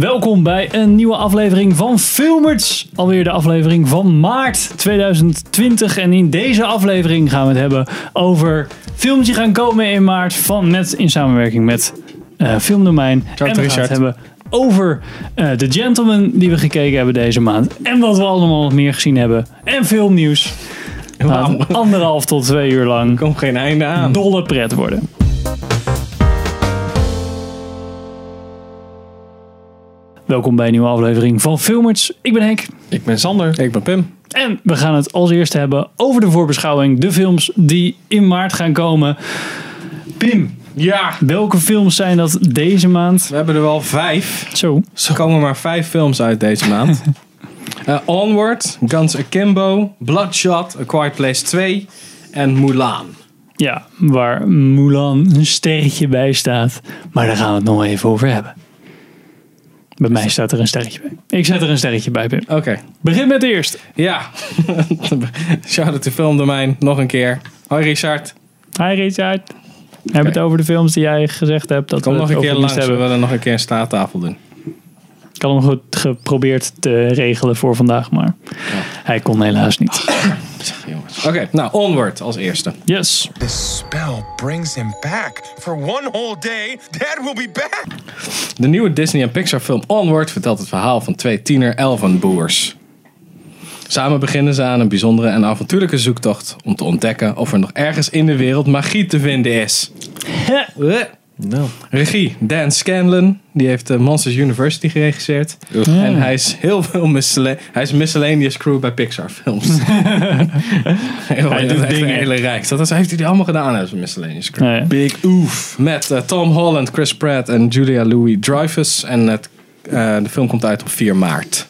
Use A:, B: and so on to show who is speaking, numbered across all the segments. A: Welkom bij een nieuwe aflevering van Filmers. Alweer de aflevering van maart 2020. En in deze aflevering gaan we het hebben over films die gaan komen in maart. Van, met, in samenwerking met eh, Filmdomein. en we gaan
B: Richard.
A: het hebben over eh The Gentleman die we gekeken hebben deze maand. En wat we allemaal nog meer gezien hebben. En filmnieuws. Laat het anderhalf tot twee uur lang
B: Komt geen einde aan.
A: dolle pret worden. Welkom bij een nieuwe aflevering van Filmers. Ik ben Henk
B: Ik ben Sander. Ik ben Pim.
A: en we gaan het als eerste hebben over de voorbeschouwing, de films die in maart gaan komen. Pim,
B: Ja.
A: welke films zijn dat deze maand?
B: We hebben er wel vijf.
A: Zo,
B: Er komen maar vijf films uit deze maand. Eh, Onward, Guns Akimbo, Bloodshot, A Quiet Place 2 en Mulan.
A: ja, waar Mulan een sterretje bij staat, maar daar gaan we het nog even over hebben. Bij mij staat er een sterretje bij. Ik zet er een sterretje bij, Pim.
B: Oké.
A: Begin met de eerste.
B: Ja. Shout-out to Filmdomein nog een keer. Hoi Richard.
A: Hi Richard. We hebben het over de films die jij gezegd hebt. Dat
B: Kom
A: we
B: nog
A: het
B: een keer
A: over
B: langs.
A: moesten
B: We
A: Hebben.
B: willen nog een keer een staattafel doen.
A: Ik had hem goed geprobeerd te regelen voor vandaag, maar hij kon helaas niet.
B: Jongens. Oké, nou Onward als eerste.
A: Yes.
C: This spell brings him back. For one whole day, Dad will be back.
B: De nieuwe Disney en Pixar film Onward vertelt het verhaal van twee tiener elfenboers. Samen beginnen ze aan een bijzondere en avontuurlijke zoektocht om te ontdekken of er nog ergens in de wereld magie te vinden is. Eh. Regie Dan Scanlon, die heeft eh, Monsters University geregisseerd. En hij is heel veel miscella- hij is miscellaneous crew bij Pixar films. heel,
A: Hij
B: hij
A: doet
B: doet echt een
A: dingen.
B: hele rijk. Dat is, heeft hij die allemaal gedaan als een miscellaneous crew.
A: Nee.
B: Big Oof. Met eh, Tom Holland, Chris Pratt en Julia Louis-Dreyfus. En het, eh, de film komt uit op 4 maart.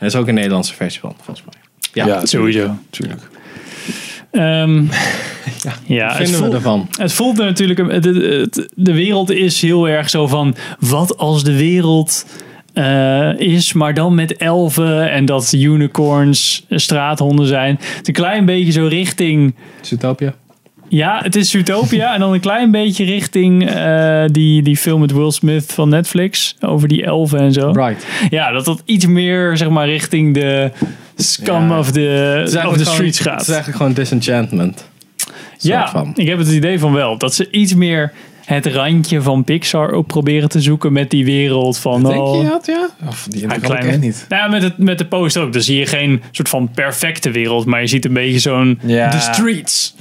B: Er is ook een Nederlandse versie van, volgens mij. Ja,
A: sowieso.
B: natuurlijk.
A: Ehm, ja, het,
B: Vinden we
A: voelt,
B: ervan.
A: het voelt natuurlijk... een- het- het- het- de wereld is heel erg zo van... Wat als de wereld eh, is, maar dan met elfen... en dat unicorns straathonden zijn. Het is een klein beetje zo richting...
B: Zootopia.
A: Ja, het is Utopia en dan een klein beetje richting eh, die, die film met Will Smith van Netflix. Over die elfen en zo.
B: Right.
A: Ja, dat dat iets meer zeg maar richting de scum
B: Ja.
A: of the, of the streets
B: gewoon, Het is
A: gaat.
B: eigenlijk gewoon Disenchantment.
A: Ja,
B: soort van.
A: ik heb het idee van wel. Dat ze iets meer het randje van Pixar ook proberen te zoeken met die wereld van... oh,
B: dat, ja? Of die
A: ja,
B: indruk
A: klein- Nou ja, met, het, met de poster ook. Dan zie je geen soort van perfecte wereld, maar je ziet een beetje zo'n...
D: Ja.
A: The streets.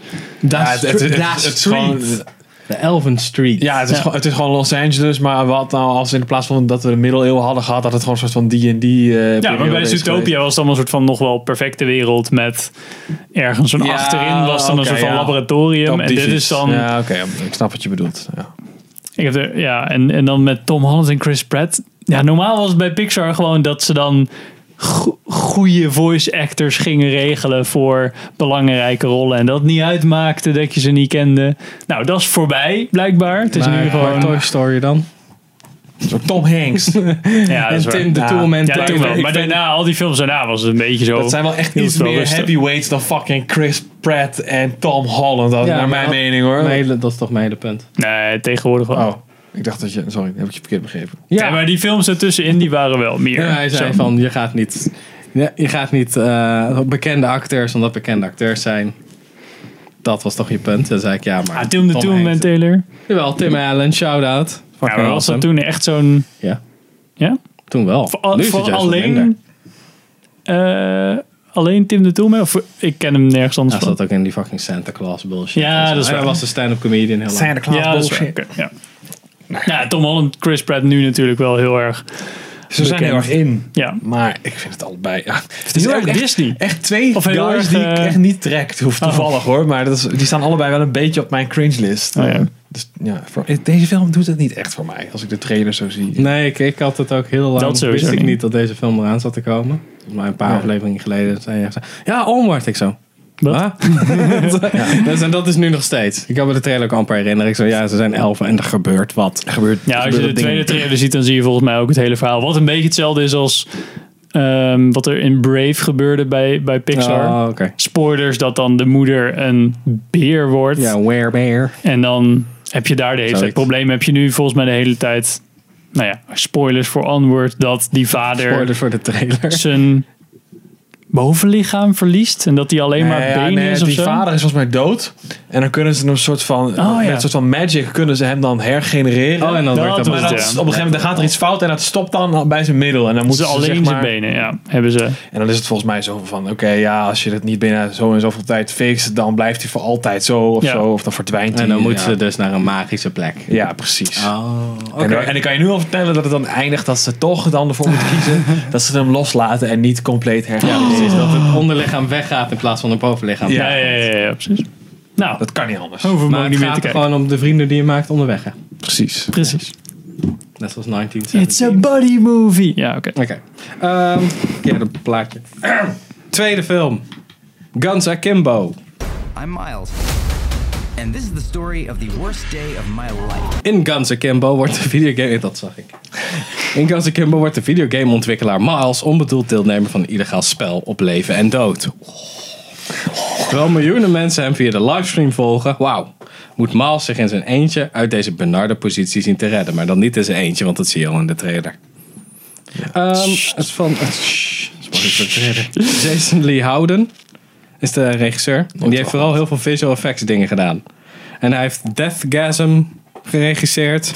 D: Ja, het, het, het,
B: Ja,
D: het, is gewoon,
B: street. De Elven Street.
D: ja, het, is
A: Ja.
D: Gewoon, het is gewoon Los Angeles, maar wat nou als in plaats van dat we de middeleeuwen hadden gehad, dat het gewoon een soort van D&D eh
A: Ja, maar bij Zootopia was het dan een soort van nog wel perfecte wereld met ergens een
B: Ja,
A: achterin was dan een
B: oké,
A: soort van
B: ja.
A: laboratorium. En dit is dan,
D: Ja, oké, ik snap wat je bedoelt. Ja.
A: ik heb er, ja, en, en dan met Tom Holland en Chris Pratt. Ja, normaal was het bij Pixar gewoon dat ze dan go- goede voice actors gingen regelen voor belangrijke rollen. En dat niet uitmaakte dat je ze niet kende. Nou, dat is voorbij, blijkbaar. Het is nu gewoon...
B: Toy Story dan.
D: Zo Tom Hanks.
A: ja, dat is
B: en
A: waar.
B: Tim de
D: Ja.
B: Toolman.
A: Ja, toen wel. Maar daarna, al die films daarna was het een beetje zo...
D: dat zijn wel echt
A: Heel
D: iets
A: veel
D: meer
A: rustig.
D: heavyweights dan fucking Chris Pratt en Tom Holland, dat,
B: Ja,
D: naar mijn
B: maar-
D: mening hoor.
B: dat is toch mijn hele punt.
A: Nee, tegenwoordig wel.
D: Oh, ik dacht dat je, sorry, heb ik je verkeerd begrepen.
A: Ja. maar die films ertussenin, die waren wel meer.
B: Ja, hij zei
A: zo.
B: van, je gaat niet, ja, je gaat niet eh, bekende acteurs, omdat bekende acteurs zijn. Dat was toch je punt? Dan zei ik, ja, maar...
A: Ah, Tim de Toon
B: Hanks-
A: en Taylor.
B: Jawel, Tim Allen, shout-out.
A: Ja, maar was
B: awesome.
A: dat toen echt zo'n...
B: Ja,
A: Ja?
B: toen wel.
A: Voor, al-
B: nu is het
A: voor
B: juist wat minder.
A: alleen... eh, alleen Tim de Toon? Of ik ken hem nergens anders
B: Hij
A: van.
B: zat ook in die fucking Santa Claus bullshit.
A: Ja,
B: en zo.
A: dat is
B: Hij
A: waar.
B: was de stand-up comedian heel lang.
D: Claus
A: ja, dat is waar. Oké, ja. ja, Tom Holland, Chris Pratt nu natuurlijk wel heel erg.
D: Ze zijn heel
A: Bekend.
D: erg in.
A: Ja.
D: Maar ik vind het allebei. Ja. Het
A: heel
D: ook
A: erg
D: echt-
A: Disney.
D: Echt twee
A: Of heel
D: guys
A: erg,
D: die
A: eh, Oh.
D: ik echt niet trekt. Hoeft toevallig hoor. Maar dat is, die staan allebei wel een beetje op mijn cringe list.
A: Oh, ja.
D: Dus ja, voor, deze film doet het niet echt voor mij. Als ik de trailer zo zie.
B: Nee, ik, ik had het ook heel lang.
A: Dat sowieso
B: wist ik
A: niet.
B: niet. dat deze film eraan zat te komen. Maar een paar
D: Ja.
B: afleveringen geleden zei je echt... zo, Ja, onward, ik zo.
A: Wat?
B: Huh? Dus, en dat is nu nog steeds. Ik kan me de trailer ook amper herinneren. Ik zo, ja, ze zijn elfen en er gebeurt wat. Er gebeurt,
A: Ja, als je de tweede trailer ziet, dan zie je volgens mij ook het hele verhaal. Wat een beetje hetzelfde is als ehm, wat er in Brave gebeurde bij, bij Pixar.
B: Oh, oké.
A: Spoilers dat dan de moeder een beer wordt.
B: Ja, where bear.
A: En dan heb je daar de hele tijd
B: Zoiets.
A: problemen. Heb je nu volgens mij de hele tijd nou ja, spoilers voor Onward, dat die vader
B: Spoiler voor de trailer.
A: zijn bovenlichaam verliest. En dat hij alleen maar
D: Nee, ja,
A: benen
D: nee,
A: is of
D: die
A: zo. Oh,
D: vader is volgens mij dood. En dan kunnen ze een soort van, met
A: ja.
D: een soort van magic kunnen ze hem dan hergenereren.
B: Oh, en dan
A: Dat
B: wordt dat
A: was
D: maar dat
A: het,
D: is-
A: ja.
D: op een gegeven moment dan gaat er iets fout en dat stopt dan bij zijn middel. En dan
A: Ze
D: moeten ze
A: alleen
D: zeg maar,
A: zijn benen, ja. Hebben ze.
D: En dan is het volgens mij zo van, oké, ja, als je het niet binnen zo en zoveel tijd fixt, dan blijft hij voor altijd zo of
A: Ja.
D: zo. Of dan verdwijnt hij.
B: En dan
D: ja.
B: moeten ze dus naar een magische plek.
D: Ja, precies.
B: Oh, oké.
D: En, dan, en ik kan je nu al vertellen dat het dan eindigt dat ze toch dan ervoor moeten kiezen dat ze hem loslaten en niet compleet
B: Ja,
D: herhalen.
B: precies. Dat het onderlichaam weggaat in plaats van het bovenlichaam.
A: Ja, ja, ja, ja, ja, precies. Nou,
D: Dat kan niet anders.
A: hoeven we
B: Maar
A: ook
B: het
A: niet meer te
B: gaat er
A: kijken.
B: gewoon om de vrienden die je maakt onderweg. Hè?
D: Precies.
A: Precies.
B: Net zoals 1917.
A: It's a buddy movie. Ja, oké.
B: Oké. Ehm Keer een plaatje. Tweede film. Guns Akimbo.
E: I'm Miles. And this is the story of the worst day of my life.
B: In Guns Akimbo wordt de videogame... Dat zag ik. In Guns Akimbo wordt de videogameontwikkelaar Miles onbedoeld deelnemer van een illegaal spel op leven en dood. Terwijl miljoenen mensen hem via de livestream volgen, wauw, moet Miles zich in zijn eentje uit deze benarde positie zien te redden. Maar dan niet in zijn eentje, want dat zie je al in de trailer. Ehm, het is van... Shh, sorry voor de trailer. Jason Lee Howden is de regisseur. En die heeft vooral heel veel visual effects dingen gedaan. En hij heeft Deathgasm geregisseerd.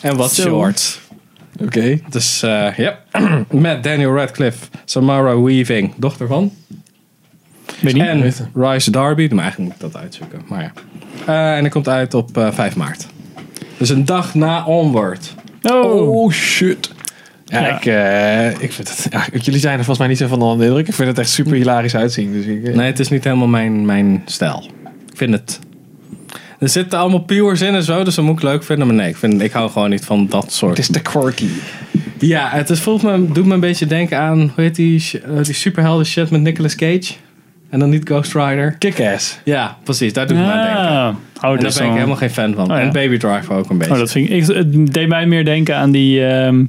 B: En wat shorts.
D: Oké.
B: Dus eh, ja, met Daniel Radcliffe, Samara Weaving, dochter van.
A: Weet niet.
B: En Rice Darby, maar eigenlijk moet ik dat uitzoeken. Maar ja. Eh, en dat komt uit op eh, 5 maart. Dus een dag na Onward.
A: Oh.
D: Oh shit. Ja,
A: Ja.
D: Ik, eh, ik vind het. Ja, jullie zijn er volgens mij niet zo van onder de indruk. Ik vind het echt super hilarisch uitzien. Dus ik, eh,
B: Nee, het is niet helemaal mijn, mijn stijl. Ik vind het... Er zitten allemaal puurs in en zo, dus dat moet ik leuk vinden. Maar nee, ik, vind, ik hou gewoon niet van dat soort...
D: Het is te quirky.
B: Ja, het is, voelt me, doet me een beetje denken aan... Hoe heet die, sh- eh, die superhelden shit met Nicolas Cage? En dan niet Ghost Rider.
D: Kick-ass.
B: Ja, precies. Daar doet het me aan denken.
A: Ja. Oh,
B: En daar
A: dat,
B: ben ik helemaal
A: helemaal...
B: geen fan van.
A: Oh, ja.
B: En Baby Driver ook een beetje.
A: oh, dat vind ik, ik- Het deed mij meer denken aan die. ehm,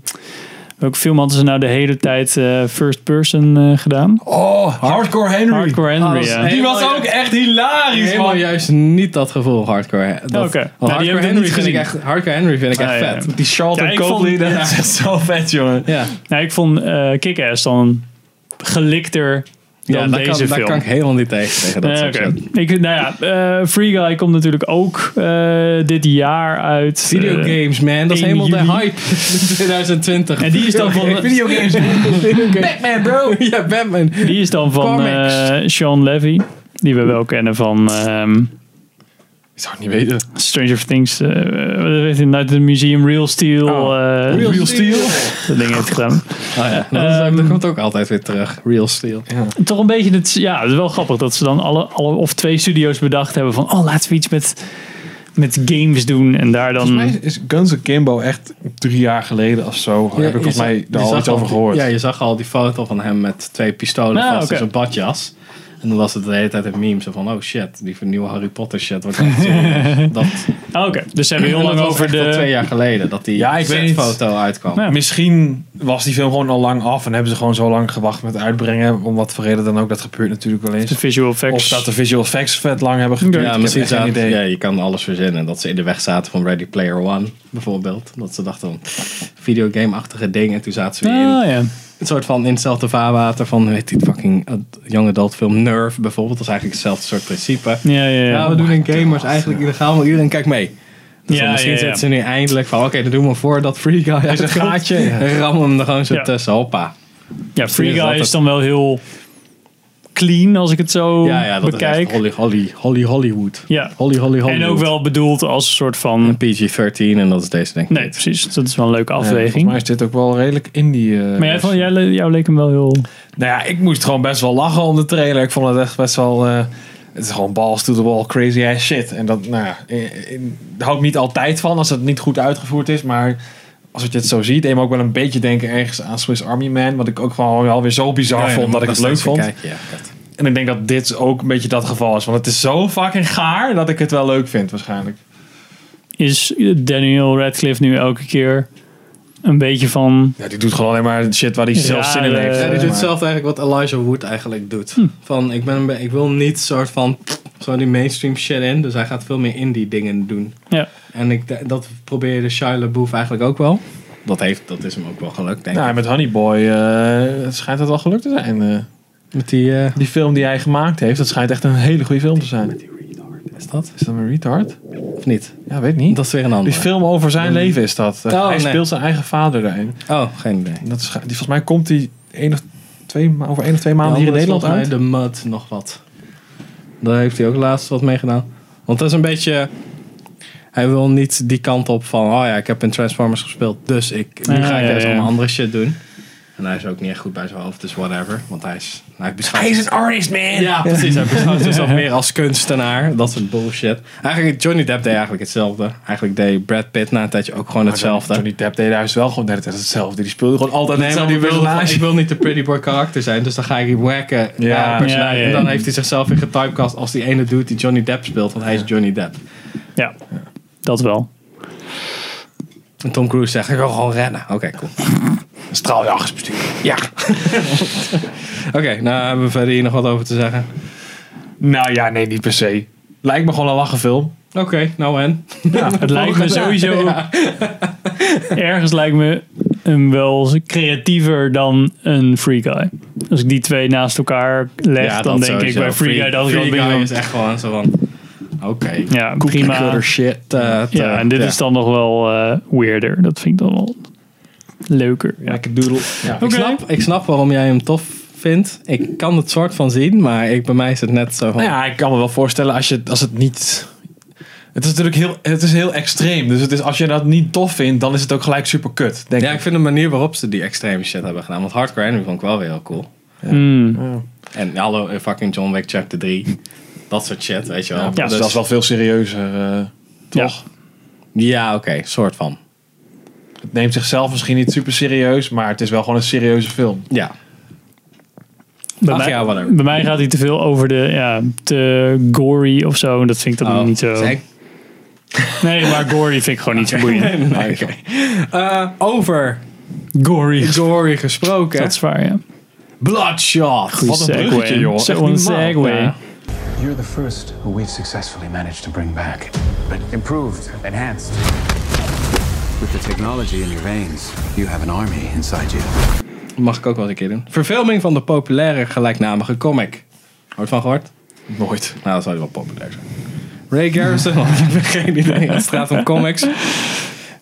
A: welke film hadden ze nou de hele tijd eh, first person eh, gedaan?
D: Oh, Hardcore Henry.
A: Hardcore Henry.
B: Alles-
A: ja.
B: Nee,
D: Die was
B: Helemaal
D: ook echt hilarisch,
B: helemaal
D: man.
B: juist niet dat gevoel hardcore. Dat,
A: Oké. Nou,
B: want
A: die
B: hardcore,
A: heb ik
B: Henry
A: niet
B: vind ik
A: gezien.
B: echt, hardcore Henry vind ik echt
A: Ah, ja.
B: vet.
D: Die Charlton
A: Ja, ik
D: Copley,
A: vond-
D: dat
A: ja.
D: is echt zo vet, jongen.
B: Ja,
A: Nou, ik vond eh Kick-Ass dan gelikter dan
B: ja daar,
A: deze
B: kan, daar
A: film.
B: kan ik helemaal niet tegen. tegen dat
A: Nee,
B: soort
A: oké.
B: shit.
A: ik, nou ja, eh, Free Guy komt natuurlijk ook eh, dit jaar uit. Eh,
B: Videogames, man. Dat
A: 1
B: is helemaal de
A: juli.
B: hype. 2020.
A: en die is dan van,
B: Videogames. Batman, bro. Oh ja, Batman.
A: die is dan van
B: Comics.
A: eh, Sean Levy, die we wel kennen van ehm,
D: Ik zou het niet weten.
A: Stranger Things. eh wat heet het? Night at the Museum, Real Steel. eh,
B: Oh. Real
A: dat
B: Steel.
A: ding heeft gedaan.
B: Oh ja, dat, is ook- dat komt ook altijd weer terug. Real Steel.
A: Toch een beetje, het, ja, het is wel grappig dat ze dan alle, alle of twee studio's bedacht hebben van, oh, laten we iets met, met games doen. En daar dan...
D: Volgens mij is Guns Akimbo echt drie jaar geleden of zo.
B: Ja,
D: heb ik
B: je
D: volgens mij
B: zag-
D: daar
B: je
D: al
B: zag
D: iets over
B: die-
D: gehoord.
B: Ja, je zag al die foto van hem met twee pistolen
A: Ah,
B: vast
A: oké.
B: in zijn badjas. En dan was het de hele tijd een meme zo van, oh shit, die nieuwe Harry Potter shit wordt echt serieus. dat,
A: Ah, Oké, dus ze hebben heel
B: en dat
A: lang
B: was
A: over
B: echt al twee
A: de...
B: jaar geleden dat die
D: Ja, ik weet niet.
B: foto uitkwam.
A: Ja.
D: Misschien was die film gewoon al lang af en hebben ze gewoon zo lang gewacht met uitbrengen. Om wat voor reden dan ook. Dat gebeurt natuurlijk wel eens.
A: De visual effects.
D: Of dat de visual effects vet lang hebben geduurd.
B: Ja,
D: Ik heb
B: misschien
D: echt geen
B: zaten,
D: idee.
B: ja, je kan alles verzinnen. Dat ze in de weg zaten van Ready Player One, bijvoorbeeld. Dat ze dachten van videogame-achtige dingen. En toen zaten ze weer in
A: Ah, ja.
B: een soort van in hetzelfde vaarwater van, weet die fucking ad- young adult film Nerve bijvoorbeeld. Dat is eigenlijk hetzelfde soort principe.
A: Ja, ja, ja.
B: Ja, we doen in gamers eigenlijk illegaal, maar iedereen kijkt mee. Dus dan misschien zitten ze nu eindelijk van, oké, dan doen we voordat Free Guy uit
D: een
B: het komt.
D: gaatje.
B: En rammen we hem er gewoon zo
A: Ja.
B: tussen, hoppa.
A: Ja, Free
B: is
A: Guy
B: dat
A: is
B: het.
A: dan wel heel clean als ik het zo
B: Ja, ja, dat is
A: bekijk.
B: echt Holly, Holly, Holly Hollywood.
A: Ja.
B: Holly, Holly, Hollywood.
A: en ook wel bedoeld als een soort
B: Een
A: van...
B: PG-13 en dat is deze denk ik
A: Nee, precies. Dat is wel een leuke
D: Ja, volgens
A: afweging.
D: mij is dit ook wel redelijk indie. eh,
A: maar jij,
D: dus.
A: vond, jij, le- jou leek hem wel heel...
D: Nou ja, ik moest gewoon best wel lachen om de trailer. Ik vond het echt best wel... eh, het is gewoon balls to the wall, crazy ass shit. En dat, nou ja, eh, eh, daar hou ik niet altijd van als het niet goed uitgevoerd is. Maar als je het zo ziet, deed me ook wel een beetje denken ergens aan Swiss Army Man. Wat ik ook gewoon wel weer zo bizar
B: Ja, ja,
D: vond dat ik het leuk
B: steeds
D: vond.
B: bekijken, ja, vet.
D: En ik denk dat dit ook een beetje dat geval is. Want het is zo fucking gaar dat ik het wel leuk vind waarschijnlijk.
A: Is Daniel Radcliffe nu elke keer een beetje van...
D: Ja, die doet gewoon alleen maar shit waar hij zelf zin in
A: Rare-
D: heeft.
A: Ja,
B: Ja, die
A: Eh,
B: doet
D: Maar-
B: zelf eigenlijk wat Elijah Wood eigenlijk doet.
D: Hm.
B: Van, ik, ben, een be- ik wil niet soort van, zo die mainstream shit in. Dus hij gaat veel meer indie dingen doen.
A: Ja,
B: En ik, d- dat probeerde Shia LaBeouf eigenlijk ook wel. dat, heeft, dat is hem ook wel gelukt, denk
D: Nou,
B: ik.
D: met Honeyboy eh schijnt het wel gelukt te zijn. eh.
B: Met die, eh,
D: die film die hij gemaakt heeft, dat schijnt echt een hele goede film te zijn.
B: is dat?
D: Is dat een retard?
B: Of niet?
D: Ja, weet niet.
B: Dat is weer een ander.
D: Hm? Die film over zijn leven is dat. Eh,
B: Oh,
D: hij
B: nee.
D: speelt zijn eigen vader daarin.
B: Oh, geen idee.
D: En Dat is, die, volgens mij komt hij één of twee, ma- over één of twee maanden hier in Nederland uit.
B: De Mud nog wat. Daar heeft hij ook laatst wat mee gedaan. Want dat is een beetje... Hij wil niet die kant op van... Oh ja, ik heb in Transformers gespeeld, dus ik, nu
A: Ja,
B: ga ik
A: ja,
B: juist
A: ja.
B: allemaal andere shit doen. En hij is ook niet echt goed bij zijn hoofd, dus whatever. Want hij is... Hij beschouwt
D: een artist, man!
B: Ja, precies. Hij beschouwt zichzelf meer als kunstenaar. Dat soort bullshit. Eigenlijk, Johnny Depp deed eigenlijk hetzelfde. Eigenlijk deed Brad Pitt na een tijdje ook gewoon hetzelfde.
D: Johnny Depp deed juist wel gewoon net hetzelfde. Die speelde gewoon
B: Nee,
D: altijd
B: maar
D: hetzelfde
B: die wilde van,
D: personage.
B: ik wil niet de pretty boy karakter zijn, dus dan ga ik die wacken
D: Ja.
B: ja, personage.
A: Ja, ja,
B: En
A: ja.
B: dan heeft hij zichzelf weer getypecast als die ene dude die Johnny Depp speelt, want hij is Johnny Depp.
A: Ja, dat wel.
B: En Tom Cruise zegt, ik wil gewoon rennen. Oké, cool.
D: straaljagers
B: Ja. Oké, nou hebben we verder hier nog wat over te zeggen.
D: Nou ja, nee, niet per se. Lijkt me gewoon een lachen film.
B: Oké, nou en?
A: Het lijkt me sowieso. Ergens lijkt me hem wel creatiever dan een Free Guy. Als ik die twee naast elkaar leg, dan denk ik bij Free Guy dat ik wel
B: Free Guy
A: ben.
B: is echt gewoon zo van, oké.
A: Ja, prima.
B: Cutter shit.
A: eh,
B: eh,
A: Ja, en dit is dan nog wel eh, weirder. Dat vind ik dan wel leuker. Ja.
D: Lekker doodle. Ja.
B: Ik,
A: Oké.
B: snap, ik snap waarom jij hem tof vindt. Ik kan het soort van zien, maar ik, bij mij is het net zo van...
D: Nou ja, ik kan me wel voorstellen als, je, als het niet... Het is natuurlijk heel, het is heel extreem. Dus het is, als je dat niet tof vindt, dan is het ook gelijk super kut. Denk
B: Ja,
D: ik.
B: ik vind de manier waarop ze die extreme shit hebben gedaan. Want Hardcore Henry vond ik wel weer heel cool.
A: Mm.
B: En hallo, eh, fucking John Wick chapter 3. Dat soort shit, weet je wel.
D: Ja,
B: Dus-
D: dat is wel veel serieuzer. eh, toch?
B: Ja, oké, soort van.
D: Het neemt zichzelf misschien niet super serieus, maar het is wel gewoon een serieuze film.
B: Ja.
A: Bij,
B: Ach
A: mij,
B: ja, whatever.
A: bij mij gaat hij te veel over de ja, te gory of zo. En dat vind ik dan
B: Oh,
A: niet zo.
B: zeg-
A: Nee, maar gory vind ik gewoon niet zo boeiend.
B: Nee, oké. Eh, over
A: Gory.
B: Gory gesproken.
A: Dat is waar, ja.
B: Bloodshot.
A: Goeie
D: een bruggetje, joh. Echt
A: Zo'n
D: niet normaal.
A: segue.
B: Ja.
F: You're the first who we've successfully managed to bring back. But improved, enhanced.
E: With the technology in your veins, you have an army inside you.
B: Mag ik ook wel eens een keer doen. Verfilming van de populaire gelijknamige comic. Ooit van gehoord?
D: Nooit.
B: Nou, dat zou wel populair zijn. Ray Garrison, want ik heb geen idee. Het gaat om comics.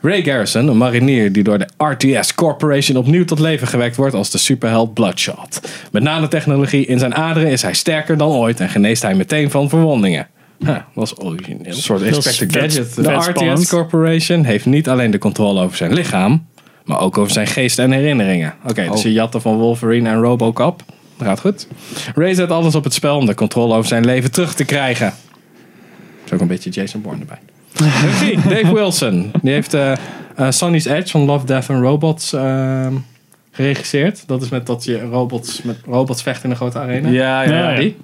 B: Ray Garrison, een marinier die door de RTS Corporation opnieuw tot leven gewekt wordt als de superheld Bloodshot. Met nanotechnologie in zijn aderen is hij sterker dan ooit en geneest hij meteen van verwondingen. Huh, was origineel.
D: Een soort
A: is
D: Inspector
A: vet.
D: Gadget.
B: De
A: Vet
B: RTS
A: spannend.
B: Corporation heeft niet alleen de controle over zijn lichaam, maar ook over zijn geest en herinneringen. Oké,
D: Oh.
B: dus je jatten van Wolverine en Robocop. Dat gaat goed. Ray zet alles op het spel om de controle over zijn leven terug te krijgen. Er is ook een beetje Jason Bourne erbij. Regie, Dave Wilson. Die heeft eh, eh, Sunny's Edge van Love, Death and Robots ehm, geregisseerd. Dat is met dat je robots, met robots vecht in een grote arena.
D: Ja, ja.
A: Ja, ja.
B: Die.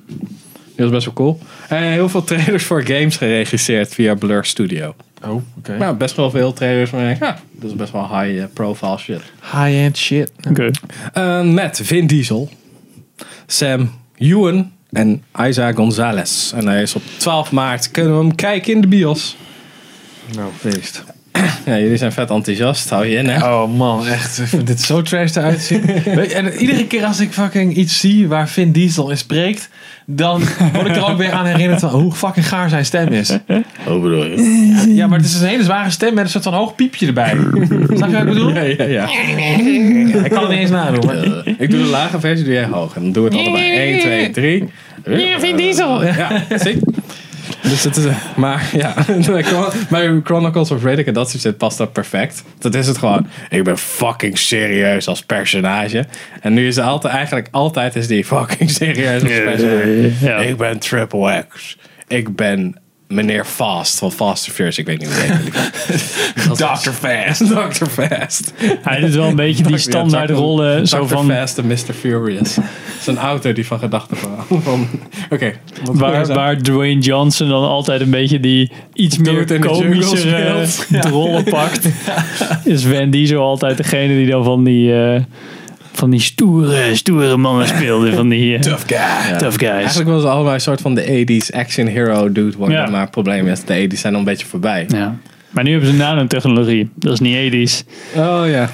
B: Die was best wel cool. En heel veel trailers voor games geregisseerd via Blur Studio.
D: Oh, oké.
B: Nou, best wel veel trailers. Maar ik denk, ja, dat is best wel high eh, profile shit.
D: High-end shit.
A: Oké.
B: Eh, met Vin Diesel, Sam Ewan en Isaac Gonzalez. En hij is op 12 maart. Kunnen we hem kijken in de bios?
D: Nou, feest.
B: Ja, jullie zijn vet enthousiast. Hou je in, hè?
D: Oh man, echt. Ik vind dit zo trash eruit zien. Weet je, En iedere keer als ik fucking iets zie waar Vin Diesel in spreekt, dan word ik er ook weer aan herinnerd van hoe fucking gaar zijn stem is.
B: Oh, bedoel je?
D: Ja, maar het is een hele zware stem met een soort van hoog piepje erbij. Snap je wat ik bedoel?
B: Ja, ja, ja.
D: Ik kan het niet eens nadoen. Maar...
B: Eh, ik doe de lage versie, doe jij hoog. En dan doen we het allebei. 1, 2, 3. Ja, Vin Diesel. Ja, zie. Dus het is, eh, maar ja, bij Chronicles of Riddick en dat soort shit past dat perfect. Dat is het gewoon. Ik ben fucking serieus als personage. En nu is het altijd, eigenlijk altijd is die fucking serieus als personage.
A: ja, ja.
B: Ik ben Triple X. Ik ben meneer Fast van Fast and Furious. Ik weet niet hoe het
D: Dr. Fast.
B: heet. Dr. Fast.
A: Hij doet wel een beetje die standaard rollen. eh, Zo van,
B: Fast en Mr. Furious. Zo'n auto die van gedachten verandert. van. Oké. wat
A: Waar,
B: is dat?
A: waar Dwayne Johnson dan altijd een beetje die iets
B: Dood
A: meer
B: in de jungle
A: komischere
B: speelt.
A: rollen pakt, is Van Diesel altijd degene die dan van die, eh, van die stoere, stoere mannen speelde. Van die eh,
D: Tough guy.
A: tough guys.
B: Eigenlijk willen ze allebei een soort van de 80s action hero dude worden.
A: Ja.
B: Maar het probleem is, de 80s zijn al een beetje voorbij.
A: Ja. Maar nu hebben ze nanotechnologie. Dat is niet ethisch.
B: Oh ja.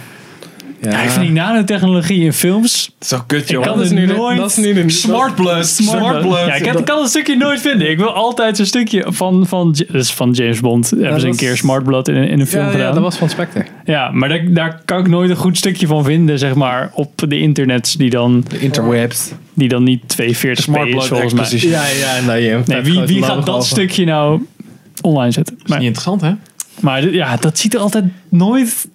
A: Ja, ik vind die nanotechnologie in films...
D: Zo kut, joh.
A: Ik kan
B: dat is
A: het
B: nu de-
A: nooit...
B: dat is nu de-
D: Smart blood. Smart, blood.
A: Ja, ik heb- ik kan dat stukje nooit vinden. Ik wil altijd zo'n stukje van, van, Ja- dat is van James Bond. Hebben ze een
B: was-
A: keer Smart Blood in, in een film
B: Ja, ja,
A: gedaan.
B: dat was van Spectre.
A: Ja, maar daar, daar kan ik nooit een goed stukje van vinden, zeg maar, op de internets die dan,
D: De interwebs.
A: die dan niet 240p
D: Smart
A: is,
D: blood
A: volgens mij.
D: exposition.
B: Ja, ja, nou je hebt
A: Nee, wie, wie gaat dat stukje nou online zetten?
D: Dat is
A: Maar,
D: niet interessant, hè?
A: maar dit- ja, dat ziet er altijd nooit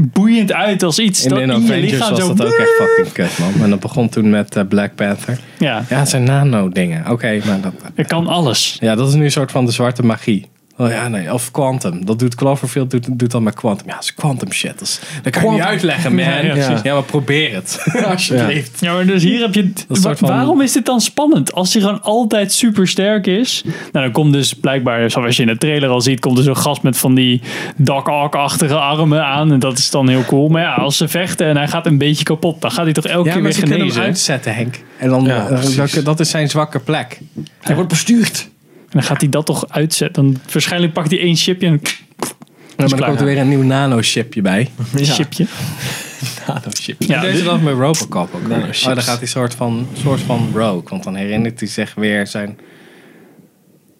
A: boeiend uit als iets
B: In,
A: dat
B: in
A: in je
B: Avengers
A: lichaam
B: was
A: zo...
B: dat ook echt fucking kut, man. En dat begon toen met eh, Black Panther.
A: Ja,
B: Ja, het zijn nano-dingen. Oké, maar dat...
A: het kan alles.
B: Ja, dat is nu een soort van de zwarte magie. Oh ja, nee. Of Quantum. Dat doet Cloverfield doet, doet dan met Quantum. Ja, dat is Quantum shit. Dat, is- dat kan je niet
D: Quantum.
B: uitleggen, man.
A: Ja,
B: Ja,
A: ja,
D: precies.
B: maar probeer het. Alsjeblieft.
A: Ja, maar dus hier heb je...
B: een soort van-
A: Waarom is dit dan spannend? Als hij gewoon altijd super sterk is... Nou, dan komt dus blijkbaar, zoals je in de trailer al ziet... komt er zo'n gast met van die Doc Ock-achtige armen aan. En dat is dan heel cool. Maar ja, als ze vechten en hij gaat een beetje kapot... dan gaat hij toch elke
B: Ja,
A: keer
B: maar
A: weer
B: ze kunnen
A: genezen.
B: hem uitzetten, Henk. En dan,
D: Ja,
B: eh,
D: precies.
B: dat, dat is zijn zwakke plek.
D: Hij wordt bestuurd.
A: En dan gaat hij dat toch uitzetten. Dan waarschijnlijk pakt hij één chipje en
B: maar dan
A: klaar.
B: komt er weer een nieuw nano-chipje bij.
A: een chipje.
B: Nano-chipje.
A: Ja,
B: Ja, deze
A: dit-
B: was met Robocop ook.
D: Nanochips.
B: Oh, dan gaat hij soort van, soort van rogue. Want dan herinnert hij zich weer zijn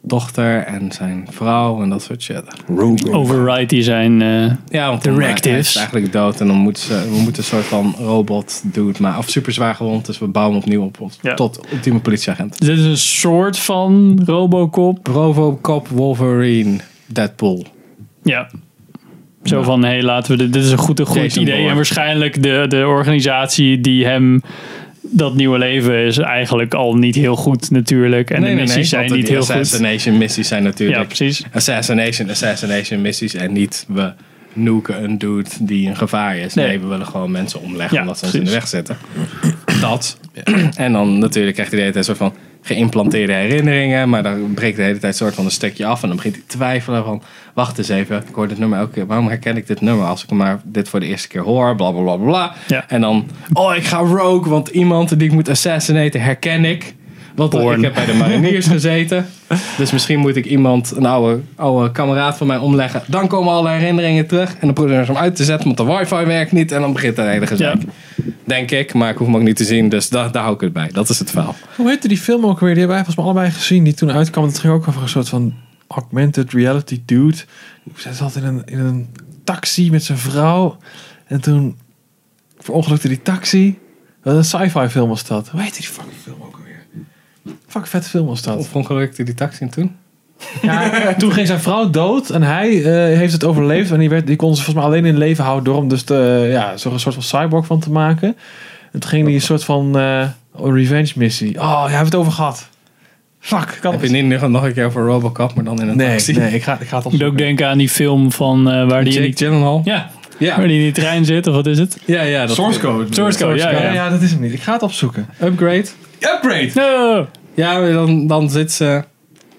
B: dochter en zijn vrouw en dat soort shit.
A: Override die zijn... eh,
B: Ja, want
A: Directives.
B: dan, hij is eigenlijk dood en dan moeten ze, we moeten een soort van robot dude maar of super zwaar gewond, dus we bouwen hem opnieuw op, op-
A: Ja.
B: tot ultieme politieagent.
A: dit is een soort van Robocop.
B: Robocop, Wolverine, Deadpool.
A: Ja. Zo van, hé, hey, laten we dit... Dit is een goed, een goed
B: Jason
A: idee.
B: Bourne.
A: En waarschijnlijk de, de organisatie die hem... Dat nieuwe leven is eigenlijk al niet heel goed natuurlijk. En de missies
B: want
A: zijn niet
B: die
A: heel goed.
B: assassination missies zijn natuurlijk
A: Ja, precies.
B: assassination, assassination missies en niet we nuken een dude die een gevaar is. Nee,
A: Nee.
B: we willen gewoon mensen omleggen
A: Ja,
B: omdat ze ons in de
A: precies.
B: weg zitten. Dat. En dan natuurlijk krijgt hij de hele tijd een soort van geïmplanteerde herinneringen, maar dan breekt de hele tijd soort van een stukje af en dan begint hij te twijfelen van wacht eens even, ik hoor dit nummer elke keer, waarom herken ik dit nummer als ik maar dit voor de eerste keer hoor, bla bla bla bla.
A: Ja.
B: En dan, oh ik ga rogue, want iemand die ik moet assassinaten herken ik. Want
A: Porn.
B: ik heb bij de mariniers gezeten. Dus misschien moet ik iemand, een oude, oude kameraad van mij omleggen. Dan komen alle herinneringen terug. En dan proberen ze hem uit te zetten, want de wifi werkt niet. En dan begint het hele gezeik.
A: Ja.
B: Denk ik, maar ik hoef hem ook niet te zien. Dus da- daar hou ik het bij. Dat is het verhaal.
D: Hoe heette die film ook weer? Die hebben wij volgens mij allebei gezien. Die toen uitkwam. Het ging ook over een soort van augmented reality dude. Hij zat in een, in een taxi met zijn vrouw. En toen verongelukte die taxi. Wat een sci-fi film was dat. Hoe heette die fucking film ook alweer? Fuck vet film was dat.
B: Of ongelukte die taxi toen?
D: Ja, toen ging zijn vrouw dood en hij eh, heeft het overleefd. En die, werd, die kon ze volgens mij alleen in leven houden door hem dus te, ja, zo'n soort van cyborg van te maken. En toen ging hij een soort van eh, revenge missie. Oh, ja, hij heeft het over gehad. Fuck, kan
B: Heb je
D: het.
B: niet nog- nog een keer over Robocop, maar dan in een
D: Nee,
B: taxi?
D: nee, ik ga, ik ga het
A: Ik moet ook denken aan die film van eh, waar die in
B: Jake
A: die...
B: Gyllenhaal?
A: Ja,
B: Ja.
A: waar die in die trein zit, of wat is het?
B: ja, ja dat
D: code.
A: Source code, ja,
D: Ja,
A: ja.
D: ja, dat is hem niet. Ik ga het opzoeken.
B: Upgrade.
D: Upgrade!
A: No!
B: Ja, maar dan, dan zit ze...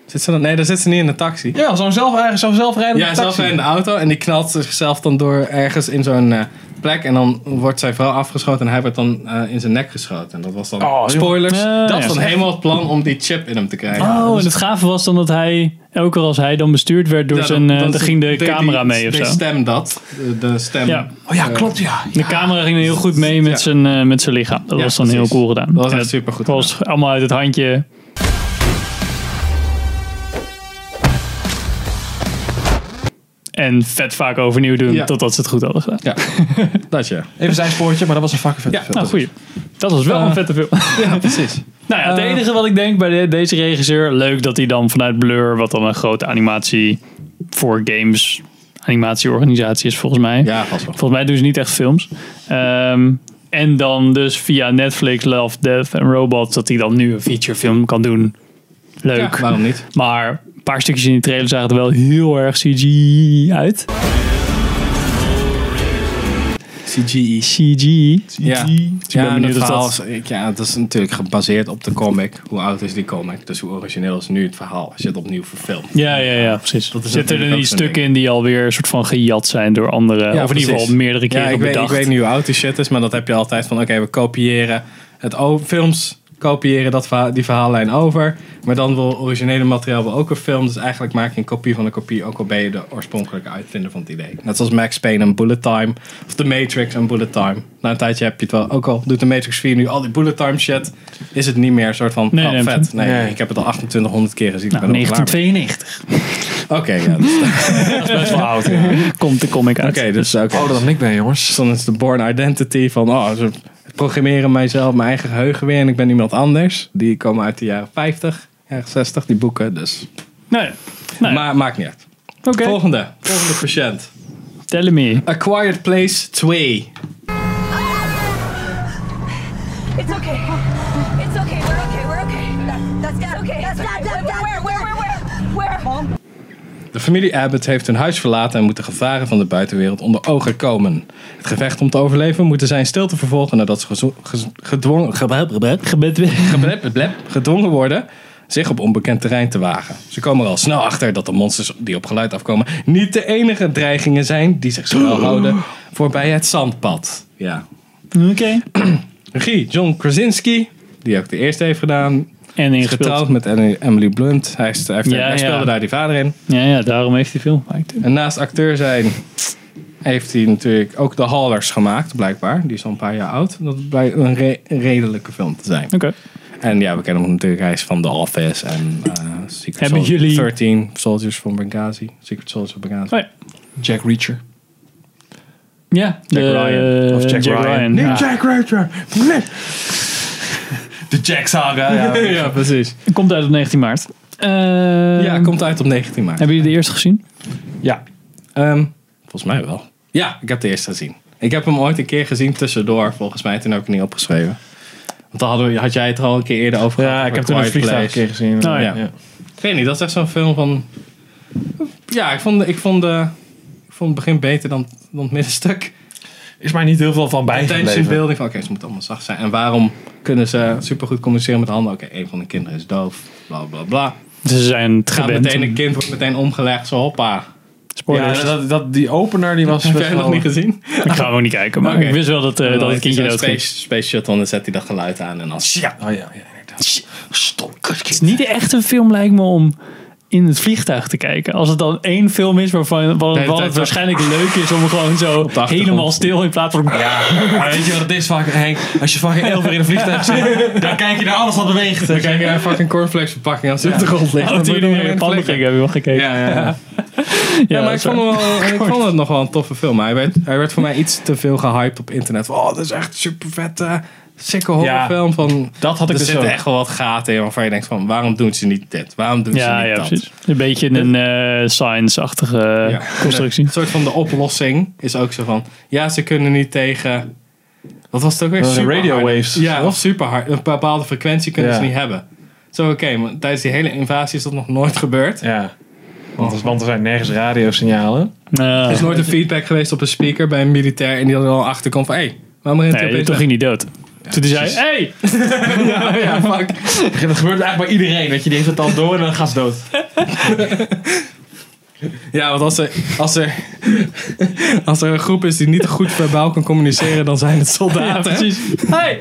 B: Zit ze dan, nee, dan zit ze niet in de taxi.
D: Ja, zo'n zelf, eigen- zo'n zelfrijdende
B: Ja,
D: taxi.
B: zelf in de auto en die knalt zichzelf dan door ergens in zo'n eh, plek. En dan wordt zijn vrouw afgeschoten en hij wordt dan eh, in zijn nek geschoten. En dat was dan.
D: Oh, joh.
B: spoilers.
A: Ja,
B: dat
A: ja.
B: was helemaal het plan om die chip in hem te krijgen.
A: Oh, en het gave was dan dat hij, elke keer als hij dan bestuurd werd door
B: Ja,
A: zijn, eh,
B: dat-
A: dan ging de
B: deed
A: camera
B: die-
A: mee of zo.
B: deed stem dat. De, de stem.
A: Ja.
D: Oh ja, klopt, ja.
A: De camera ging er heel goed mee met,
B: Ja.
A: zijn, eh, met zijn lichaam. Dat
B: Ja,
A: was dan
B: precies.
A: heel cool gedaan.
B: Dat was
A: En
B: echt supergoed
A: was allemaal uit het handje. En vet vaak overnieuw doen
B: Ja.
A: totdat ze het goed hadden gedaan.
B: Ja. Dat ja.
D: Even zijn spoortje, maar dat was een fucking vet
B: Ja,
D: film.
A: Nou, goeie. Dat was
B: Eh,
A: wel een vette film.
B: Ja, precies.
A: nou ja, het
B: eh,
A: enige wat ik denk bij de- deze regisseur... leuk dat hij dan vanuit Blur... wat dan een grote animatie voor games... animatieorganisatie is volgens mij.
B: Ja, vast wel.
A: Volgens mij doen ze niet echt films. Ehm, en dan dus via Netflix, Love, Death and Robots, dat hij dan nu een featurefilm kan doen. Leuk.
B: Ja, waarom niet?
A: Maar een paar stukjes in die trailer zagen er wel heel erg CG uit.
B: CGI.
A: CG.
B: Ja,
A: Dus ik ben
B: ja,
A: benieuwd
B: dat
A: of
B: verhaal
A: dat...
B: is, ik- ja, dat is natuurlijk gebaseerd op de comic. Hoe oud is die comic? Dus hoe origineel is nu het verhaal als je het opnieuw verfilmt?
A: Ja, ja, ja, precies. Zitten
B: is
A: er
B: natuurlijk
A: die
B: ook zo'n
A: stukken in die alweer een soort van gejat zijn door anderen. of in ieder
B: precies.
A: geval meerdere keren
B: ja, ik weet,
A: bedacht.
B: ik weet niet hoe oud die shit is, maar dat heb je altijd van... Oké, we kopiëren het o- films... kopiëren dat verha- die verhaallijn over. Maar dan wil originele materiaal wel ook een film. Dus eigenlijk maak je een kopie van een kopie, ook al ben je de oorspronkelijke uitvinder van het idee. Net zoals Max Payne en Bullet Time. Of The Matrix en Bullet Time. Na een tijdje heb je het wel. Ook al doet de Matrix 4 nu al die Bullet Time shit, is het niet meer een soort van
A: Nee,
B: oh,
A: nee,
B: vet. Nee,
D: nee.
B: ik heb het al 2800 keer gezien. ik
A: Nou,
B: ben er wel klaar mee.
A: 1992
B: Oké, ja. dus- Oké,
D: Best wel oud.
A: komt de comic uit.
B: dus oké.
D: Ouder dan ik ben, jongens.
B: Dus dan is de born identity van, oh, ze programmeren mijzelf, mijn eigen geheugen weer en ik ben iemand anders. Die komen uit de jaren 50, jaren 60, die boeken, dus.
A: Nee. Nee.
B: Maar maakt niet uit.
A: Oké,
B: Volgende, Nou volgende patiënt.
A: tell me.
B: A Quiet Place 2.
G: It's okay. It's okay. We're okay. We're okay. That, that's that. Okay. That's that. That. Where? Where? Where? Where? Where? Mom.
B: De familie Abbott heeft hun huis verlaten en moet de gevaren van de buitenwereld onder ogen komen. Het gevecht om te overleven moeten zij in stilte vervolgen nadat ze gezo- gez- gedwongen,
A: Gebed weer.
B: geblep, blep, gedwongen worden zich op onbekend terrein te wagen. Ze komen er al snel achter dat de monsters die op geluid afkomen niet de enige dreigingen zijn die zich schuil houden voorbij het zandpad. Ja.
A: Oké.
B: Regie John Krasinski, die ook de eerste heeft gedaan,
A: En
B: is
A: ingespeeld.
B: getrouwd met Emily Blunt. Hij, is, hij, heeft-
A: Ja,
B: hij speelde
A: ja.
B: daar die vader in.
A: Ja, ja, daarom heeft hij film gemaakt.
B: En naast acteur zijn heeft hij natuurlijk ook de Hallers gemaakt, blijkbaar. Die is al een paar jaar oud. Dat blijkt een re- een redelijke film te zijn.
A: Oké.
B: En ja, we kennen hem natuurlijk. Hij is van The Office en eh Secret
A: Hebben
B: Soldier-
A: jullie-
B: 13 Soldiers van Benghazi. Secret Soldiers van Benghazi.
A: Oh ja.
D: Jack Reacher.
A: Ja, Jack
D: Ryan. Of Jack Ryan.
A: ja.
B: Jack Reacher. Nee.
D: De Jack Saga. Ja.
B: ja, precies.
A: Komt uit op 19 maart. Eh,
D: Ehm,
B: Ja, komt uit op 19 maart.
A: Hebben jullie de eerste gezien?
D: ja.
B: Ehm, volgens mij wel. Ja, ik heb de eerste gezien. Ik heb hem ooit een keer gezien tussendoor, volgens mij. Toen heb ik het niet opgeschreven. Want dan hadden we, had jij het er al een keer eerder over gehad.
D: Ja, ik
B: over
D: heb toen een
B: Quiet
D: vliegtuig een
B: Place.
D: keer gezien.
A: ja.
B: Oh Ja. Ik weet niet, dat is echt zo'n film van... Ja, ik vond, de- ik vond, de, ik vond het begin beter dan, dan het middenstuk.
D: Is mij niet heel veel van
B: Attention
D: bijgebleven.
B: building van, oké, ze moeten allemaal zacht zijn. En waarom kunnen ze supergoed communiceren met de handen? Oké, een van de kinderen is doof, bla bla bla.
A: Ze zijn het
B: Gaat
A: gewend.
B: meteen een kind, wordt meteen omgelegd, zo hoppa.
D: Ja,
A: Spoilers.
D: dat, dat, die opener die was
B: Heb
D: best
B: jij nog
D: wel- Oh,
B: niet gezien?
A: Ik ga hem ook niet kijken, maar
B: Oké. Oh,
A: ik wist wel dat, eh, dat het kindje
B: Zo'n
A: dood ging.
B: space, space shuttle, en dan zet hij dat geluid aan en dan... Ja,
D: Oh ja, ja inderdaad. Stom
A: Het is niet echt een film lijkt me om in het vliegtuig te kijken. Als het dan één film is waarvan wat,
B: tijd
A: wat
B: zo-
A: het waarschijnlijk leuk is om gewoon zo
B: de achtergrond.
A: helemaal stil in plaats van...
D: Maar weet je wat het is, fucking Henk? Als je fucking Elver in een vliegtuig zit, dan kijk je naar alles wat beweegt.
B: dan krijg je een fucking cornflakes verpakking als het op de grond ligt.
A: Oh,
B: Dan
A: die
B: moet je
A: jullie
B: hem
A: in de
B: weer
A: panden
B: vliegen.
A: gingen, heb je wel gekeken.
B: Ja, ja, ja.
A: Ja,
B: Ja, maar
A: dat
B: ik
A: is
B: vond,
A: waar.
B: hem wel, ik vond het nog wel een toffe film. Maar hij werd, hij werd voor mij iets te veel gehyped op internet. Van, Oh, dat is echt een super vette, sikke horrorfilm. Van,
D: Dat had ik
B: er
D: dus
B: zitten
D: ook.
B: echt wel wat gaten in waarvan je denkt van... waarom doen ze niet dit? Waarom doen ze
A: Ja,
B: Dus niet
A: ja,
B: dat?
A: precies. Een beetje een eh, science-achtige eh,
B: Ja.
A: constructie.
B: Een soort van de oplossing is ook zo van... ja, ze kunnen niet tegen... Wat was het ook weer?
D: Eh,
B: Superharde-
D: radio waves.
B: Ja, of superhard. Een bepaalde frequentie kunnen
D: Ja.
B: ze niet hebben. Zo, oké, maar tijdens die hele invasie is dat nog nooit gebeurd.
D: Ja. Want, er- want er zijn nergens radiosignalen.
A: Nou,
B: Er is nooit een feedback geweest op een speaker bij een militair... en die er dan achter komt van... hé, hey, waarom rent hij
A: nee,
B: opeens
A: toen
B: weg?
A: ging hij dood. toen die zei hey!
B: Ja, fuck.
D: Dat gebeurt eigenlijk bij iedereen. Dat je die heeft het al door en dan gaat ze dood.
B: Ja, want als er, als, er, als er een groep is die niet goed verbaal kan communiceren, dan zijn het
A: Ja,
B: soldaten.
A: precies. Hey!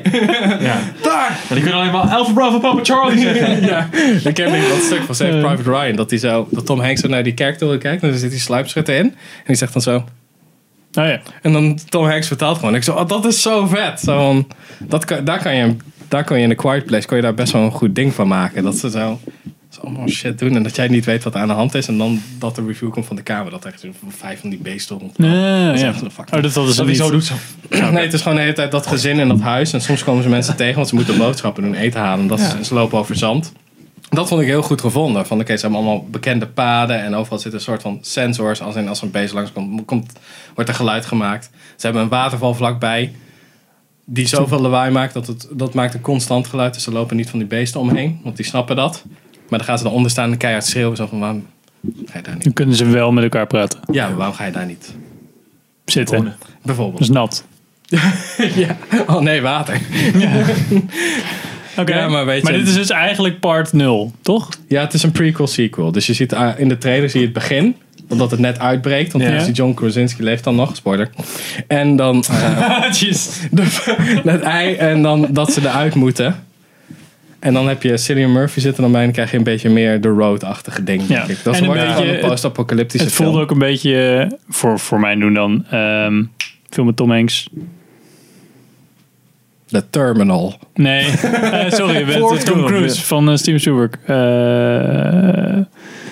D: Ja. Daar! Maar die kunnen alleen maar Alpha Bravo Papa Charlie zeggen.
B: Ja, ik ken niet dat stuk van Save Private Ryan, dat, die zo, dat Tom Hanks zo naar die kerktoren kijkt en er zit die sluipschutter in. En die zegt dan zo...
A: Nou ja.
B: En dan Tom Hanks vertaalt gewoon. Ik zo, oh, dat is zo vet. Zo, van, dat kan, daar, kan je, daar kan je in de Quiet Place kan je daar best wel een goed ding van maken. Dat ze zo, zo allemaal shit doen en dat jij niet weet wat er aan de hand is. En dan dat de review komt van de kamer. Dat er echt zo vijf van die beesten rond.
A: Ja, ja.
B: echt een fucking-
A: Oh, dat hadden ze
D: Dat hij
A: niet.
D: zo doet. Zo.
B: Nee, het is gewoon de hele tijd dat gezin en dat huis. En soms komen ze mensen tegen, want ze moeten boodschappen doen, eten halen. Dat ze, ze lopen over zand. Dat vond ik heel goed gevonden. Van oké, ze hebben allemaal bekende paden en overal zitten een soort van sensors. Als, in, als een beest langskomt, komt, wordt er geluid gemaakt. Ze hebben een waterval vlakbij die zoveel lawaai maakt dat het dat maakt een constant geluid. Dus ze lopen niet van die beesten omheen, want die snappen dat. Maar dan gaan ze eronder staan en keihard schreeuwen. Zo van waarom ga je daar niet?
A: Dan kunnen ze wel met elkaar praten.
B: Ja, maar waarom ga je daar niet?
A: Zitten. Dat
B: Bijvoorbeeld.
A: is nat.
B: ja. Oh nee, water.
A: Oké,
B: Ja, maar weet je-
A: dit is dus eigenlijk part 0, toch?
B: Ja, het is een prequel sequel. Dus je ziet eh, in de trailer zie je het begin omdat het net uitbreekt, want
D: Ja.
B: toen is die John Krasinski leeft dan nog, spoiler. En dan eh,
A: Jeez.
B: de- het ei en dan dat ze eruit moeten. En dan heb je Cillian Murphy zitten dan bij en dan krijg je een beetje meer de road-achtige ding.
A: Ja.
B: Denk ik. Dat
A: En een
B: wordt gewoon
A: beetje-
B: een post-apocalyptische
A: Het voelde
B: film.
A: ook een beetje, eh, voor, voor mijn doen dan, ehm, film met Tom Hanks.
B: The Terminal.
A: Nee, eh, sorry, met
D: Forrest
A: Tom
D: Gump,
A: Cruise
D: ja.
A: van eh, Steven Spielberg. Eh,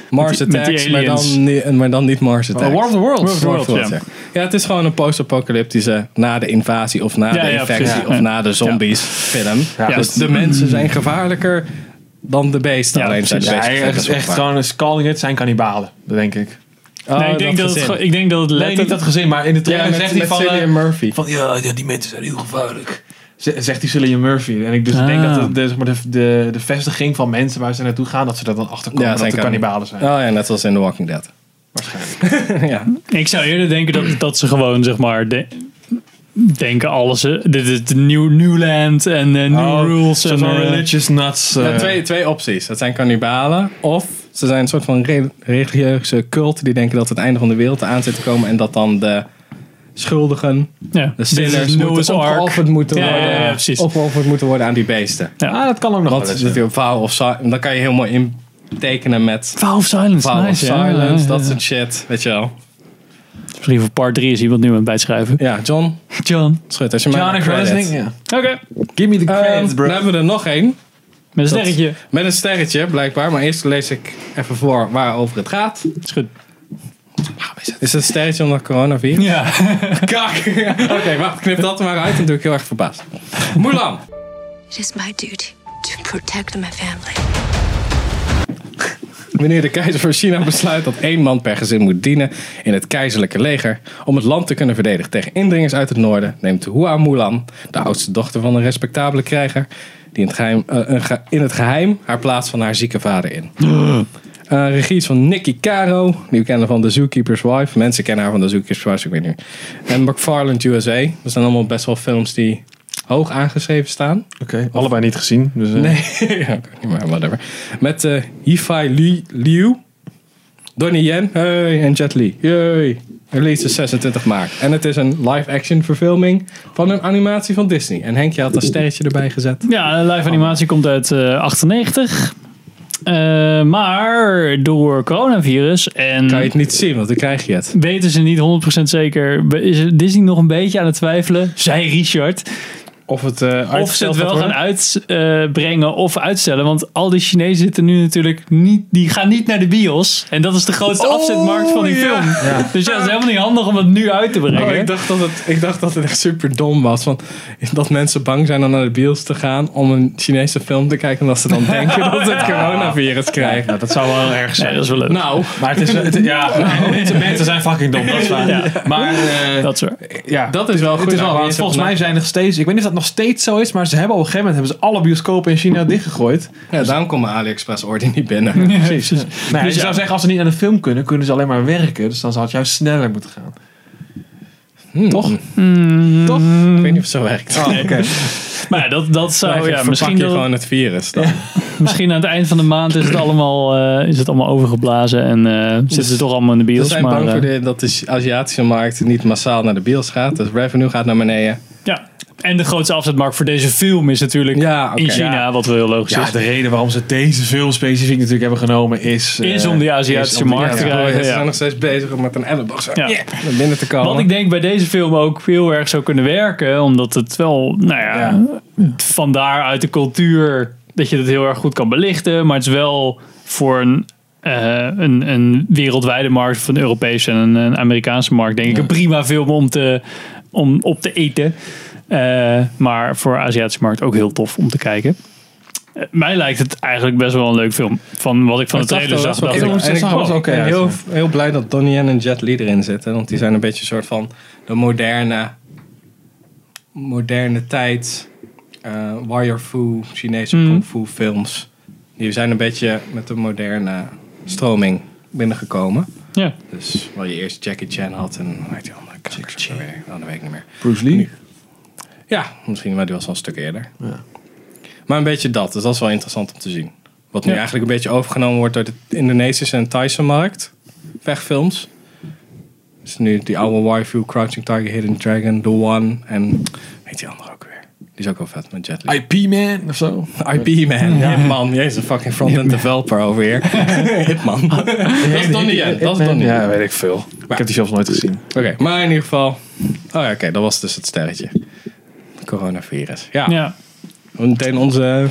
B: Mars
A: Met die- met die
B: Attacks, maar
A: aliens.
B: dan, ni- maar dan niet Mars Attacks.
D: War of the Worlds.
B: War of the
A: War of the
B: Worlds,
A: Worlds,
B: ja. Ja, het is gewoon een post-apocalyptische na de invasie of na
A: Ja,
B: de
A: ja,
B: infectie
A: precies.
B: of
A: Ja.
B: na de zombies film.
D: Ja.
B: Dus de mensen zijn gevaarlijker dan de beesten.
A: Ja,
B: Alleen zijn de
D: Ja,
B: beesten
D: hij
B: vinden
D: is
B: ze
D: echt
B: gevaarlijk.
D: gewoon een calling it zijn kannibalen, dat denk ik.
B: Oh,
A: nee, ik denk dat, het,
B: gezin.
A: gewoon- ik denk dat het
D: Nee, niet
A: letterlijk...
D: dat gezin, maar in de
B: Ja,
D: trailer
B: met,
D: zegt hij
B: met
D: van,
B: Cillian
D: eh,
B: Murphy.
D: van ja, ja, die mensen zijn heel gevaarlijk. Z- Zegt die Cillian Murphy. En ik dus
A: Ah.
D: denk dat de, de, zeg maar de, de, de vestiging van mensen waar ze naartoe gaan, dat ze er dan achter komen
B: Ja,
D: dat
B: zijn
D: het
B: kan-
D: kannibalen zijn.
B: Oh ja, net als in The Walking Dead. Waarschijnlijk. ja.
A: Ik zou eerder denken dat, dat ze gewoon, zeg maar, de- denken alles... eh, dit is de new, new land en eh, new
D: Oh,
A: rules.
D: Zo'n
A: En, eh,
D: religious nuts. eh,
B: Ja, twee, twee opties. Dat zijn kannibalen of ze zijn een soort van re- religieuze cult die denken dat het einde van de wereld aan zit te komen en dat dan de schuldigen,
A: ja,
B: de
A: dit is
B: sinners,
A: Noah's
B: moeten
A: Ark.
B: opgeofferd moeten,
A: Ja, ja,
B: worden,
A: ja, precies.
B: opgeofferd moeten worden aan die beesten.
D: Ah, dat kan ook nog
B: Want
D: wel eens,
B: dat
D: ja.
B: die op Vow of Silence, dan kan je heel mooi intekenen met
A: Vow of Silence,
B: Vow
A: nice.
B: of
A: ja,
B: Silence,
A: ja, ja,
B: dat
A: ja.
B: soort shit, weet je wel.
A: Misschien voor part 3 is iemand nu aan het bijschrijven.
B: Ja, John,
A: John.
B: schud als je
D: John
B: maar
D: and
B: credit.
D: Gosling, ja.
A: Oké.
D: Give me the credits,
B: Ehm,
D: bro.
B: dan hebben we er nog één.
A: Met een sterretje.
B: Met een sterretje, blijkbaar. Maar eerst lees ik even voor waarover het gaat.
A: Is goed.
B: Is het een sterretje onder coronavirus?
A: Ja.
B: Kak. Oké, wacht, knip dat er maar uit. Dan doe ik heel erg verbaasd. Mulan.
H: It is my duty to protect my family.
B: Wanneer de keizer van China besluit dat één man per gezin moet dienen in het keizerlijke leger om het land te kunnen verdedigen tegen indringers uit het noorden, neemt Hua Mulan, de oudste dochter van een respectabele krijger, die in het geheim, eh, een ge- in het geheim haar plaats van haar zieke vader in. Eh regie is van Nicky Caro, die we kennen van The Zookeeper's Wife. Mensen kennen haar van The Zookeeper's Wife, ik weet niet. meer. En McFarland USA. Dat zijn allemaal best wel films die hoog aangeschreven staan.
D: Oké, allebei niet gezien. Dus, eh,
B: Nee, ja, ik weet niet meer, whatever. Met eh Hi-Fi Li- Liu, Donnie Yen hey, en Jet Li. Yay. Release is 26 maart. En het is een live-action verfilming van een animatie van Disney. En Henk, je had een sterretje erbij gezet.
A: Ja, de live animatie komt uit eh, 98. Eh, maar door coronavirus en
B: Kan je het niet zien, want dan krijg je het.
A: weten ze niet 100% zeker. be- Is Disney nog een beetje aan het twijfelen? Zij Richard.
D: Of, het, eh,
A: Of ze
D: uitgesteld
A: het wel
D: gaat
A: gaan
B: Oh,
D: worden.
A: uitbrengen of uitstellen. Want al die Chinezen zitten nu natuurlijk niet. Die gaan niet naar de bios. En dat is de grootste
B: Oh,
A: afzetmarkt van die
B: ja.
A: film. Dus ja, het is helemaal niet handig om het nu uit te brengen.
B: Oh, ik, dacht dat het, ik dacht dat het echt super dom was. Van, dat mensen bang zijn om naar de bios te gaan om een Chinese film te kijken. Omdat ze dan denken dat ze het coronavirus krijgen.
D: Ja, dat zou wel erg zijn.
A: Nee, dat is wel leuk.
B: Nou,
D: Maar het is, het, ja, mensen, mensen zijn fucking dom, dat is waar. Maar eh,
A: dat is waar.
D: ja,
B: dat is wel goed.
D: het is wel
B: Nou,
D: waar.
B: je
D: Volgens
B: hebt-
D: mij zijn er nog steeds, ik weet niet of dat nog steeds zo is, maar ze hebben op een gegeven moment hebben ze alle bioscopen in China dichtgegooid.
A: Dus-
B: Ja, daarom komen AliExpress Order niet binnen.
D: Precies. Nou, dus je zou zeggen, als ze niet aan de film kunnen, kunnen ze alleen maar werken. Dus dan zou het juist sneller moeten gaan.
B: Toch?
D: Toch?
B: Ik weet niet of het zo werkt.
D: Oh, oké.
A: Mm. Maar ja, dat, dat zou.
B: Eigenlijk
A: Hmm. Nou Ja,
B: verpak
A: misschien
B: je
A: dat,
B: gewoon het virus. Dan.
A: Misschien aan het eind van de maand is het allemaal, eh, is het allemaal overgeblazen en eh, zitten ze toch allemaal in de
B: Ze
A: bios.
B: zijn
A: maar,
B: bang
A: eh,
B: voor de, dat de Aziatische markt niet massaal naar de bios gaat. Dus revenue gaat naar beneden.
A: ja. En de grootste afzetmarkt voor deze film is natuurlijk
B: Ja, oké.
A: in China,
B: Ja.
A: wat wel heel logisch
D: Ja,
A: is.
D: de reden waarom ze deze film specifiek natuurlijk hebben genomen is... eh,
A: Is om die Aziatische
D: is om die-
A: markt te
D: ja.
A: krijgen.
B: Ze zijn
A: ja.
B: nog steeds bezig om met een elleboog zo
A: Ja.
B: naar binnen te komen.
A: Wat ik denk bij deze film ook heel erg zou kunnen werken, omdat het wel, nou ja, vandaar uit de cultuur dat je het heel erg goed kan belichten, maar het is wel voor een, eh, een, een wereldwijde markt, van een Europese en een, een Amerikaanse markt, denk ik, een prima film om, te, om op te eten. Eh, maar voor de Aziatische markt ook heel tof om te kijken. Eh, mij lijkt het eigenlijk best wel een leuk film. Van wat ik van de trailer zag, dacht ik,
D: wel-
B: En ik
D: zag er wel
B: was ook eh,
D: oké uit,
B: heel, heel blij dat Donnie Yen en Jet Li erin zitten. Want die zijn een beetje een soort van de moderne, moderne tijd. eh warrior Fu, Chinese
A: Hmm.
B: kung fu films. Die zijn een beetje met de moderne stroming binnengekomen.
A: ja.
B: Dus waar je eerst Jackie Chan had en hoe heet die andere karakters ook alweer? Oh, dat weet ik niet meer.
D: Bruce Lee.
B: Ja, misschien, maar die was al een stuk eerder. Maar een beetje dat, dus dat is wel interessant om te zien. Wat nu
A: Ja.
B: eigenlijk een beetje overgenomen wordt door de Indonesische en Thaise markt. Vechtfilms. Dus nu die oude Waifu, Crouching Tiger, Hidden Dragon, The One en... Heet die andere ook weer? Die is ook wel vet met Jet Li.
D: IP Man of zo.
B: IP man, Hitman. Jezus, fucking front-end developer over hier. Hitman. dat is dan niet, hè? dat is dan niet.
D: Ja, weet ik veel. Ik heb die zelfs nooit gezien.
B: Oké, maar in ieder geval. Oh ja, oké, dat was dus het sterretje. Coronavirus. Ja,
A: Ja.
B: we hebben meteen onze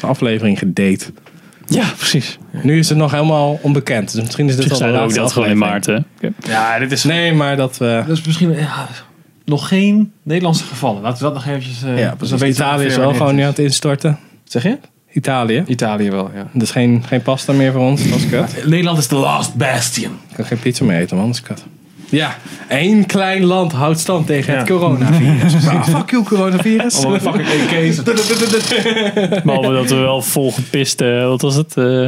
B: aflevering gedate.
A: ja, precies.
B: Nu is het nog helemaal onbekend, dus misschien is dit
A: Ze
B: al de
A: zeiden ook
B: laatste
A: dat gewoon in
B: aflevering.
A: maart. Hè?
D: Ja, dit is...
B: Nee, maar dat eh, we...
D: Dat is misschien ja, nog geen Nederlandse gevallen. Laten we dat nog eventjes... eh,
B: Ja,
D: dan weten
B: precies.
D: we
B: Italië is
D: ongeveer
B: wel
D: wanneer
B: gewoon nu
D: het
B: aan
D: is.
B: het instorten.
D: Zeg je?
B: Italië.
D: Italië wel, ja.
B: Dus geen, geen pasta meer voor ons, dat is kut.
D: Nederland is de last bastion.
B: Ik kan geen pizza meer eten, man, dat is kut. Ja, één klein land houdt stand tegen het
D: Ja.
B: coronavirus. Ah, fuck you, coronavirus.
D: Allemaal fucking AK's.
A: Behalve dat we wel volgepist, eh, wat was het? eh,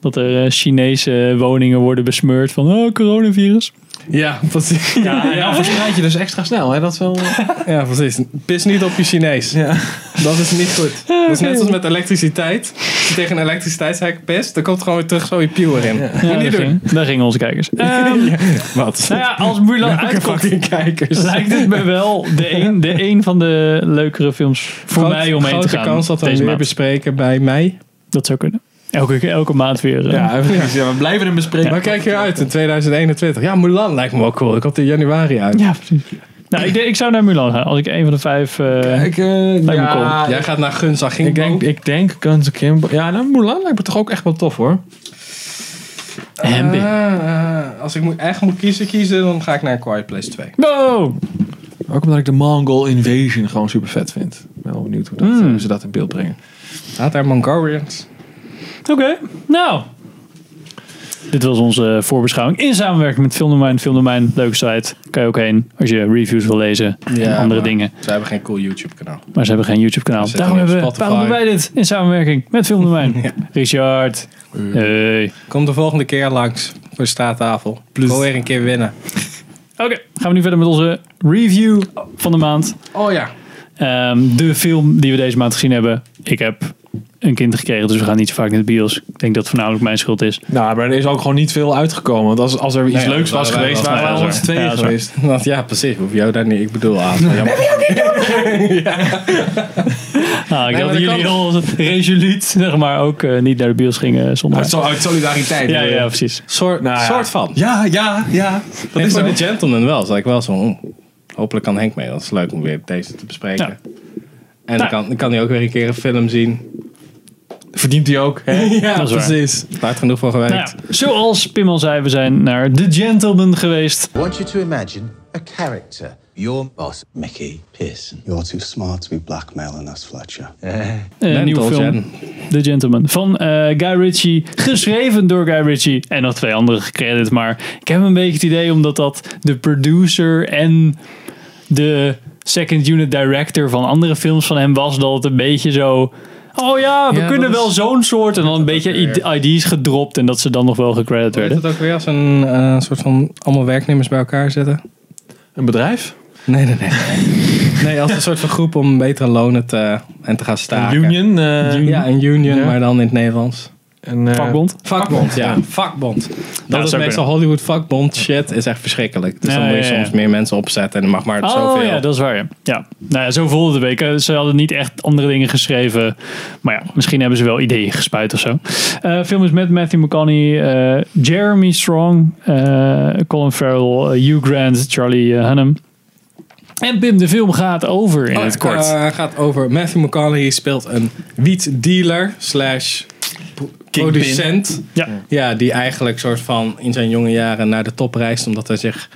A: dat er eh, Chinese woningen worden besmeurd van oh, coronavirus.
B: Ja, precies.
D: Ja, en dan verspreid je dus extra snel. Hè? Dat is wel...
B: Ja, precies. Pis niet op je Chinees. Dat is niet goed. Dat is net als met elektriciteit. Als je tegen een elektriciteitshek pist, dan komt gewoon weer terug zo je pieuw erin. Moet je
A: Ja,
B: niet
A: daar,
B: doen.
A: ging- daar gingen onze kijkers. Ehm,
B: Wat?
A: nou ja, als Mulan uitkomt,
B: Fucking kijkers.
A: lijkt het me wel de een, de een van de leukere films voor
B: Groot-
A: mij om heen te
B: grote
A: gaan.
B: kans dat we hem
A: deze
B: weer
A: maand.
B: bespreken bij mij.
A: Dat zou kunnen. Elke, keer- elke maand weer. eh,
D: Ja, precies. Ja, we blijven hem bespreken.
B: Maar kijk je uit in 2021. Ja, Mulan lijkt me wel cool. Ik komt in januari uit.
A: ja, precies. Nou, ik, denk- ik zou naar Mulan gaan als ik een van de vijf. eh,
D: Ik, eh,
A: me
D: ja,
A: cool.
B: Jij gaat naar Gunsag
D: ik denk, ik denk Guns Kimbo. Ja, nou, Mulan lijkt me toch ook echt wel tof hoor.
A: en
B: eh,
A: Big.
B: Ah, als ik moet, echt moet kiezen, kiezen, dan ga ik naar Quiet Place 2.
A: No!
D: Ook omdat ik de Mongol Invasion gewoon super vet vind. Ik ben wel benieuwd hoe, dat, eh,
A: Mm.
D: hoe ze dat in beeld brengen.
B: Gaat daar Mongolians?
A: Oké, nou. Dit was onze eh, voorbeschouwing in samenwerking met Filmdomein. Filmdomein, leuke site. Kan je ook heen als je reviews wil lezen en andere dingen.
B: Ze hebben geen cool YouTube kanaal.
A: Maar ze hebben geen YouTube kanaal.
B: Ze
A: Daarom,
B: zitten
A: hebben,
B: op Spotify.
A: daarom doen wij dit in samenwerking met Filmdomein. Richard.
B: Mm.
A: Hey.
B: Kom de volgende keer langs voor de straattafel. Plus. weer een keer winnen.
A: Oké, gaan we nu verder met onze review van de maand.
B: Oh ja.
A: Ehm, de film die we deze maand gezien hebben. Ik heb een kind gekregen, dus we gaan niet zo vaak naar de bios. Ik denk dat het voornamelijk mijn schuld is. Ah,
D: Nou, maar er is ook gewoon niet veel uitgekomen. Want als, als er iets
B: ja,
D: leuks
B: dat
D: was
B: waren wij
D: geweest,
B: wel-
D: waren we
A: dat
D: al
A: is
D: met z'n
A: waar.
D: tweeën
A: Ja, dat is waar.
D: geweest.
B: Dus, Want ja, precies. Hoef jou daar niet. Ik bedoel ah, aan. Ja, maar-
A: Nou, ik
B: Nee,
A: dacht
B: maar
A: dat jullie heel resoluut zeg maar, ook eh, niet naar de bios gingen zonder.
D: Uit, uit solidariteit.
A: Ja, ja, precies.
B: soort,
D: Nou ja.
B: soort van.
D: ja, ja. ja.
B: Dat
D: is
B: is voor
D: zo.
B: de gentleman wel. Zal ik wel zo. mm, Hopelijk kan Henk mee. Dat is leuk om weer deze te bespreken. En dan, kan, dan kan hij ook weer een keer een film zien.
D: Verdient hij ook. Hè?
B: Ja,
A: Dat is waar.
B: precies. Daar heeft genoeg voor gewerkt.
A: Nou ja, zoals Pim al zei, we zijn naar The Gentleman geweest.
I: I want you to imagine a character. Your boss, Mickey Pearson.
F: You're too smart to be blackmailing us, Fletcher.
A: Een nieuwe
B: Mental
A: film. The Gentleman. Van eh, Guy Ritchie. Geschreven door Guy Ritchie. En nog twee andere gecredit. Maar ik heb een beetje het idee omdat dat de producer en de second unit director van andere films van hem was. Dat het een beetje zo... Oh ja, we
B: Ja,
A: kunnen
B: dat
A: wel
B: is-
A: zo'n soort. En dan een beetje ID- ID's gedropt. En dat ze dan nog wel gecredit
B: Weet
A: werden.
B: het ook weer als een eh, soort van allemaal werknemers bij elkaar zetten?
D: Een bedrijf?
B: Nee, nee, nee. Nee, als een soort van groep om betere lonen te, en te gaan staken.
D: Union? eh,
B: Ja, een union,
D: Ja.
B: maar dan in het Nederlands.
D: Een eh,
A: Vakbond.
B: Vakbond, ja. Vakbond. Dat
A: zou
B: is
A: kunnen.
B: meestal Hollywood vakbond shit, is echt verschrikkelijk. Dus
A: Ja,
B: dan moet je
A: ja, ja.
B: soms meer mensen opzetten en er mag maar
A: Oh
B: zoveel.
A: ja, dat is waar. Ja. ja. Nou ja, zo voelde de week. Eh, Ze hadden niet echt andere dingen geschreven. Maar ja, misschien hebben ze wel ideeën gespuit of zo. Eh film is met Matthew McConaughey, eh, Jeremy Strong, eh, Colin Farrell, eh, Hugh Grant, Charlie eh, Hunnam. En Pim, de film gaat over in
B: Oh,
A: het kort.
B: eh, gaat over Matthew McConaughey speelt een wietdealer slash producent.
A: ja.
B: Ja, die eigenlijk soort van in zijn jonge jaren naar de top reist. Omdat hij zich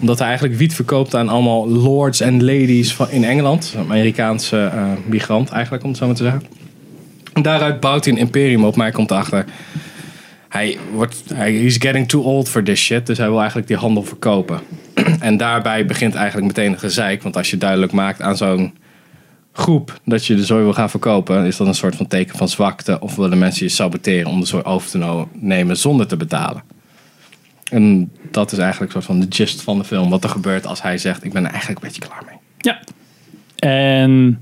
B: omdat hij eigenlijk wiet verkoopt aan allemaal lords en ladies van, in Engeland. Een Amerikaanse eh, migrant eigenlijk, om het zo maar te zeggen. En daaruit bouwt hij een imperium op, maar hij komt erachter. Hij wordt, hij is getting too old for this shit, dus hij wil eigenlijk die handel verkopen. en daarbij begint eigenlijk meteen een gezeik. Want als je duidelijk maakt aan zo'n groep dat je de zooi wil gaan verkopen, is dat een soort van teken van zwakte. Of willen mensen je saboteren om de zooi over te no- nemen zonder te betalen. En dat is eigenlijk een soort van de gist van de film. Wat er gebeurt als hij zegt, ik ben er eigenlijk een beetje klaar mee.
A: ja. En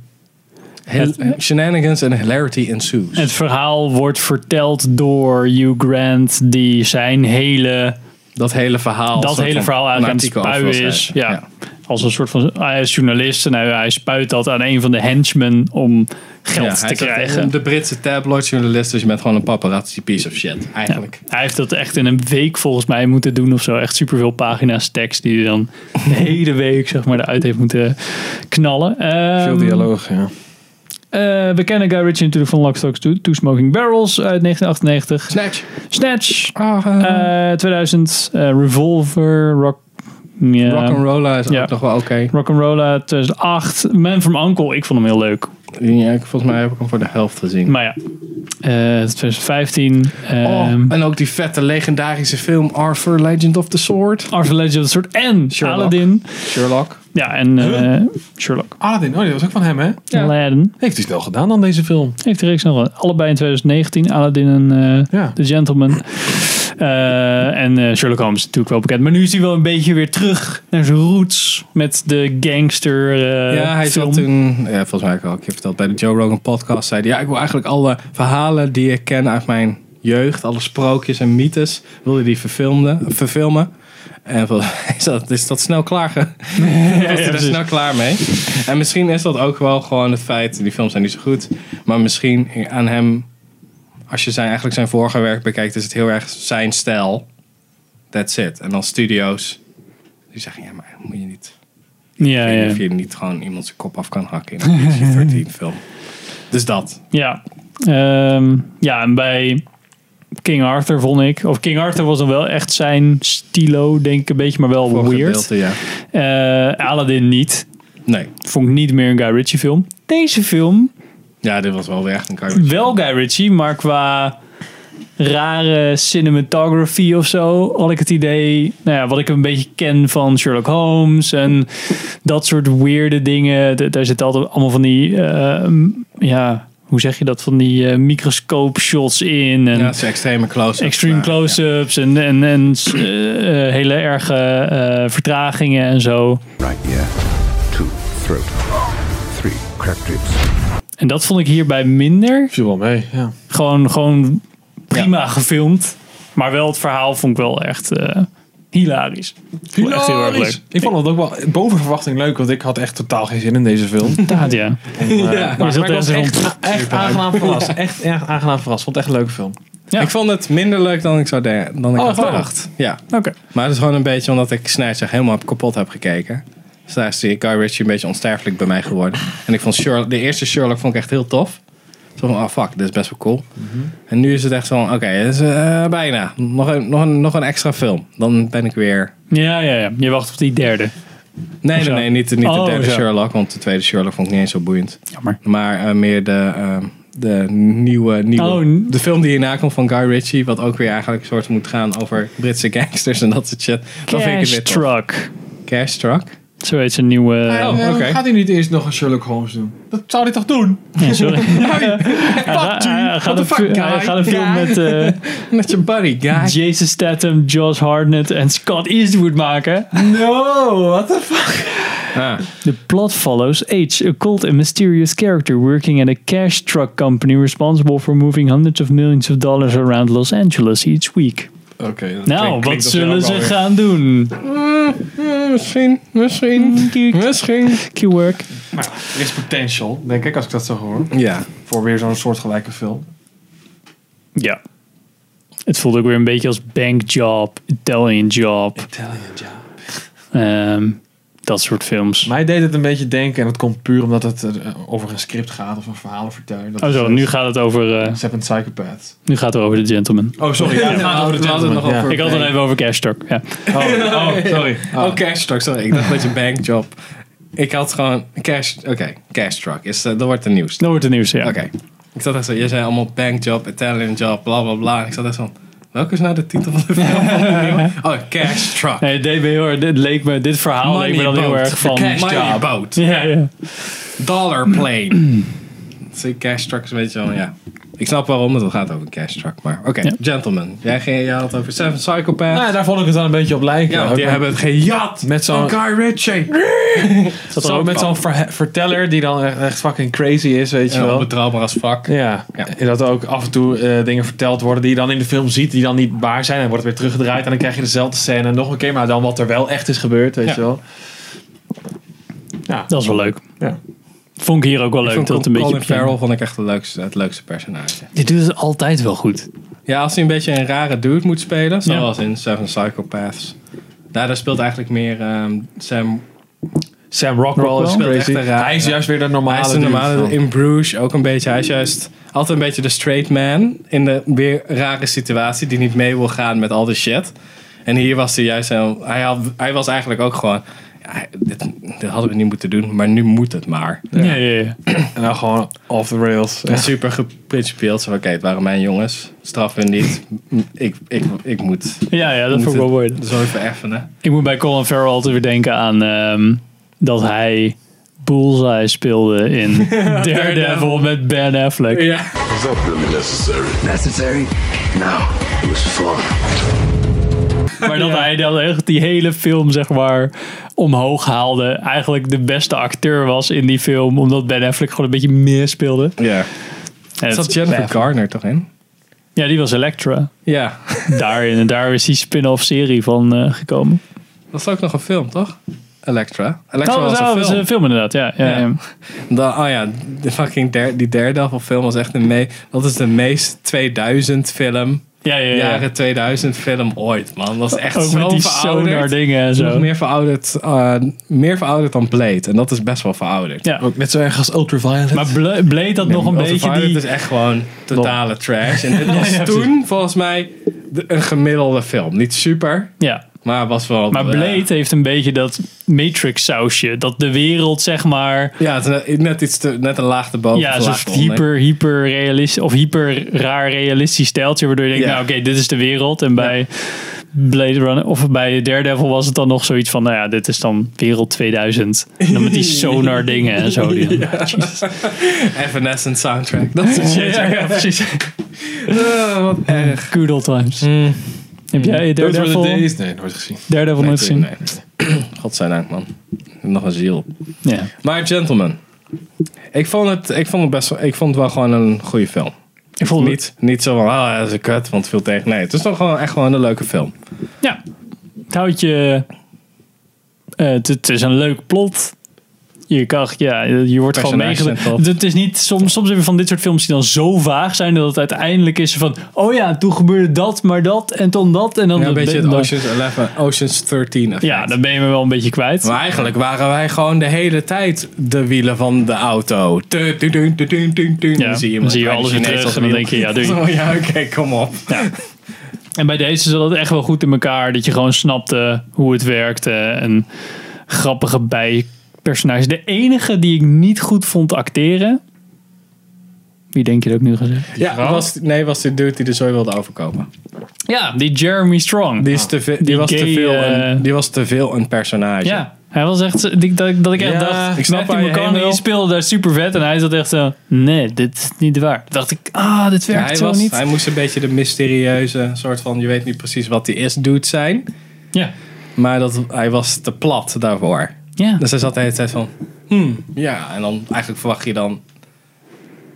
B: Hil- shenanigans en hilarity ensues.
A: Het verhaal wordt verteld door Hugh Grant, die zijn hele
B: dat hele verhaal.
A: dat
B: soort
A: hele
B: van
A: verhaal
B: een
A: eigenlijk aan het
B: artikel over
A: spuien
B: wil
A: is. Ja.
B: schrijven.
A: Als een soort van hij is journalist en hij, hij spuit dat aan een van de henchmen om
B: Ja,
A: geld
B: hij
A: te
B: zegt,
A: krijgen.
B: "Ik ben De Britse tabloidjournalist, dus je bent gewoon een paparazzi piece of shit. Eigenlijk.
A: Hij heeft dat echt in een week volgens mij moeten doen of zo. Echt superveel pagina's tekst die hij dan de hele week zeg maar eruit heeft moeten knallen. Ehm,
D: Veel dialoog, ja.
A: eh, we kennen Guy Ritchie natuurlijk van Lock, Stock, Two, Two Smoking Barrels uit 1998.
B: Snatch. Ah,
A: Snatch, eh, 2000. eh, Revolver, Rock... ja.
B: Rock'n'Roller is
A: Ja.
B: ook nog wel oké.
A: Rock'n'Rolla 2008. Man from Uncle, ik vond hem heel leuk.
B: Ja, ik- eh, volgens mij heb ik hem voor de helft gezien.
A: Maar ja, eh, 2015.
B: Oh,
A: ehm
B: en ook die vette legendarische film Arthur Legend of the Sword.
A: Arthur Legend of the Sword en
B: Sherlock.
A: Aladdin.
B: Sherlock.
A: Ja, en eh, Sherlock.
D: Aladdin, oh, die was ook van hem, hè?
A: Aladdin.
D: Heeft hij snel gedaan dan deze film?
A: Heeft er reeks nog wel. Allebei in 2019. Aladdin en eh,
D: Ja.
A: The Gentleman. Eh, en eh, Sherlock Holmes is natuurlijk wel bekend. Maar nu is hij wel een beetje weer terug naar zijn roots. Met de gangster eh,
B: ja, hij
A: film.
B: zat toen, ja, volgens mij heb ik al een keer verteld bij de Joe Rogan podcast, zei hij, ja, ik wil eigenlijk alle verhalen die ik ken uit mijn jeugd, alle sprookjes en mythes, wilde die verfilmden, verfilmen. En volgens mij is dat, is dat snel klaar. ge- was hij er
A: precies.
B: snel klaar mee. En misschien is dat ook wel gewoon het feit, die films zijn niet zo goed, maar misschien aan hem, als je zijn, eigenlijk zijn vorige werk bekijkt, is het heel erg zijn stijl. That's it. En dan studio's, die zeggen, ja, maar moet je niet...
A: Ja,
B: Ik weet niet
A: ja.
B: of je niet gewoon iemand zijn kop af kan hakken in een PG-13 film. Dus dat.
A: Ja. Ehm, ja, en bij King Arthur vond ik... Of King Arthur was dan wel echt zijn stilo, denk ik een beetje, maar wel
B: Voor een
A: weird.
B: gedeelte, ja.
A: Eh, Aladdin niet.
B: Nee.
A: Vond ik niet meer een Guy Ritchie film. Deze film,
B: Ja, dit was wel weer echt een cartoon.
A: wel Guy Ritchie, maar qua rare cinematography of zo, had ik het idee, nou ja, wat ik een beetje ken van Sherlock Holmes en dat soort weirde dingen. D- daar zitten altijd allemaal van die, eh, m- ja, hoe zeg je dat, van die eh, microscoop shots in en
B: Ja, het is extreme close-ups.
A: extreme
B: maar,
A: close-ups en, en, en s- eh, eh, hele erge eh, vertragingen en zo.
I: Right ear, two, throat, three, cracked ribs.
A: En dat vond ik hierbij minder.
D: Viel wel mee, ja.
A: gewoon, gewoon prima gefilmd. Maar wel het verhaal vond ik wel echt eh, hilarisch. Ik vond het Echt heel erg leuk.
D: Ik vond het ook wel boven verwachting leuk, want ik had echt totaal geen zin in deze film.
A: Inderdaad, ja.
D: ja, maar,
A: zat
D: maar ik
A: er
D: was
A: echt
D: echt, echt aangenaam verrast. Echt erg aangenaam verrast. Vond het echt een leuke film.
B: ja. Ik vond het minder leuk dan ik zou denken. Dan ik
D: Oh,
B: had
D: echt waar?
B: verwacht. Ja.
A: Oké.
B: Maar het is gewoon een beetje omdat ik Snatch echt helemaal kapot heb gekeken. Dus daar is die Guy Ritchie een beetje onsterfelijk bij mij geworden. En ik vond Sherlock, de eerste Sherlock vond ik echt heel tof. Zo van, oh fuck, dit is best wel cool.
A: Mhm.
B: En nu is het echt zo van, oké, dit is eh, bijna. Nog een, nog, een, nog een extra film. Dan ben ik weer...
A: Ja, ja, ja. Je wacht op die derde.
B: Nee,
A: Of
B: nee,
A: zo?
B: nee, niet, de- niet
A: Oh,
B: de derde
A: zo.
B: Sherlock, want de tweede Sherlock vond ik niet eens zo boeiend.
A: Jammer.
B: Maar eh, meer de, eh, de nieuwe, nieuwe
A: Oh, n-
B: de film die hierna komt van Guy Ritchie, wat ook weer eigenlijk een soort moet gaan over Britse gangsters en dat soort shit. Dan vind ik het
A: Cash
B: weer tof.
A: Truck.
B: Cash Truck.
A: Zo heet zijn nieuwe... eh,
B: Oh, oké.
D: Eh, Gaat hij niet eerst nog een Sherlock Holmes doen? Dat zou hij toch doen?
A: Ja, sorry. Hij ga- hij gaat een fi- hij gaat een film met eh,
B: Met je buddy, guy.
A: Jason Statham, Josh Hartnett en Scott Eastwood maken.
D: No,
B: Oh.
D: what the fuck?
A: The plot follows H, a cult and mysterious character working at a cash truck company responsible for moving hundreds of millions of dollars around Los Angeles each week.
D: Oké.
A: Nou, wat zullen ze gaan doen?
B: Eh, misschien,
A: Mm,
B: misschien, misschien.
A: Q-work.
D: Er is potential, denk ik, als ik dat zo hoor.
B: Ja.
D: Voor weer zo'n soortgelijke film.
A: Ja. Het voelt ook weer een beetje als bankjob, Italian job,
D: Italian ja.
A: ehm, dat soort films.
D: Mij deed het een beetje denken, en dat komt puur omdat het eh, over een script gaat of een verhalen vertellen. Dat
A: Oh
D: is,
A: zo,
D: eh,
A: nu gaat het over, eh,
D: Seven Psychopaths.
A: nu gaat het over The Gentleman.
D: Oh, sorry.
B: Ja, we hadden- we hadden het nog
D: Ja.
B: over.
A: Ik had het even over Cash Talk. Ja.
D: Oh, oh, sorry.
B: Oh, Cash Truck, sorry. Ik dacht dat je bankjob. Ik had gewoon Cash, oké, Cash Truck. Is, eh, dat wordt het nieuws.
A: Dat wordt het nieuws, ja.
B: Oké. Ik zat echt zo, je zei allemaal bankjob, Italian job, bla bla bla. En ik zat echt zo, welke is nou de titel van de film? van de nieuwe? oh, Cash Truck.
A: Nee, het deed me heel erg- dit leek me, dit verhaal leek me dan heel
B: boat.
A: erg van...
B: Money boat.
A: Ja, ja.
B: Dollar plane. Zie cash trucks, weet je wel. Ja. Ik snap waarom, want het gaat over een cash truck. Maar oké,
A: Ja.
B: gentlemen. Jij, ging, jij had het over Seven Psychopaths.
D: Nou, ja, daar vond ik het dan een beetje op lijken.
B: ja,
D: Ook
B: want die
D: met-
B: hebben het gejat
D: met zo'n-
B: van Guy Ritchie.
A: Dat
D: zo, met zo'n verhe- verteller die dan echt, echt fucking crazy is, weet je
B: Ja,
D: wel.
B: onbetrouwbaar als fuck.
D: Ja.
B: Ja.
D: En dat ook af en toe eh, dingen verteld worden die je dan in de film ziet, die dan niet waar zijn. En wordt het weer teruggedraaid en dan krijg je dezelfde scène en nog een keer, maar dan wat er wel echt is gebeurd, weet
B: Ja.
D: je wel.
A: Dat is wel leuk.
D: Ja.
A: Vond ik hier ook wel leuk.
B: Ik vond
A: dat het een
B: Colin
A: beetje
B: Farrell vond ik echt het leukste, het leukste personage.
A: Die doet het altijd wel goed.
B: Ja, als hij een beetje een rare dude moet spelen, zoals
A: Ja.
B: in Seven Psychopaths. Daar, daar speelt eigenlijk meer ehm, Sam.
D: Sam Rockwell,
B: Rockwell
D: is
B: speelt
D: crazy.
B: echt een raar-
D: hij is juist weer de
B: Hij
D: normale.
B: is de
D: dude
B: normale
D: van-
B: in Bruges ook een beetje. Hij is juist altijd een beetje de straight man in de weer rare situatie die niet mee wil gaan met al de shit. En hier was hij juist heel, hij, had, hij was eigenlijk ook gewoon. Ja, hij- dit, dit hadden we niet moeten doen, maar nu moet het maar.
A: Ja, ja, ja.
D: En dan gewoon off the rails.
B: En super geprincipieel. Zo, van, oké, het waren mijn jongens. Straf hun niet. Ik, ik, ik moet.
A: ja, ja dat vond ik wel mooi.
B: Zo even effenen.
A: Ik moet bij Colin Farrell altijd weer denken aan ehm, dat hij Bullseye speelde in Daredevil met Ben Affleck.
B: Ja.
J: Was that really necessary?
E: Necessary? No.
J: It was fun.
A: Maar dat hij dan echt die hele film zeg maar omhoog haalde. Eigenlijk de beste acteur was in die film. Omdat Ben Affleck gewoon een beetje meer speelde.
B: Ja.
A: En
B: Zat
A: het-
B: Jennifer Garner toch in?
A: ja, die was Elektra.
B: Ja.
A: Daarin. En daar is die spin-off serie van eh, gekomen.
B: Dat is ook nog een film, toch? Elektra. Elektra
A: Oh,
B: was
A: dat
B: een
A: was
B: film.
A: een film inderdaad. Ja, ja,
B: Ja.
A: ja.
B: Dan- oh ja, de fucking der, die Daredevil film was echt de me, Dat is de meest 2000 film.
A: Ja, ja, ja.
B: Jaren 2000 film ooit, man. Dat is echt
A: Ook
B: zo
A: met die
B: verouderd.
A: sonar dingen en
B: Nog
A: zo.
B: meer verouderd, eh, meer verouderd dan Blade. En dat is best wel verouderd.
A: Ja.
D: Ook net zo erg als Ultraviolet.
A: Maar ble- bleek dat nog een beetje
B: Overvaardigd
A: die...
B: is echt gewoon totale trash. En dit was toen volgens mij de- een gemiddelde film. Niet super,
A: Ja.
B: maar was wel...
A: Maar
B: eh,
A: Blade heeft een beetje dat Matrix sausje. Dat de wereld zeg maar...
B: ja, het is net- net, iets te, net een laag erboven. of
A: Ja,
B: een
A: zo'n
B: laag eronder.
A: hyper, hyper realistisch of hyper raar realistisch stijltje. Waardoor je denkt,
B: Ja.
A: nou oké, dit is de wereld. En bij Blade Runner of bij Daredevil was het dan nog zoiets van, nou ja, dit is dan wereld 2000. En dan met die sonar dingen en zo. Die dan-
B: Evanescent soundtrack. Dat is Eh,
A: ja, ja, ja, precies.
B: wat erg.
A: Good old times. Heb jij
D: Those were the
A: Daredevil,
D: days. Nee, nooit gezien.
A: Daredevil nooit gezien?
B: Godzijdank, man. Nog een ziel.
A: Ja.
B: Maar Gentlemen. Ik vond het, ik vond het, best, wel- ik vond het wel gewoon een goede film.
A: Ik vond het
B: Niet, niet zo van, ah, dat is een kut, want het viel tegen. Nee, het is toch gewoon echt gewoon een leuke film.
A: Ja, het houdt je. eh, het, het is een leuk plot. Je, kan, ja, je wordt gewoon
B: Personages zijn
A: meegenomen.
B: tof.
A: Het is niet, soms, soms hebben we van dit soort films die dan zo vaag zijn dat het uiteindelijk is van. Oh ja, toen gebeurde dat, maar dat en toen dat. En dan
B: Ja, een beetje het
A: dan-
B: Oceans 11, Oceans 13 effect.
A: ja, dan ben je me wel een beetje kwijt.
B: Maar eigenlijk waren wij gewoon de hele tijd de wielen van de auto. Tu, tu, tu, tu, tu, tu, tu.
A: Ja, dan zie je
B: met
A: alles
B: een
A: weer terug
B: Chinees op
A: en dan
B: wiel.
A: denk je, ja, doei.
B: Zo, ja, oké, kom op.
A: En bij deze zat het echt wel goed in elkaar. Dat je gewoon snapte hoe het werkte. En grappige bijpersonages. De enige die ik niet goed vond acteren. Wie denk je dat ik nu ga zeggen?
B: Ja, was, nee, was die dude die de zooi wilde overkopen.
A: Ja, die Jeremy Strong.
B: Die, is te ve- die,
A: Ah. Die
B: was, te
A: gay,
B: veel
A: eh,
B: een, die was te veel een personage.
A: ja, hij was echt. die- Dat, ik- dat ik echt
D: Ja,
A: dacht.
B: ik snap waar
A: Matthew
B: je heen
A: McConaughey
B: wil.
A: speelde daar super vet. En hij zat echt zo. Nee, dit is niet waar. Toen dacht ik, ah, dit werkt
B: hij,
A: zo
B: was,
A: niet.
B: hij moest een beetje de mysterieuze soort van, je weet niet precies wat hij is, dude zijn.
A: ja.
B: Maar dat, hij was te plat daarvoor.
A: Ja.
B: Dus hij zat de hele tijd van, hmm, ja. En dan eigenlijk verwacht je dan,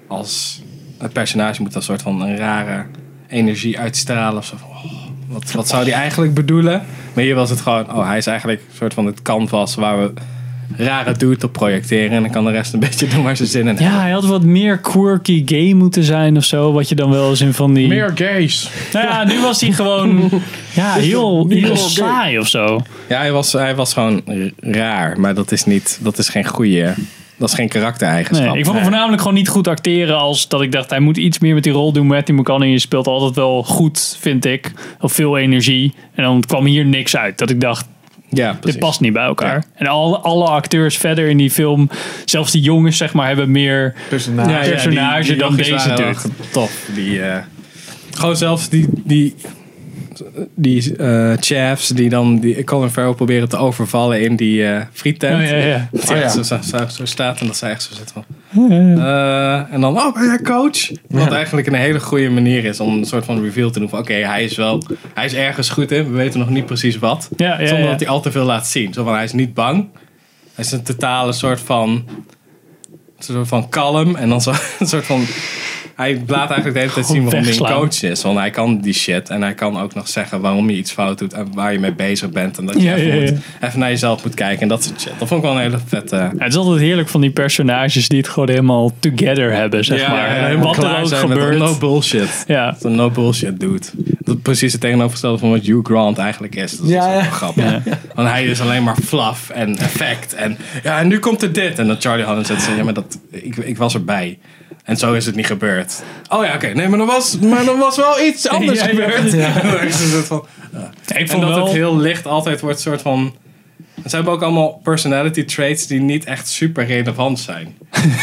B: als het personage moet dan een soort van een rare energie uitstralen. Of zo van, oh, wat, wat zou die eigenlijk bedoelen? Maar hier was het gewoon, oh, hij is eigenlijk een soort van het canvas waar we rare dude op projecteren. En dan kan de rest een beetje doen waar ze zin in hebben.
A: ja, hij had wat meer quirky gay moeten zijn of zo. Wat je dan wel eens in van die.
B: gays.
A: Nou ja, nu was hij gewoon. ja, heel, heel saai of zo.
B: Ja, hij was, hij was gewoon r- raar, maar dat is, niet, dat is geen goede. Dat is geen karaktereigenschap.
A: Nee, ik vond hem voornamelijk gewoon niet goed acteren. Als dat ik dacht, hij moet iets meer met die rol doen. Matthew McConaughey speelt altijd wel goed, vind ik. Of veel energie. En dan kwam hier niks uit. Dat ik dacht,
B: Ja, precies.
A: dit past niet bij elkaar.
B: Ja.
A: En alle, alle acteurs verder in die film, zelfs die jongens, zeg maar, hebben meer
D: Personage.
B: Ja, ja, die-
A: personage
B: die
A: dan
B: jonkies
A: deze
B: waren wel
A: dude.
B: echt Top. Die, eh, gewoon zelfs die, die die eh chefs die dan die Colin Farrell proberen te overvallen in die eh friettent.
A: Oh, ja, ja.
B: Dat
A: Oh,
B: hij
A: ja.
B: echt Zo, zo, zo staat en dat zij echt zo zit van... eh, en dan, oh, ben jij coach? Wat eigenlijk een hele goede manier is om een soort van reveal te doen. van, Oké, hij is wel, hij is ergens goed in. We weten nog niet precies wat.
A: Ja, ja,
B: zonder
A: ja.
B: dat hij al te veel laat zien. Zo van, hij is niet bang. Hij is een totale soort van, soort van kalm. En dan zo, een soort van... Hij laat eigenlijk de hele tijd zien
A: Gewoon
B: waarom hij een
A: wegslaan.
B: coach is. Want hij kan die shit. En hij kan ook nog zeggen waarom je iets fout doet. En waar je mee bezig bent. En dat je
A: Ja,
B: even,
A: ja, ja.
B: Moet, even naar jezelf moet kijken. En dat soort shit. Dat vond ik wel een hele vette... eh,
A: Ja, het is altijd heerlijk van die personages die het gewoon helemaal together hebben, zeg
B: eh,
A: maar. Wat er ook gebeurt.
B: No bullshit.
A: Ja.
B: Een no bullshit dude. Dat is precies het tegenovergestelde van wat Hugh Grant eigenlijk is. Dat is
D: Ja,
B: ook wel
D: ja.
B: grappig. Want hij is alleen maar fluff en effect. En ja, en nu komt er dit. En dan Charlie Hunnam zegt, ja, maar dat, ik, ik was erbij. En zo is het niet gebeurd. Oh ja, oké. Nee, maar er was, maar er was wel iets anders
A: Ja, ja,
B: gebeurd. Dan is het soort van,
A: Ik
B: en
A: vond
B: dat
A: wel,
B: het heel licht altijd wordt soort van... Ze hebben ook allemaal personality traits die niet echt super relevant zijn.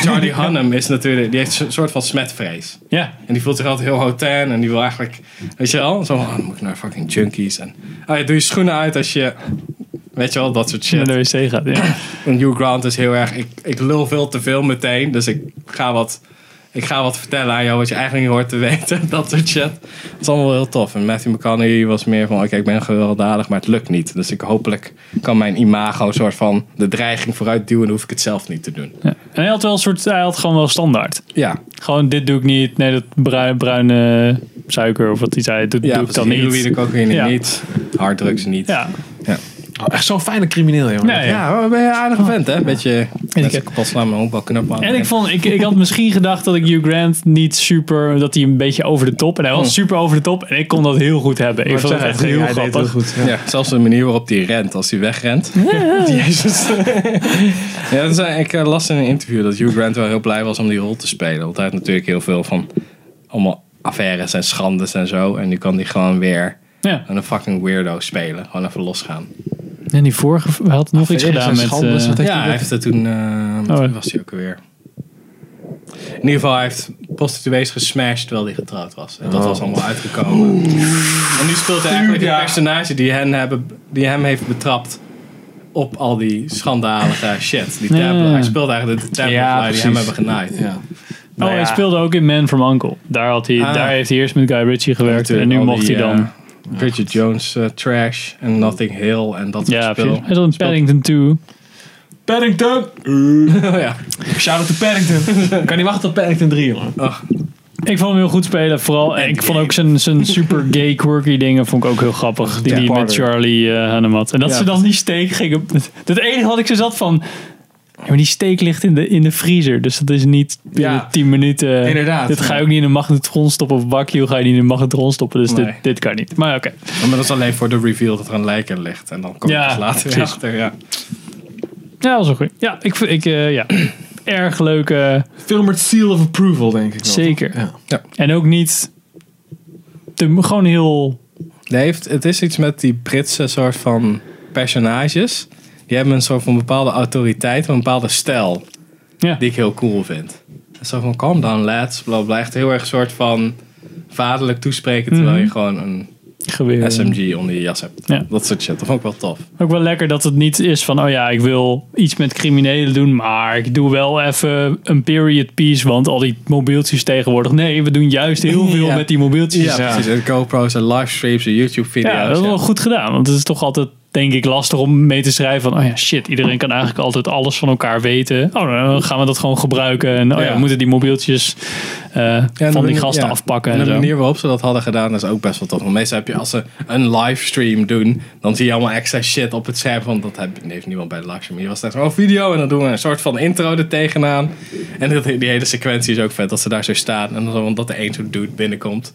B: Charlie Hunnam is natuurlijk... Die heeft een soort van smetvrees.
A: ja,
B: En die voelt zich altijd heel hotain. En die wil eigenlijk... Weet je wel? Zo van, oh, dan moet ik naar fucking junkies. En oh ja, doe je schoenen uit als je... Weet je wel, dat soort
A: naar
B: shit.
A: de wc gaat. Ja.
B: En Hugh Grant is heel erg... Ik, ik lul veel te veel meteen. Dus ik ga wat... Ik ga wat vertellen aan jou wat je eigenlijk niet hoort te weten. Dat soort shit. Het is allemaal heel tof. En Matthew McConaughey was meer van... Oké, ik ben gewelddadig, maar het lukt niet. Dus ik hopelijk kan mijn imago soort van... De dreiging vooruit duwen. Dan hoef ik het zelf niet te doen.
A: En hij had wel een soort, hij had gewoon wel standaard.
B: Ja.
A: Gewoon dit doe ik niet. Nee, dat bruine, bruine suiker of wat hij zei, dat
B: Ja,
A: doe ik dan niet.
B: ik ook weer niet.
A: Ja.
B: niet. Harddrugs niet.
A: Ja,
D: Echt zo'n fijne crimineel, jongen.
A: nee, ja.
B: Ja, maar ben je een
A: Oh.
B: aardige vent, hè? Beetje mensen
A: heb-
B: kapot slaan met een honkbalknop aan.
A: En ik, vond, ik, ik had misschien gedacht dat ik Hugh Grant niet super, dat hij een beetje over de top. En hij was super over de top en ik kon dat heel goed hebben. Ik vond het echt heel grappig.
D: goed.
B: ja, zelfs de manier waarop hij rent, als hij wegrent. Jezus. ja, dat zijn, ik eh, las in een interview dat Hugh Grant wel heel blij was om die rol te spelen. Want hij had natuurlijk heel veel van allemaal affaires en schandes en zo. En nu kan hij gewoon weer
A: Ja.
B: een fucking weirdo spelen. Gewoon even losgaan.
A: En die vorige hij had nog iets gedaan met... eh,
B: ja, hij heeft dat toen. eh,
A: Oh,
B: toen
A: ja.
B: was hij ook alweer. In ieder geval, hij heeft prostituees gesmashed terwijl hij getrouwd was. En
A: Oh.
B: dat was allemaal uitgekomen. En nu speelt hij eigenlijk een personage die, hen hebben, die hem heeft betrapt op al die schandalige shit. Die
A: Ja.
B: tabla- Hij speelt eigenlijk de tablet
D: Ja,
B: die
D: precies.
B: hem hebben genaaid.
D: Ja.
A: Oh, hij speelde ook in Man from Uncle. Daar, had hij,
B: Ah.
A: daar heeft hij eerst met Guy Ritchie gewerkt. En nu
B: Al
A: mocht
B: die,
A: hij dan.
B: eh, Bridget Jones eh, trash en Nothing Hill en dat soort
A: ja,
B: spul.
A: precies. Hij zat in
B: Speelt-
A: Paddington 2.
D: Paddington!
B: Oh, ja.
D: Shout out to Paddington. Ik kan niet wachten op Paddington 3, jongen.
B: Oh,
A: Ik vond hem heel goed spelen. Vooral, en ik vond ook zijn, zijn super gay, quirky dingen vond ik ook heel grappig. Die
B: Ja,
A: hij met
B: Parker.
A: Charlie eh Hunnam had. En dat
B: Ja.
A: ze dan die steek gingen. Het enige wat ik ze zat van. ja, maar die steek ligt in de, in de vriezer. Dus dat is niet
B: Ja.
A: ja. 10 minuten. eh,
B: Inderdaad.
A: Dit ga je ook niet in een magnetron stoppen. Of bakje ga je niet in een magnetron stoppen. Dus
B: Nee.
A: dit, dit kan niet. Maar oké.
B: Maar dat is alleen voor de reveal dat er een lijk in ligt. En dan kom je
A: Ja,
B: pas later weer
A: precies.
B: achter. Ja.
A: Ja, dat is wel goed. Ja, ik, vind- ik, eh, ja. erg leuke.
D: Film met seal of approval, denk ik wel.
A: Zeker.
D: Ja.
A: En ook niet. Te, gewoon heel.
B: Nee, heeft, het is iets met die Britse soort van personages. Die hebben een soort van bepaalde autoriteit, een bepaalde stijl.
A: Ja.
B: Die ik heel cool vind. Zo van calm down lads, bla bla. Echt heel erg een soort van vaderlijk toespreken terwijl je gewoon een
A: geweer.
B: SMG onder je jas hebt.
A: Mhm. Ja.
B: Dat soort shit. Dat vond ik wel tof.
A: Ook wel lekker dat het niet is van, oh ja, ik wil iets met criminelen doen, maar ik doe wel even een period piece, want al die mobieltjes tegenwoordig. Nee, we doen juist heel veel
B: Ja.
A: met die mobieltjes.
B: Ja, precies. En GoPro's en livestreams en YouTube video's.
A: Ja, dat is
B: ja.
A: wel goed gedaan. Want het is toch altijd, denk ik, lastig om mee te schrijven van... oh ja, shit, iedereen kan eigenlijk altijd alles van elkaar weten. Oh, nou, dan gaan we dat gewoon gebruiken. En oh ja,
B: Ja.
A: we moeten die mobieltjes eh,
B: Ja, en
A: van
B: de
A: die
B: manier-
A: gasten
B: ja.
A: afpakken.
B: En
A: En
B: de
A: zo.
B: manier waarop ze dat hadden gedaan is ook best wel tof. Want meestal heb je als ze een livestream doen, dan zie je allemaal extra shit op het scherm. Want dat heb- heeft niemand bij de livestream. Hier was het echt oh, video en dan doen we een soort van intro er tegenaan. En dat, die hele sequentie is ook vet dat ze daar zo staan. En dan zo, omdat er één zo'n dude binnenkomt.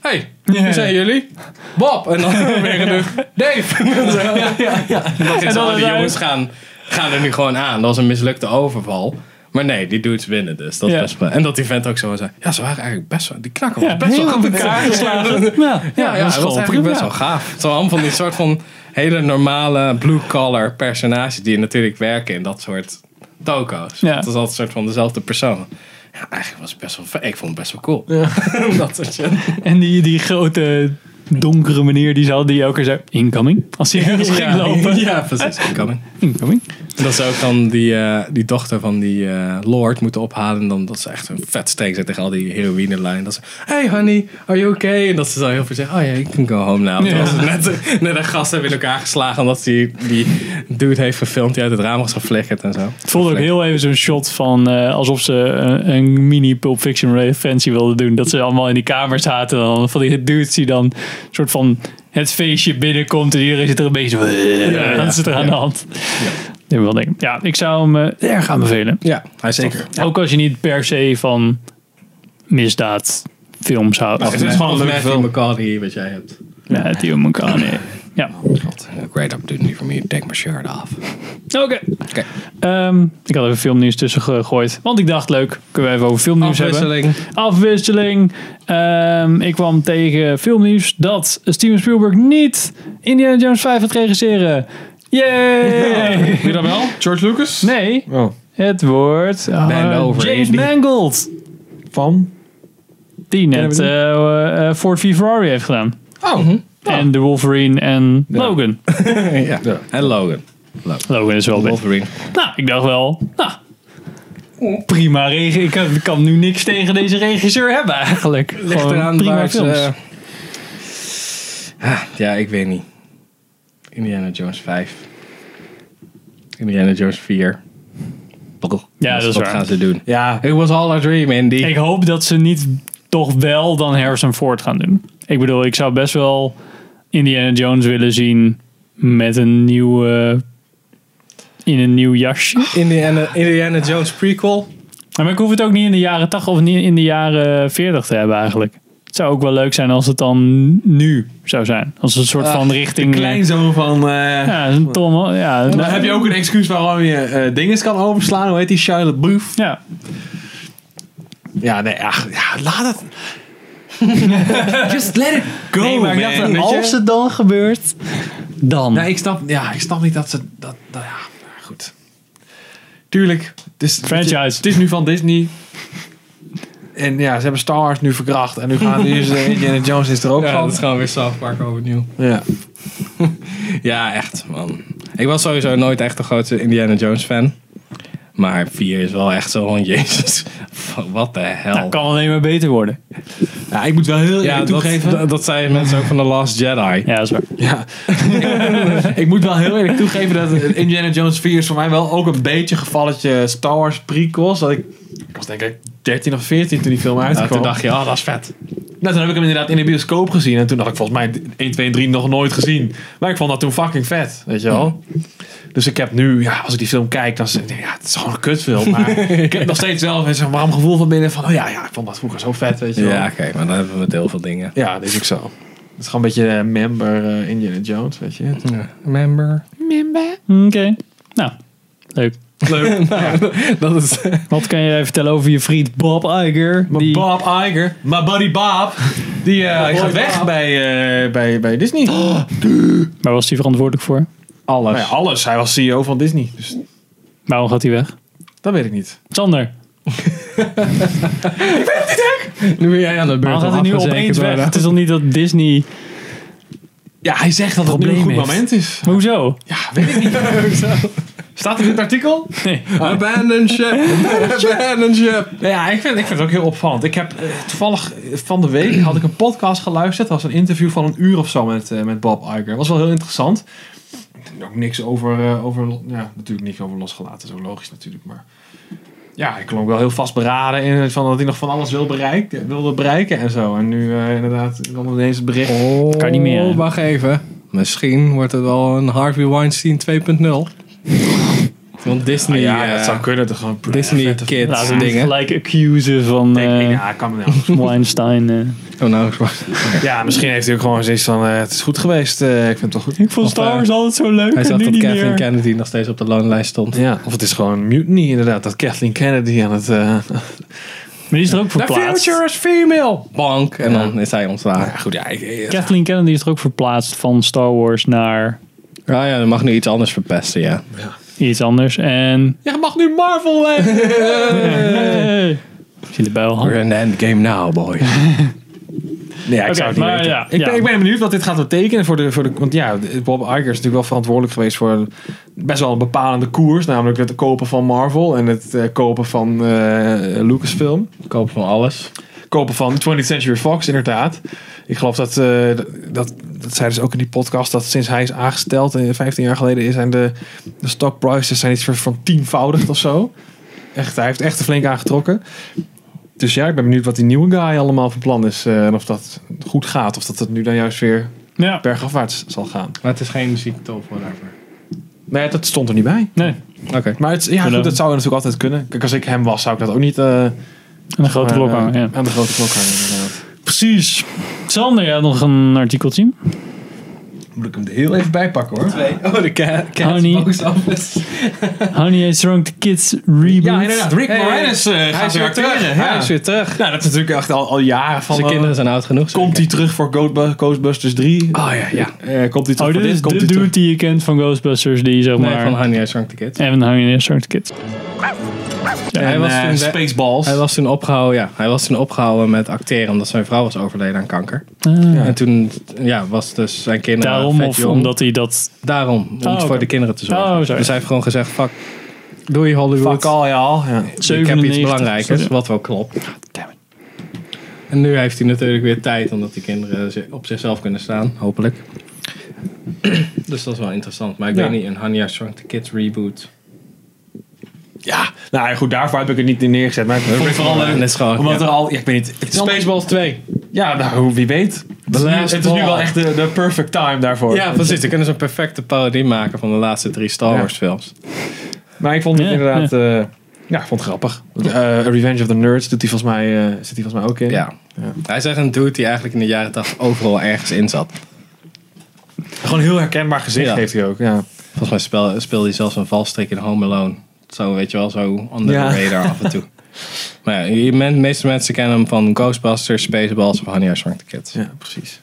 B: Hey,
A: Ja.
B: hoe zijn jullie? Bob! En dan weer een dude, Dave! ja, ja, ja. En dan
A: En
B: zitten
A: dan
B: alle die
A: eruit.
B: jongens gaan, gaan er nu gewoon aan. Dat was een mislukte overval. Maar nee, die dudes winnen dus. Dat is
A: Ja.
B: best wel- En dat die vent ook zo zei. Ja, ze waren eigenlijk best wel. Die knakken
A: Ja,
B: was best wel
A: heel
B: goed
A: op elkaar geslagen. Ja, ja,
B: Ja, ja,
A: dat
B: dat
A: is
B: was
A: gewoon
B: eigenlijk
A: prima.
B: best wel gaaf. Het waren allemaal van die soort van hele normale blue-collar personages die natuurlijk werken in dat soort toko's.
A: Ja.
B: Het is altijd een soort van dezelfde persoon. Ja, eigenlijk was het best wel. vet. Ik vond het best wel cool. dat soort shit.
A: En die, die grote donkere meneer die zal die elke keer zei, incoming, als hij ergens ging lopen.
B: Ja, precies. Incoming.
A: Incoming.
B: Dat ze ook dan die, eh, die dochter van die eh, lord moeten ophalen. En dan dat ze echt een vet steek zet tegen al die heroïnelijn. Dat ze, hey honey, are you okay? En dat ze dan heel veel zeggen, oh ja, yeah, you can go home now. Terwijl ze net, net een gast hebben in elkaar geslagen. Omdat die, die dude heeft gefilmd die uit het raam was geflikkerd en zo.
A: Het voelde ook heel even zo'n shot van eh, alsof ze een, een mini Pulp Fiction referentie wilden doen. Dat ze allemaal in die kamer zaten. En dan van die dudes die dan een soort van het feestje binnenkomt. En iedereen zit er een beetje van,
B: ja.
A: dat is er aan de hand. Ja. wel denken. Ja, ik zou hem eh, erg aanbevelen.
B: Ja, hij zeker.
A: Ook als je niet per se van misdaad films houdt.
D: het is gewoon een leuk
B: Matthew
D: film.
B: McCarthy wat jij hebt.
A: Ja, Theo Moncane. Ja.
B: Great opportunity for me to take my shirt off.
A: Oké. Ehm, ik had even filmnieuws tussen gegooid. Want ik dacht, leuk, kunnen we even over filmnieuws
B: Afwisseling.
A: hebben. Afwisseling. Ehm, ik kwam tegen filmnieuws dat Steven Spielberg niet Indiana Jones 5 gaat regisseren. Yay!
D: Wie dan wel? George Lucas?
A: Nee,
D: Oh.
A: het wordt eh,
B: Ben over
A: James
B: Indy.
A: Mangold.
D: Van?
A: Die net eh, eh, Ford v Ferrari heeft gedaan.
D: Oh.
B: Mhm.
A: En The Wolverine en Logan.
B: ja. En Logan.
A: Logan is wel beter.
B: Wolverine.
A: Nou, ik dacht wel, nou, prima regisseur. Ik kan, ik kan nu niks tegen deze regisseur hebben eigenlijk.
B: Ligt
A: Gewoon
B: eraan
A: prima
B: waar het,
A: films.
B: eh, ah, ja, ik weet niet. Indiana Jones 5. Indiana Jones 4.
A: Ja, dat is
B: Wat
A: waar.
B: gaan ze doen?
D: Ja.
B: It was all a dream, Indy.
A: Ik hoop dat ze niet toch wel dan Harrison Ford gaan doen. Ik bedoel, ik zou best wel Indiana Jones willen zien met een nieuw... eh, in een nieuw jasje.
B: Indiana, Indiana Jones prequel.
A: Maar ik hoef het ook niet in de jaren 80 of niet in de jaren 40 te hebben eigenlijk. Het zou ook wel leuk zijn als het dan nu zou zijn. Als een
B: Ah,
A: soort van richting...
D: Kleinzoon van... eh,
A: Ja, een Tom... Ja,
D: Dan heb je ook een excuus waarom je eh dingen kan overslaan. Hoe heet die Shia LaBeouf?
A: Ja,
D: Ja, nee, ach, ja, laat het. Just let it go,
A: Nee, maar ik dacht,
D: man.
A: als het dan gebeurt, dan.
D: Nee, ik snap, ja, ik snap niet dat ze... Dat, dat, ja, maar goed. Tuurlijk. Het is,
A: Franchise.
D: Het is, het is nu van Disney. En ja, ze hebben Star Wars nu verkracht. En nu gaan nu is eh, Indiana Jones is er ook
B: Ja,
D: van.
B: dat is gewoon weer South Park overnieuw.
D: Ja.
B: Ja, echt, man. Ik was sowieso nooit echt een grote Indiana Jones fan. Maar 4 is wel echt zo van, jezus, wat de hel.
A: Dat Nou, kan alleen maar beter worden.
D: ja, ik moet wel heel
B: ja,
D: eerlijk
B: dat,
D: toegeven.
B: dat, dat zeiden mensen ook van The Last Jedi.
A: Ja, dat is waar.
D: Ja. ik moet wel heel eerlijk toegeven dat Indiana Jones 4 is voor mij wel ook een beetje een gevalletje Star Wars prequels. Dat ik, ik was denk ik 13 of 14 toen die film uitkwam.
B: Nou, toen dacht je, oh, dat is vet.
D: Nou, toen heb ik hem inderdaad in de bioscoop gezien. En toen dacht ik volgens mij 1, 2 en 3 nog nooit gezien. Maar ik vond dat toen fucking vet, weet je wel. Dus ik heb nu, ja, als ik die film kijk, dan zeg ik, ja, het is gewoon een kutfilm. Maar ik heb nog steeds wel een zo'n warm gevoel van binnen van, oh ja, ja, ik vond dat vroeger zo vet, weet je wel.
B: Ja, oké, maar dan hebben we met heel veel dingen.
D: Ja, dat is ook zo. Het is gewoon een beetje eh, member eh, Indiana Jones, weet je.
B: Mhm. Member.
A: Oké. Nou, leuk.
D: Leuk.
B: Dat is...
A: Wat kan je vertellen over je vriend Bob Iger?
D: Maar
A: Die,
D: Bob Iger, my buddy Bob, die eh, gaat weg bij, eh, bij, bij Disney.
A: waar was hij verantwoordelijk voor?
D: alles. alles. Hij was CEO van Disney. Dus
A: Waarom gaat hij weg?
D: dat weet ik niet.
A: Sander,
B: Nu ben jij aan de beurt.
A: waarom gaat hij nu opeens weg? Het is dan niet dat Disney...
D: Ja, hij zegt dat het nu een
A: Probleem
D: goed
A: heeft.
D: moment is.
A: Maar Hoezo?
D: Ja, weet ik niet. Staat er in het artikel? Ah.
A: Nee.
B: Abandon ship. Abandon ship.
D: Ja, ik vind, ik vind het ook heel opvallend. Ik heb eh, toevallig eh, van de week had ik een podcast geluisterd. Dat was een interview van een uur of zo met, eh, met Bob Iger. was wel heel interessant. Ook niks over, eh, over ja, natuurlijk niks over losgelaten. Zo logisch natuurlijk, maar... Ja, ik klonk wel heel vastberaden in het van dat hij nog van alles wil bereiken, wilde bereiken en zo. En nu eh, inderdaad, dan ineens het bericht.
A: kan niet meer.
B: Oh, Wacht even. Misschien wordt het wel een Harvey Weinstein 2.0. Want Disney...
D: Ah ja,
B: eh,
D: dat zou kunnen. Dat gewoon
B: Disney
D: vette-
B: Kids
A: Laten we hem
B: dingen.
A: gelijk accusen van
D: Ik denk,
A: eh
D: ja, kan me nou.
A: Weinstein. eh.
B: Oh, nou,
D: Ja, misschien heeft hij ook gewoon zoiets van, eh, het is goed geweest, eh, ik vind het wel goed.
A: Ik vond
B: Of,
A: Star
B: eh,
A: Wars altijd zo leuk
B: hij
A: en
B: zag
A: nu
B: dat
A: niet
B: Kathleen
A: meer.
B: Kennedy nog steeds op de loonlijst stond.
D: Ja, of het is gewoon mutiny inderdaad, dat Kathleen Kennedy aan het... eh
A: maar die is er ook verplaatst.
D: is female!
B: Bank. En dan is hij ontslaan. Ja, goed, ja, ik- ik-
A: Kathleen Kennedy is er ook verplaatst van Star Wars naar
B: Ah ja, dan mag nu iets anders verpesten, ja.
A: iets anders. En
D: Je mag nu Marvel hebben!
A: Hey. Zit er bij al hand.
B: in the endgame now, boys.
D: Nee, ik
A: Oké,
D: zou het niet
A: maar
D: weten.
A: ja,
D: ik, Ben,
A: ja.
D: ik ben benieuwd wat dit gaat betekenen voor de, voor de... Want ja, de- Bob Iger is natuurlijk wel verantwoordelijk geweest voor een- best wel een bepalende koers. Namelijk het kopen van Marvel en het eh, kopen van eh, Lucasfilm.
B: Kopen van alles.
D: Kopen van 20th Century Fox, inderdaad. Ik geloof dat, eh dat... Dat zeiden ze ook in die podcast, dat sinds hij is aangesteld, eh, 15 jaar geleden, is, zijn de, de stock prices zijn iets van- van tienvoudigd of zo. Echt, hij heeft echt er flink aangetrokken. Dus ja, ik ben benieuwd wat die nieuwe guy allemaal van plan is. eh, en of dat goed gaat. Of dat het nu dan juist weer
A: Ja.
D: bergafwaarts zal gaan.
B: Maar het is geen ziekte of whatever.
D: Nee, dat stond er niet bij.
A: Nee.
B: Oké.
D: Maar het, ja,
A: Kunnen.
D: goed, dat zou natuurlijk altijd kunnen. Kijk, als ik hem was, zou ik dat ook niet... eh,
A: Een grote
D: maar,
A: klok
D: eh,
A: hangen, ja.
D: Aan de grote klok hangen, inderdaad.
A: Precies. Sander, jij had nog een artikel zien?
B: Moet ik hem er heel even bij pakken hoor. Twee. Oh, de cat. cat
A: Honey.
B: box office.
A: Honey, I Shrunk the Kids reboot.
D: Ja, inderdaad. Rick
B: Hey,
D: Moranis eh,
B: hij
D: gaat
B: is weer
D: weer
B: terug.
D: terug.
B: Ja. Hij is weer terug.
D: Nou, dat is natuurlijk echt al, al jaren van...
B: Zijn
D: eh,
B: kinderen zijn oud genoeg.
D: Komt hij terug voor Goatbu- Ghostbusters 3?
B: Oh ja, ja.
D: Eh, komt hij terug
A: Oh,
D: voor
A: dit is
D: Komt
A: de
D: hij
A: dude
D: terug?
A: die je kent van Ghostbusters, die zeg
B: Nee,
A: maar...
B: van Honey, I Shrunk the Kids.
A: Evan Honey, I Shrunk the Kids.
B: Ja, hij, was
D: eh,
B: toen weg-
D: Spaceballs.
B: hij was toen opgehouden, ja. Hij was toen opgehouden met acteren omdat zijn vrouw was overleden aan kanker.
A: Ah.
B: En toen ja, was dus zijn kinderen
A: Daarom
B: vet
A: of
B: jong.
A: omdat hij dat...
B: Daarom, om
A: Oh,
B: het voor
A: oké.
B: de kinderen te zorgen.
A: Oh, sorry.
B: dus hij heeft gewoon gezegd, fuck, doei Hollywood.
D: Fuck all, y'all. ja.
B: ik heb iets
A: 97
B: belangrijkers,
A: sorry.
B: wat wel klopt. En nu heeft hij natuurlijk weer tijd, omdat die kinderen zi- op zichzelf kunnen staan, hopelijk. dus dat is wel interessant. Maar ik
D: Ja.
B: weet niet, een Hania Shrunk the Kids reboot.
D: Ja, nou ja, goed, daarvoor heb ik het niet in neergezet. Maar ik vond het vooral leuk.
B: Dat is gewoon-
D: omdat
B: ja.
D: er al, ja, ik weet niet. Het is al-
B: 2.
D: ja, nou, wie weet. Het is, nu,
B: last
D: het is nu
B: ball.
D: wel echt de, de perfect time daarvoor.
B: Ja, precies. Dan kunnen ze een perfecte parodie maken van de laatste drie Star
D: Ja.
B: Wars films.
D: Maar ik vond het
A: Ja,
D: inderdaad, eh, ja, ik vond het grappig. Eh, Revenge of the Nerds doet hij volgens mij, eh, zit hij volgens mij ook in.
B: Ja. Hij is echt een dude die eigenlijk in de jaren 80 overal ergens in zat.
D: Gewoon heel herkenbaar gezicht
B: Ja.
D: heeft hij ook. Ja.
B: Volgens mij speel, speelde hij zelfs een valstrik in Home Alone. Zo, weet je wel, zo onder
D: Ja.
B: the radar af en toe. Maar ja, je men- de meeste mensen kennen hem van Ghostbusters, Spaceballs of Honey, I Shrunk the Kids.
D: ja, precies.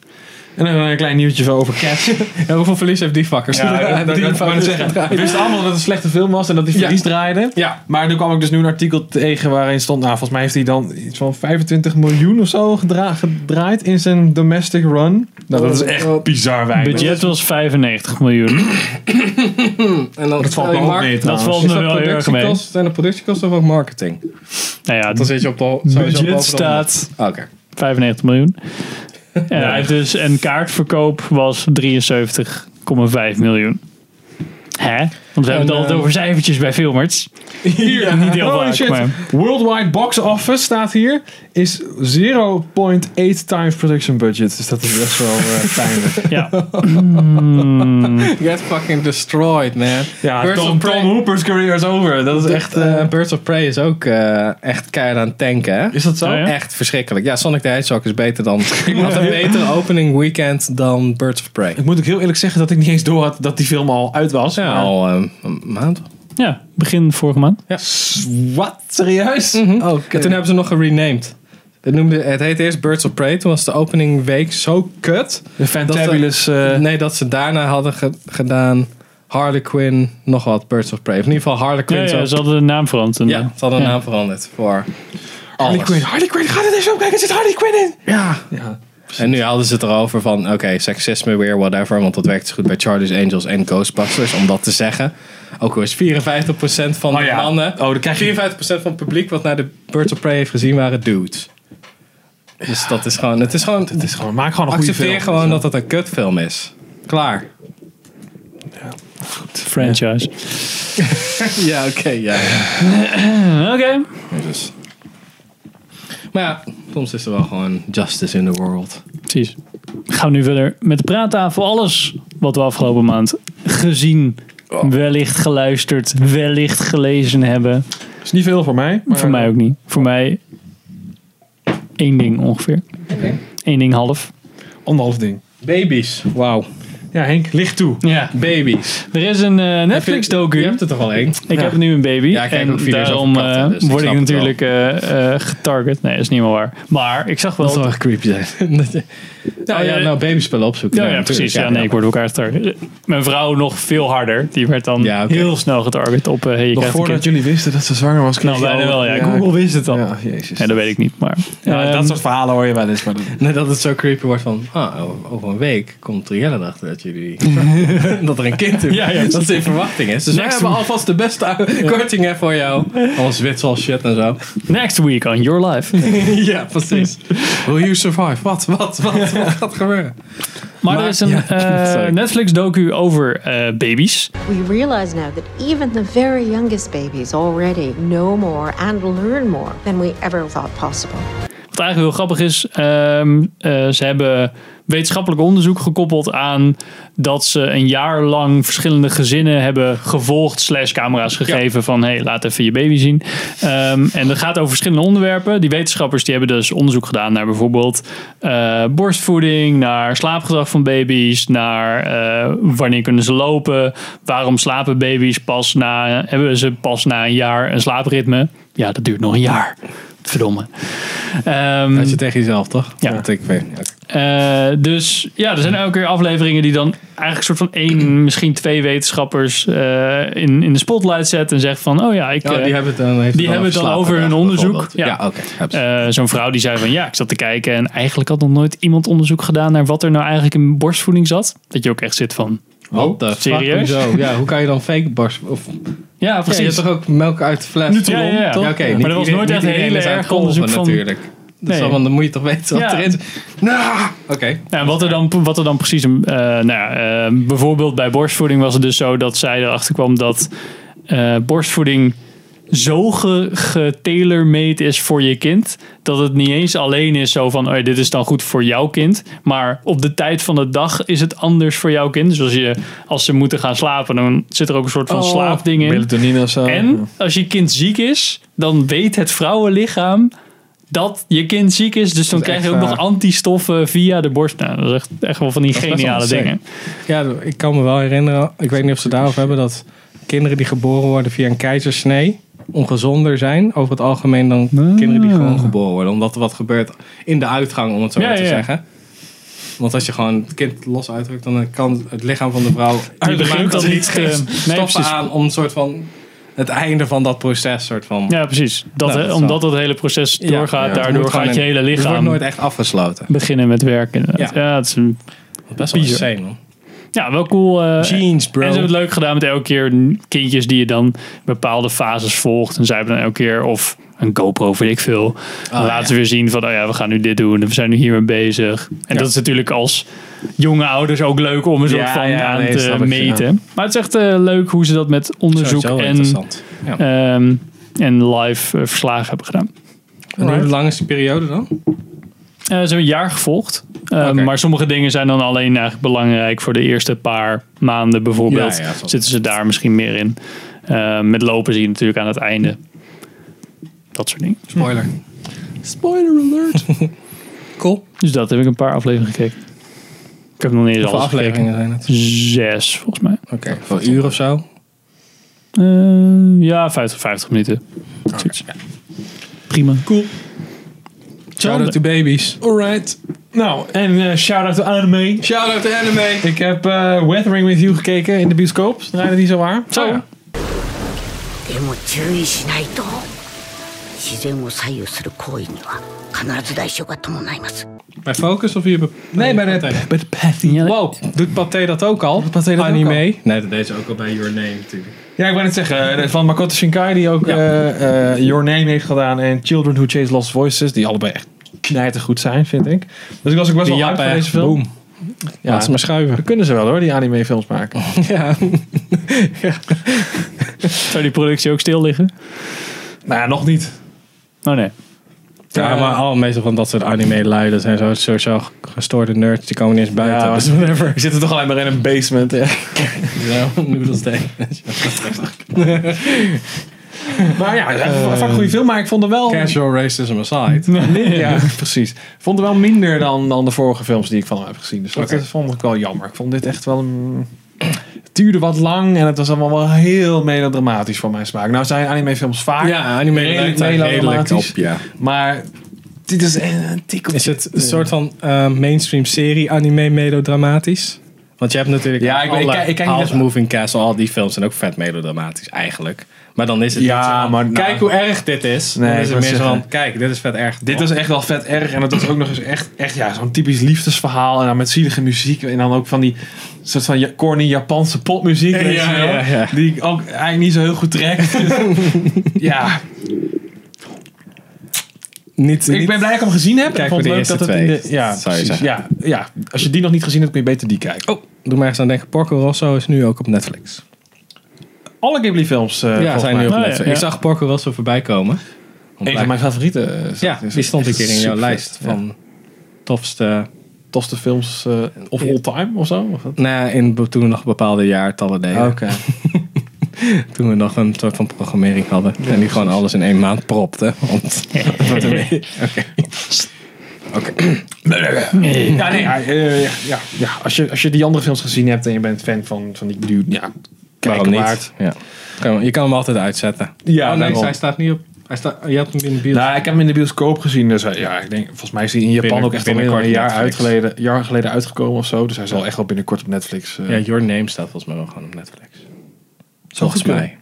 D: En dan een klein nieuwtje over Cats.
B: Ja, hoeveel verlies heeft die fuckers?
D: Ja, dat, dat, dat, wou ik net zeggen. We wisten allemaal dat het een slechte film was en dat hij verlies draaide.
B: Ja.
D: Maar toen kwam ik dus nu een artikel tegen waarin stond... Nou, volgens mij heeft hij dan iets van 25 miljoen of zo gedra- gedraaid in zijn domestic run. Nou, dat is echt bizar weinig.
A: Budget was 95 miljoen.
B: En dan eh,
D: Dat valt me ook mee
A: Dat
D: trouwens.
A: valt
B: Is
A: me
B: dat
A: wel heel erg mee.
B: productiekosten? Zijn de productiekosten of ook marketing?
A: Nou ja,
B: Dan
A: het
B: zit je op de ho- sowieso boven de
A: budget
B: honderd.
A: staat
B: Oké.
A: 95 miljoen. En hij heeft dus een kaartverkoop was 73,5 miljoen. Hè? Want we hebben het altijd
B: eh,
A: over cijfertjes bij filmers.
D: Hier,
A: niet heel
D: holy
A: vaak,
D: shit.
A: maar-
D: Worldwide box office staat hier. Is 0.8 times production budget. Dus dat is best wel eh, pijnlijk.
A: Ja.
B: Get fucking destroyed, man.
D: Ja,
B: Birds
D: Tom,
B: of Prey-
D: Tom Hooper's career is over. Dat is echt...
B: Echt, eh, Birds of Prey is ook eh, echt keihard aan het tanken, hè?
D: is dat zo?
A: Ja, ja.
B: Echt verschrikkelijk. Ja, Sonic the Hedgehog is beter dan... had een betere opening weekend dan Birds of Prey.
D: Ik moet ook heel eerlijk zeggen dat ik niet eens door had dat die film al uit was.
B: Ja,
D: maar-
B: al ehm, een maand.
A: ja, begin vorige maand.
D: Wat? Serieus?
B: En toen hebben ze nog gerenamed. Het, noemde, het heette eerst Birds of Prey. Toen was de opening week zo kut.
D: De Fantabulous... eh,
B: nee, dat ze daarna hadden ge- gedaan Harley Quinn, nog wat Birds of Prey. Of in ieder geval Harley
A: Ja,
B: Quinn.
A: ja,
B: zo-
A: ze hadden de naam veranderd. En-
B: ja, ze hadden een naam veranderd voor
D: Harley
B: alles.
D: Quinn. Harley Quinn, ga er eens op kijken. Er zit Harley Quinn in.
B: Ja.
D: Ja.
B: En nu hadden ze het erover van, oké, seksisme weer, whatever. Want dat werkt dus goed bij Charlie's Angels en Ghostbusters, om dat te zeggen. Ook al is 54% van
D: Oh
B: de
D: ja.
B: mannen,
D: Oh, dan krijg je-
B: 54% van het publiek wat naar de Birds of Prey heeft gezien, waren dudes. Dus dat is gewoon, het is gewoon,
D: Het is gewoon, maak gewoon een goede film. dus
B: accepteer gewoon dat het een kutfilm is. Klaar.
A: Franchise.
B: Ja, oké, ja.
A: Oké.
B: Dus. Maar ja, soms is er wel gewoon justice in the world.
A: Precies. Gaan we nu verder met de praattafel. Alles wat we afgelopen maand gezien, wellicht geluisterd, wellicht gelezen hebben.
D: is niet veel voor mij. Maar
A: Voor mij ook niet. Voor mij één ding ongeveer. Eén ding half.
D: Anderhalf ding.
B: Baby's, wauw.
D: Ja, Henk, licht toe.
A: Ja.
B: Baby's.
A: Er is een eh, Netflix-docu.
B: Je hebt er toch al één?
A: Ik heb nu een baby.
B: Ja, ik kijk
A: en
B: ook video's
A: daarom
B: over katten,
A: eh,
B: dus ik
A: word ik
B: snap het wel.
A: natuurlijk eh, eh, getarget. Nee, dat is niet meer waar. Maar ik zag wel.
B: Dat zou echt creepy zijn. nou ja,
A: ja,
B: nou babyspullen opzoeken.
A: ja, ja,
B: natuurlijk.
A: precies. Ja, nee, ik word ook elkaar getarget. Mijn vrouw nog veel harder. Die werd dan
B: Ja, oké.
A: heel snel getarget op. eh, hey, je
D: Nog
A: krijgt een
D: voordat
A: kind.
D: jullie wisten dat ze zwanger was. kreeg
A: Nou,
D: je
A: bijna
D: al-
A: wel. Ja. Google wist het al.
D: Ja, jezus.
A: Ja, dat weet ik niet, maar...
D: Ja,
A: Ehm,
D: dat soort verhalen hoor je wel eens. Maar dat-
B: Net dat het zo creepy wordt van, ah, over een week komt Trielle erachter dat jullie, dat er een kind is.
A: Ja, ja.
B: Dat is in verwachting is. Dus wij hebben alvast de beste oude kortingen voor jou. Al zwitsel shit en zo.
A: Next week on Your Life.
B: ja, precies. Will you survive? Wat, wat, wat, wat gaat gebeuren?
A: Maar,
B: Maar-
A: er is een
B: ja,
A: eh,
B: sorry.
A: Netflix-docu over eh, baby's.
K: We realize now that even the very youngest babies already know more and learn more than we ever thought possible.
A: Wat eigenlijk heel grappig is, ehm, eh, ze hebben wetenschappelijk onderzoek gekoppeld aan dat ze een jaar lang verschillende gezinnen hebben gevolgd slash camera's gegeven van hey, laat even je baby zien. Ehm, en dat gaat over verschillende onderwerpen. Die wetenschappers die hebben dus onderzoek gedaan naar bijvoorbeeld eh, borstvoeding, naar slaapgedrag van baby's, naar eh, wanneer kunnen ze lopen, waarom slapen baby's pas na, hebben ze pas na een jaar een slaapritme. Ja, dat duurt nog een jaar. Verdomme. Ehm,
B: Dat je tegen jezelf, toch?
A: Ja.
B: Want ik weet niet.
A: eh, dus ja, er zijn elke keer afleveringen die dan eigenlijk soort van één, misschien twee wetenschappers eh, in, in de spotlight zetten en zeggen van, oh ja, ik...
B: Ja,
A: eh,
B: die hebben het dan, heeft
A: die hebben het dan
B: over
A: over hun
B: slapen,
A: onderzoek.
B: bijvoorbeeld.
A: Ja,
B: Ja, oké. heb ze.
A: Eh, Zo'n vrouw die zei van ja, ik zat te kijken en eigenlijk had nog nooit iemand onderzoek gedaan naar wat er nou eigenlijk in borstvoeding zat. Dat je ook echt zit van.
B: Wat de
A: serieus?
B: Fuck, hoezo? ja, hoe kan je dan fake borst... Of,
A: Ja,
B: ja, je
A: precies.
B: hebt toch ook melk uit de fles?
A: Nutrilon, Ja, ja, ja.
B: toch?
A: Ja,
B: Ja,
A: oké,
B: oké.
A: maar
B: niet
A: er was
B: iedereen-
A: nooit
B: niet
A: echt een
B: iedereen
A: hele
B: is aan
A: erg
B: het kolven
A: onderzoek van-
B: natuurlijk. Dat is
A: Nee.
B: wel, want dan moet je toch weten wat
A: Ja.
B: erin zit. Nou, Oké.
A: Ja, en wat er dan, wat er dan precies. eh, nou ja, eh, bijvoorbeeld bij borstvoeding was het dus zo dat zij erachter kwam dat eh, borstvoeding zo ge- getelormeed is voor je kind. Dat het niet eens alleen is zo van, oh, dit is dan goed voor jouw kind. Maar op de tijd van de dag is het anders voor jouw kind. Dus als, je, als ze moeten gaan slapen, dan zit er ook een soort
B: Oh,
A: van slaapding in.
D: Melatonine of zo.
A: En als je kind ziek is, dan weet het vrouwenlichaam dat je kind ziek is. Dus dan
D: is
A: krijg je
D: echt,
A: ook nog
D: eh,
A: antistoffen via de borst. Nou, dat is echt, echt wel van die
B: is best wel
A: geniale
B: insane.
A: dingen.
B: Ja, ik kan me wel herinneren, ik weet niet of ze het daarover hebben, dat kinderen die geboren worden via een keizersnee ongezonder zijn over het algemeen dan kinderen die gewoon geboren worden. Omdat er wat gebeurt in de uitgang, om het zo
A: Ja,
B: maar te
A: ja, ja.
B: zeggen. Want als je gewoon het kind los uitdrukt, dan kan het lichaam van de vrouw...
A: begint
B: Die maakt
A: dat
B: er
A: niet,
B: geen
A: eh, nee,
B: stoffen
A: precies.
B: aan om een soort van het einde van dat proces soort van...
A: Ja, precies. Dat,
B: Nou,
A: hè,
B: dat is
A: omdat dat hele proces
B: Ja,
A: doorgaat,
B: ja, het
A: daardoor
B: moet
A: gaat
B: gewoon
A: je
B: in-
A: hele
B: Het wordt
A: lichaam
B: nooit echt afgesloten.
A: beginnen met werken. inderdaad. Ja, het is een-
B: Best wel
A: Bizar.
B: insane, man.
A: ja wel cool. eh,
B: Jeans, bro.
A: En ze hebben het leuk gedaan met elke keer kindjes die je dan bepaalde fases volgt. En zij hebben dan elke keer of een GoPro, weet ik veel.
D: Ah,
A: Dan laten ze weer zien van, oh ja, we gaan nu dit doen. We zijn nu hiermee bezig. En dat is natuurlijk als jonge ouders ook leuk om een soort
D: Ja,
A: van
D: ja,
A: aan
D: nee,
A: te
D: snap ik, ja.
A: meten. Maar het is echt eh, leuk hoe ze dat met onderzoek
B: Sowieso
A: en,
B: interessant. Ja.
A: ehm, en live eh, verslagen hebben gedaan.
B: En hoe lang is die periode dan?
A: Eh, ze hebben een jaar gevolgd. Eh,
B: Oké.
A: Maar sommige dingen zijn dan alleen eigenlijk belangrijk voor de eerste paar maanden bijvoorbeeld.
B: Ja, ja, dat-
A: Zitten ze daar misschien meer in. Eh, met lopen zie je natuurlijk aan het einde. Dat soort dingen.
B: Spoiler. Spoiler alert. cool.
A: Dus dat heb ik een paar afleveringen gekeken. Ik heb nog niet eens
B: Hoeveel
A: alles
B: afleveringen zijn het?
A: gekeken. Zes, volgens mij.
B: Oké, voor een uur of zo. Oh.
A: Eh, ja, 50, 50 minuten. Zoiets. Prima. Cool.
B: Shout out to babies.
D: Alright. Nou, en eh, shout-out to anime.
B: Shout out to anime.
D: Ik heb eh, Weathering With You gekeken in de bioscoop. Draaide die zo waar? Oh
A: Zo.
D: Ja.
L: でも注意しないと自然を左右する行為には必ず代償が伴います
B: Bij Focus of hier bij... Nee, bij de...
D: Met Patty.
A: Ja,
B: Wow, doet Pathé dat ook al?
D: Pathé dat ook
B: Anime? Nee, dat deed ze ook al bij Your Name natuurlijk.
D: Ja, ik wou net zeggen. eh, Van Makoto Shinkai, die ook eh, eh, Your Name heeft gedaan. En Children Who Chase Lost Voices. Die allebei echt knijtergoed zijn, vind ik. Dus ik was ook best wel hyped van deze film.
B: Boom.
D: Ja,
B: Laat ze maar schuiven.
D: dat kunnen ze wel hoor, die anime films maken.
B: Ja.
A: Zou die productie ook stil liggen?
D: nou, ja, nog niet.
A: Oh nee.
B: Ja, maar al meestal van dat soort anime luiden zijn zo sowieso gestoorde nerds. Die komen niet eens buiten.
D: Ja,
B: Dus-
D: whatever. Ik zit er toch alleen maar in een basement. Ja.
B: Ja, noedels tegen.
D: Maar ja, het
B: Eh,
D: is een vaak goede film, maar ik vond hem wel...
B: Casual racism aside.
D: ja, precies. Ik vond hem wel minder dan, dan de vorige films die ik van hem heb gezien. Dus dat
B: Oké.
D: vond ik wel jammer. Ik vond dit echt wel een... Het duurde wat lang en het was allemaal wel heel melodramatisch voor mijn smaak. Nou zijn animefilms vaak
B: Ja, anime
D: redelijk
B: lijkt daar redelijk op,
D: melodramatisch.
B: ja.
D: Maar dit is een, een tikkeltje.
B: Is het een soort van eh, mainstream serie anime melodramatisch? Want je hebt natuurlijk
D: Ja, ik-
B: alle
D: ik kijk- ik kijk niet
B: House
D: echt-
B: Moving Castle, al die films zijn ook vet melodramatisch eigenlijk. Maar dan is het
D: Ja,
B: niet zo van,
D: maar nou-
B: kijk hoe erg dit is.
D: Nee,
B: dan
D: ik
B: is het
D: wou
B: meer zo
D: zeggen-
B: van, kijk, dit is vet erg.
D: Dit was echt wel vet erg. En het was ook nog eens echt, echt ja, zo'n typisch liefdesverhaal. En dan met zielige muziek. En dan ook van die soort van ja- corny Japanse popmuziek.
B: Ja,
D: weet je wel,
B: ja, ja.
D: Die ik ook eigenlijk niet zo heel goed trek. ja.
B: Niet,
D: Ik ben blij dat ik hem gezien heb.
B: Kijk
D: ik vond het
B: maar
D: leuk
B: de
D: dat het
B: eerste
D: in de...
B: twee,
D: Ja,
B: zou je
D: precies. Ja,
B: zeggen.
D: ja, als je die nog niet gezien hebt, kun je beter die kijken.
B: Oh, doe maar eens aan denken. Porco Rosso is nu ook op Netflix.
D: Alle Ghibli films eh,
B: Ah, ja,
D: volgens
B: zijn nu
D: mij.
B: op Netflix. Ik zag Porco Rosso voorbij komen.
D: Een van mijn favorieten. eh,
B: Ja,
D: is
B: die stond een keer in jouw
D: supervet.
B: lijst
D: Ja.
B: van tofste...
D: Tofste films eh, of all time of zo? Of wat?
B: Nou, in, be- toen we nog bepaalde jaartallen deden.
D: Oké.
B: toen we nog een soort van programmering hadden. en die gewoon alles in één maand propte. Want Wat een- Oké. Oké.
D: Ja, nee, ja, eh, ja, ja, ja. Als, je, als je die andere films gezien hebt en je bent fan van, van die dude, ja, kijk
B: Waarom
D: hem
B: niet?
D: waard.
B: Ja. Kan je- Je kan hem altijd uitzetten.
D: Ja,
B: oh, nee,
D: daarom.
B: hij staat niet op. Hij staat, je hebt hem in de bios.
D: Nou, ik heb hem in de bioscoop gezien, dus eh, ja, ik denk, volgens mij is hij in Japan
B: Binnen-
D: ook echt al een
B: binnenkort
D: jaar,
B: Netflix.
D: uit geleden, jaar geleden uitgekomen of zo, dus hij zal echt wel binnenkort op Netflix. eh,
B: ja, Your Name staat volgens mij wel gewoon op Netflix. Volgens
D: goed
B: mij.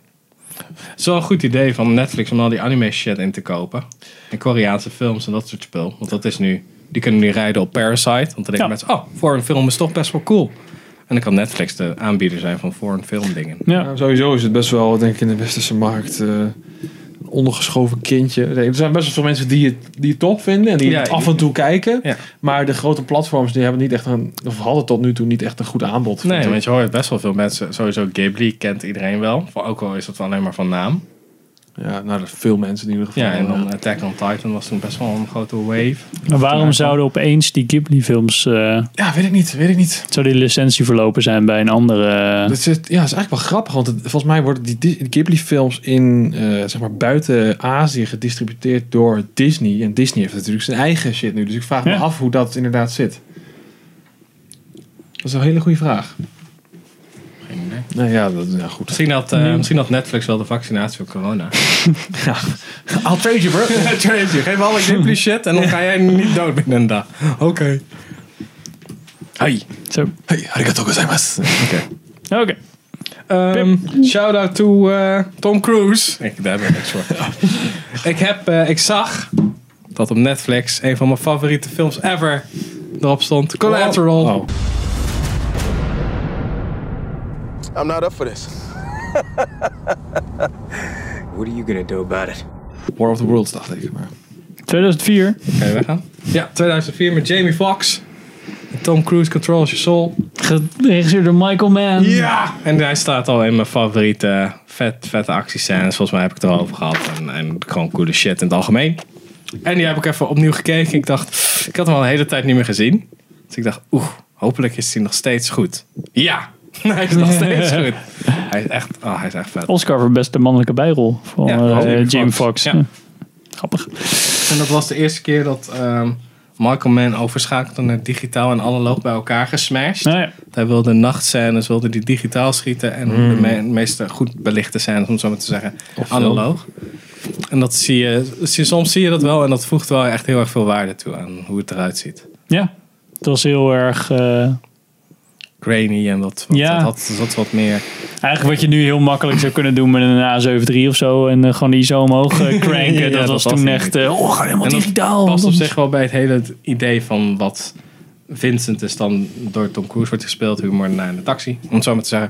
B: Het is wel een goed idee van Netflix om al die anime shit in te kopen. En Koreaanse films en dat soort spul. Want dat is nu... Die kunnen nu rijden op Parasite. Want dan denken
A: Ja.
B: mensen... Oh, foreign film is toch best wel cool. En dan kan Netflix de aanbieder zijn van foreign film dingen.
A: Ja.
D: Nou, sowieso is het best wel, denk ik, in de westerse markt eh, een ondergeschoven kindje. Nee, Er zijn best wel veel mensen die het, die het top vinden en die
B: Ja,
D: het
B: die-
D: af en toe kijken.
B: Ja.
D: Maar de grote platforms die hebben niet echt een, of hadden tot nu toe niet echt een goed aanbod. vind
B: Nee,
D: ik.
B: want je hoort best wel veel mensen... Sowieso Ghibli kent iedereen wel. Voor- Ook al is dat alleen maar van naam.
D: ja, nou, dat veel mensen in ieder geval.
B: Ja, en
D: eh,
B: dan Attack on Titan was toen best wel een grote wave.
A: Maar waarom zouden opeens die Ghibli-films. eh,
D: Ja, weet ik niet, weet ik niet.
A: zou die licentie verlopen zijn bij een andere. eh,
D: Dat is, het- ja, dat is eigenlijk wel grappig, want het- volgens mij worden die Dis- Ghibli-films in, eh, zeg maar, buiten Azië gedistributeerd door Disney. En Disney heeft natuurlijk zijn eigen shit nu, dus ik vraag me
A: Ja.
D: af hoe dat inderdaad zit. Dat is een hele goede vraag. Nou ja, dat, nou goed.
B: Misschien had, eh, misschien had Netflix wel de vaccinatie voor corona.
D: I'll trade you, bro.
B: Trace je, geef alle Ghibli shit en dan ga jij niet dood binnen een dag. Oké. Hoi.
A: Zo.
D: Hey, arigatou gozaimasu.
A: Oké.
B: Ehm, Shout-out to eh, Tom Cruise. Ik, daar ben ik niks voor. ik, heb, eh, ik zag dat op Netflix een van mijn favoriete films ever erop stond. Oh. Collateral.
J: I'm not up for this.
I: What are you gonna do about it?
D: War of the Worlds, dacht ik. Maar.
A: 2004.
B: Kan je weggaan? Ja, 2004 met Jamie Foxx. En Tom Cruise controls your soul.
A: Geregisseerd door Michael Mann.
B: Ja! En hij staat al in mijn favoriete eh, vet, vette actiescènes. Volgens mij heb ik het er al over gehad. En, en gewoon coole shit in het algemeen. En die heb ik even opnieuw gekeken. Ik dacht, ik had hem al een hele tijd niet meer gezien. Dus ik dacht, oeh, hopelijk is hij nog steeds goed. Ja! Hij is nog steeds goed. Hij is echt, oh, hij is echt vet.
A: Oscar voor beste mannelijke bijrol van
B: Ja,
A: eh,
B: Jamie
A: Jamie
B: Foxx.
A: Foxx.
B: Ja.
A: Ja. Grappig.
B: En dat was de eerste keer dat ehm, Michael Mann overschakelde naar digitaal en analoog bij elkaar gesmashed.
A: Nou ja.
B: Hij wilde nachtscènes, wilde die digitaal schieten en de me- meeste goed belichte scènes, om het zo maar te zeggen, analoog. En dat zie je, zie- soms zie je dat wel en dat voegt wel echt heel erg veel waarde toe aan hoe het eruit ziet.
A: ja, het was heel erg... eh,
B: Grainy en wat, wat
A: Ja.
B: dat had, dat had wat meer.
A: eigenlijk wat je nu heel makkelijk zou kunnen doen met een A73 of zo. En eh, gewoon die zo omhoog eh, cranken.
B: Ja,
A: dat,
B: dat
A: was
B: was
A: toen
B: het.
A: echt... eh, oh, we gaan helemaal
B: En dat
A: digitaal.
B: past op
A: Dat-
B: zich wel bij het hele idee van wat Vincent is dan door Tom Cruise wordt gespeeld, humor naar de taxi, om het zo maar te zeggen.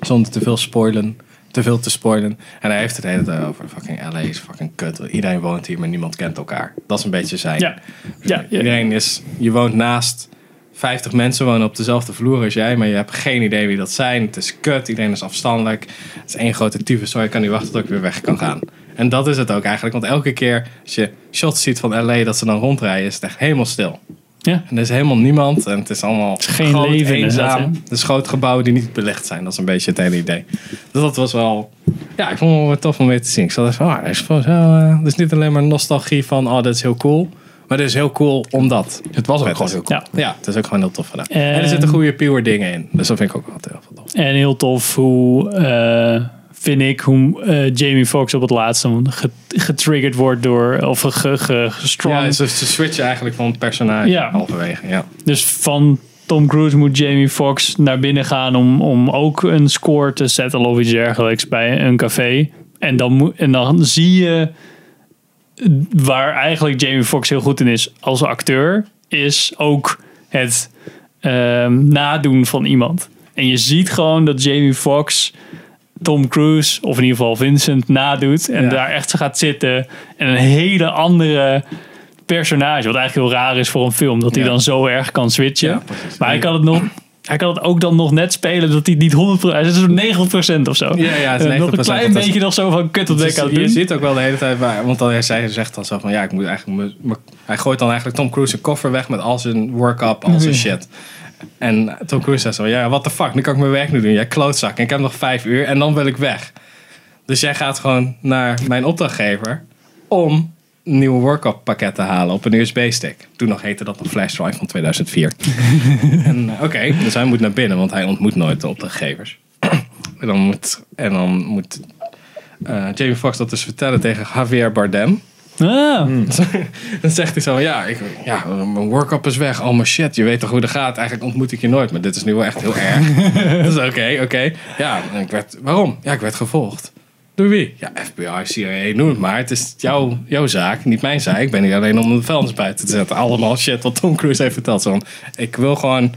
B: Zonder te veel spoilen, te veel te spoilen. En hij heeft het de hele tijd over fucking LA is fucking kut. Iedereen woont hier, maar niemand kent elkaar. Dat is een beetje zijn.
A: Ja. Ja, ja.
B: Iedereen is, je woont naast 50 mensen wonen op dezelfde vloer als jij, maar je hebt geen idee wie dat zijn. Het is kut, iedereen is afstandelijk. Het is één grote tyfus, zo je kan niet wachten tot ik weer weg kan gaan. En dat is het ook eigenlijk, want elke keer als je shots ziet van LA dat ze dan rondrijden, is het echt helemaal stil.
A: Ja.
B: En er is helemaal niemand en het is allemaal
A: geen
B: groot,
A: leven in de stad,
B: eenzaam.
A: hè?
B: Het is grote gebouwen die niet belegd zijn. Dat is een beetje het hele idee. Dus dat was wel... Ja, ik vond het wel tof om weer te zien. Ik zat even van, ah, dat is gewoon zo... eh, het is niet alleen maar nostalgie van, oh, dat is heel cool. Maar het is heel cool omdat. Het was ook gewoon heel cool. Ja. het is ook gewoon heel tof gedaan. en er
A: Ehm,
B: zitten goede pure dingen in. Dus dat vind ik ook wel tof.
A: En heel tof hoe, eh, vind ik, hoe eh, Jamie Foxx op het laatste get- getriggerd wordt door, of ge, ge, gestrong.
B: Ja, ze, ze switchen eigenlijk van personage
A: Ja.
B: halverwege. Ja.
A: Dus van Tom Cruise moet Jamie Foxx naar binnen gaan om, om ook een score te zetten of iets dergelijks bij een café. En dan, moe- en dan zie je waar eigenlijk Jamie Foxx heel goed in is als acteur, is ook het ehm, nadoen van iemand. En je ziet gewoon dat Jamie Foxx Tom Cruise, of in ieder geval Vincent, nadoet. En daar echt gaat zitten. En een hele andere personage. Wat eigenlijk heel raar is voor een film. Dat hij dan zo erg kan switchen. maar hij kan het nog... Hij kan het ook dan nog net spelen dat hij het niet 100%... Hij is zo'n 90% of zo.
B: Ja, ja, het is
A: Eh, Nog
B: 90%,
A: een klein
B: want dat-
A: beetje nog zo van kut op
B: Het
A: dek
B: is-
A: aan het
B: Dus Je
A: nou doen.
B: ziet ook wel de hele tijd waar, want dan, hij zei- zegt dan zo van ja, ik moet eigenlijk. mijn- mijn- hij gooit dan eigenlijk Tom Cruise zijn koffer weg met al zijn work-up, al zijn
A: Ja.
B: shit. En Tom Cruise zegt zo: ja, what the fuck, nu kan ik mijn werk niet doen. Jij klootzak, en ik heb nog vijf uur en dan wil ik weg. Dus jij gaat gewoon naar mijn opdrachtgever om een nieuwe work-up pakket te halen op een USB-stick. Toen nog heette dat een flash drive van 2004. en eh, oké, dus hij moet naar binnen, want hij ontmoet nooit de opdrachtgevers. en dan moet, en dan moet eh, Jamie Foxx dat dus vertellen tegen Javier Bardem.
A: Ah,
B: Hmm. dan zegt hij zo, ja, ik, ja, mijn workup is weg, al mijn shit, je weet toch hoe dat gaat. Eigenlijk ontmoet ik je nooit, maar dit is nu wel echt heel erg. dus oké, oké. Ja, en ik werd, waarom? Ja, ik werd gevolgd. Door wie? Ja, FBI, CIA, noem het maar. Het is jouw, jouw zaak, niet mijn zaak. Ik ben hier alleen om de vuilnis buiten te zetten. Allemaal shit wat Tom Cruise heeft verteld. Zo van, ik wil gewoon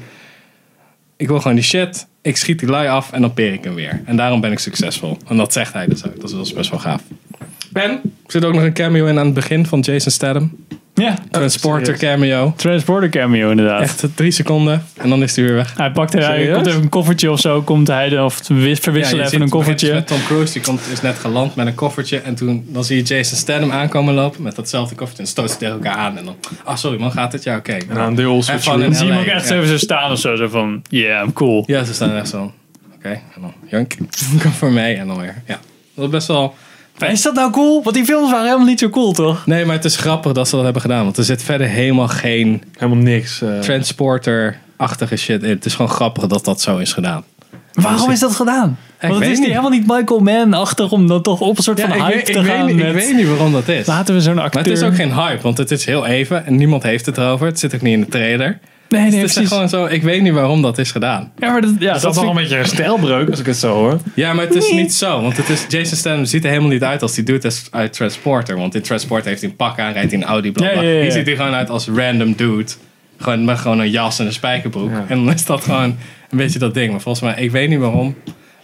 B: ik wil gewoon die shit. Ik schiet die lui af en dan peer ik hem weer. En daarom ben ik succesvol. En dat zegt hij dus ook. Dat is- dat is best wel gaaf. Ben, er zit ook nog een cameo in aan het begin van Jason Statham.
A: Ja.
B: Oh, Transporter
A: serieus.
B: cameo.
A: Transporter cameo inderdaad.
B: Echt drie seconden en dan is hij weer weg.
A: Hij pakt er, hij
B: Serieus?
A: komt even een koffertje of zo. Komt hij er, of wis- verwisselen
B: je
A: even een
B: ziet-
A: koffertje.
B: het begint dus Met Tom Cruise, die komt, is net geland met een koffertje. En toen dan zie je Jason Statham aankomen lopen met datzelfde koffertje. En stoot ze tegen elkaar aan. En dan, ah sorry man, gaat het? Ja, oké. En
D: dan de old switcheroo.
A: Dan zie je hem ook echt even zo staan of zo. Zo van, yeah, I'm cool.
B: Ja, ze staan echt zo. Oké, en dan jank. Kom voor mij en dan weer. Ja, dat is best wel...
A: Is dat nou cool? Want die films waren helemaal niet zo cool, toch?
B: Nee, maar het is grappig dat ze dat hebben gedaan. Want er zit verder helemaal geen...
D: Helemaal niks. eh.
B: Transporter-achtige shit in. Het is gewoon grappig dat dat zo is gedaan.
A: Waarom is dat gedaan?
B: Ik
A: Want het
B: weet
A: is niet.
B: niet.
A: helemaal niet Michael Mann-achtig om dan toch op een soort
B: Ja,
A: van
B: ik,
A: hype
B: weet,
A: te
B: ik,
A: gaan.
B: weet, niet-
A: met...
B: ik weet niet waarom dat is.
A: Laten we zo'n
B: Maar
A: acteur...
B: het is ook geen hype, want het is heel even en niemand heeft het erover. Het zit ook niet in de trailer.
A: Nee, nee,
B: Dus het is
A: precies.
B: gewoon zo, ik weet niet waarom dat is gedaan.
A: Ja, maar dat, ja,
D: dat is wel een beetje een stijlbreuk als ik het zo hoor.
B: Ja, maar het is niet zo, want het is, Jason Statham ziet er helemaal niet uit als die dude is uit Transporter. Want in Transporter heeft hij een pak aan, rijdt hij een Audi, bla
A: Ja,
B: bla.
A: ja, ja, ja.
B: Hier ziet hij gewoon uit als random dude. Gewoon met gewoon een jas en een spijkerbroek. En dan is dat gewoon een beetje dat ding. Maar volgens mij, ik weet niet waarom.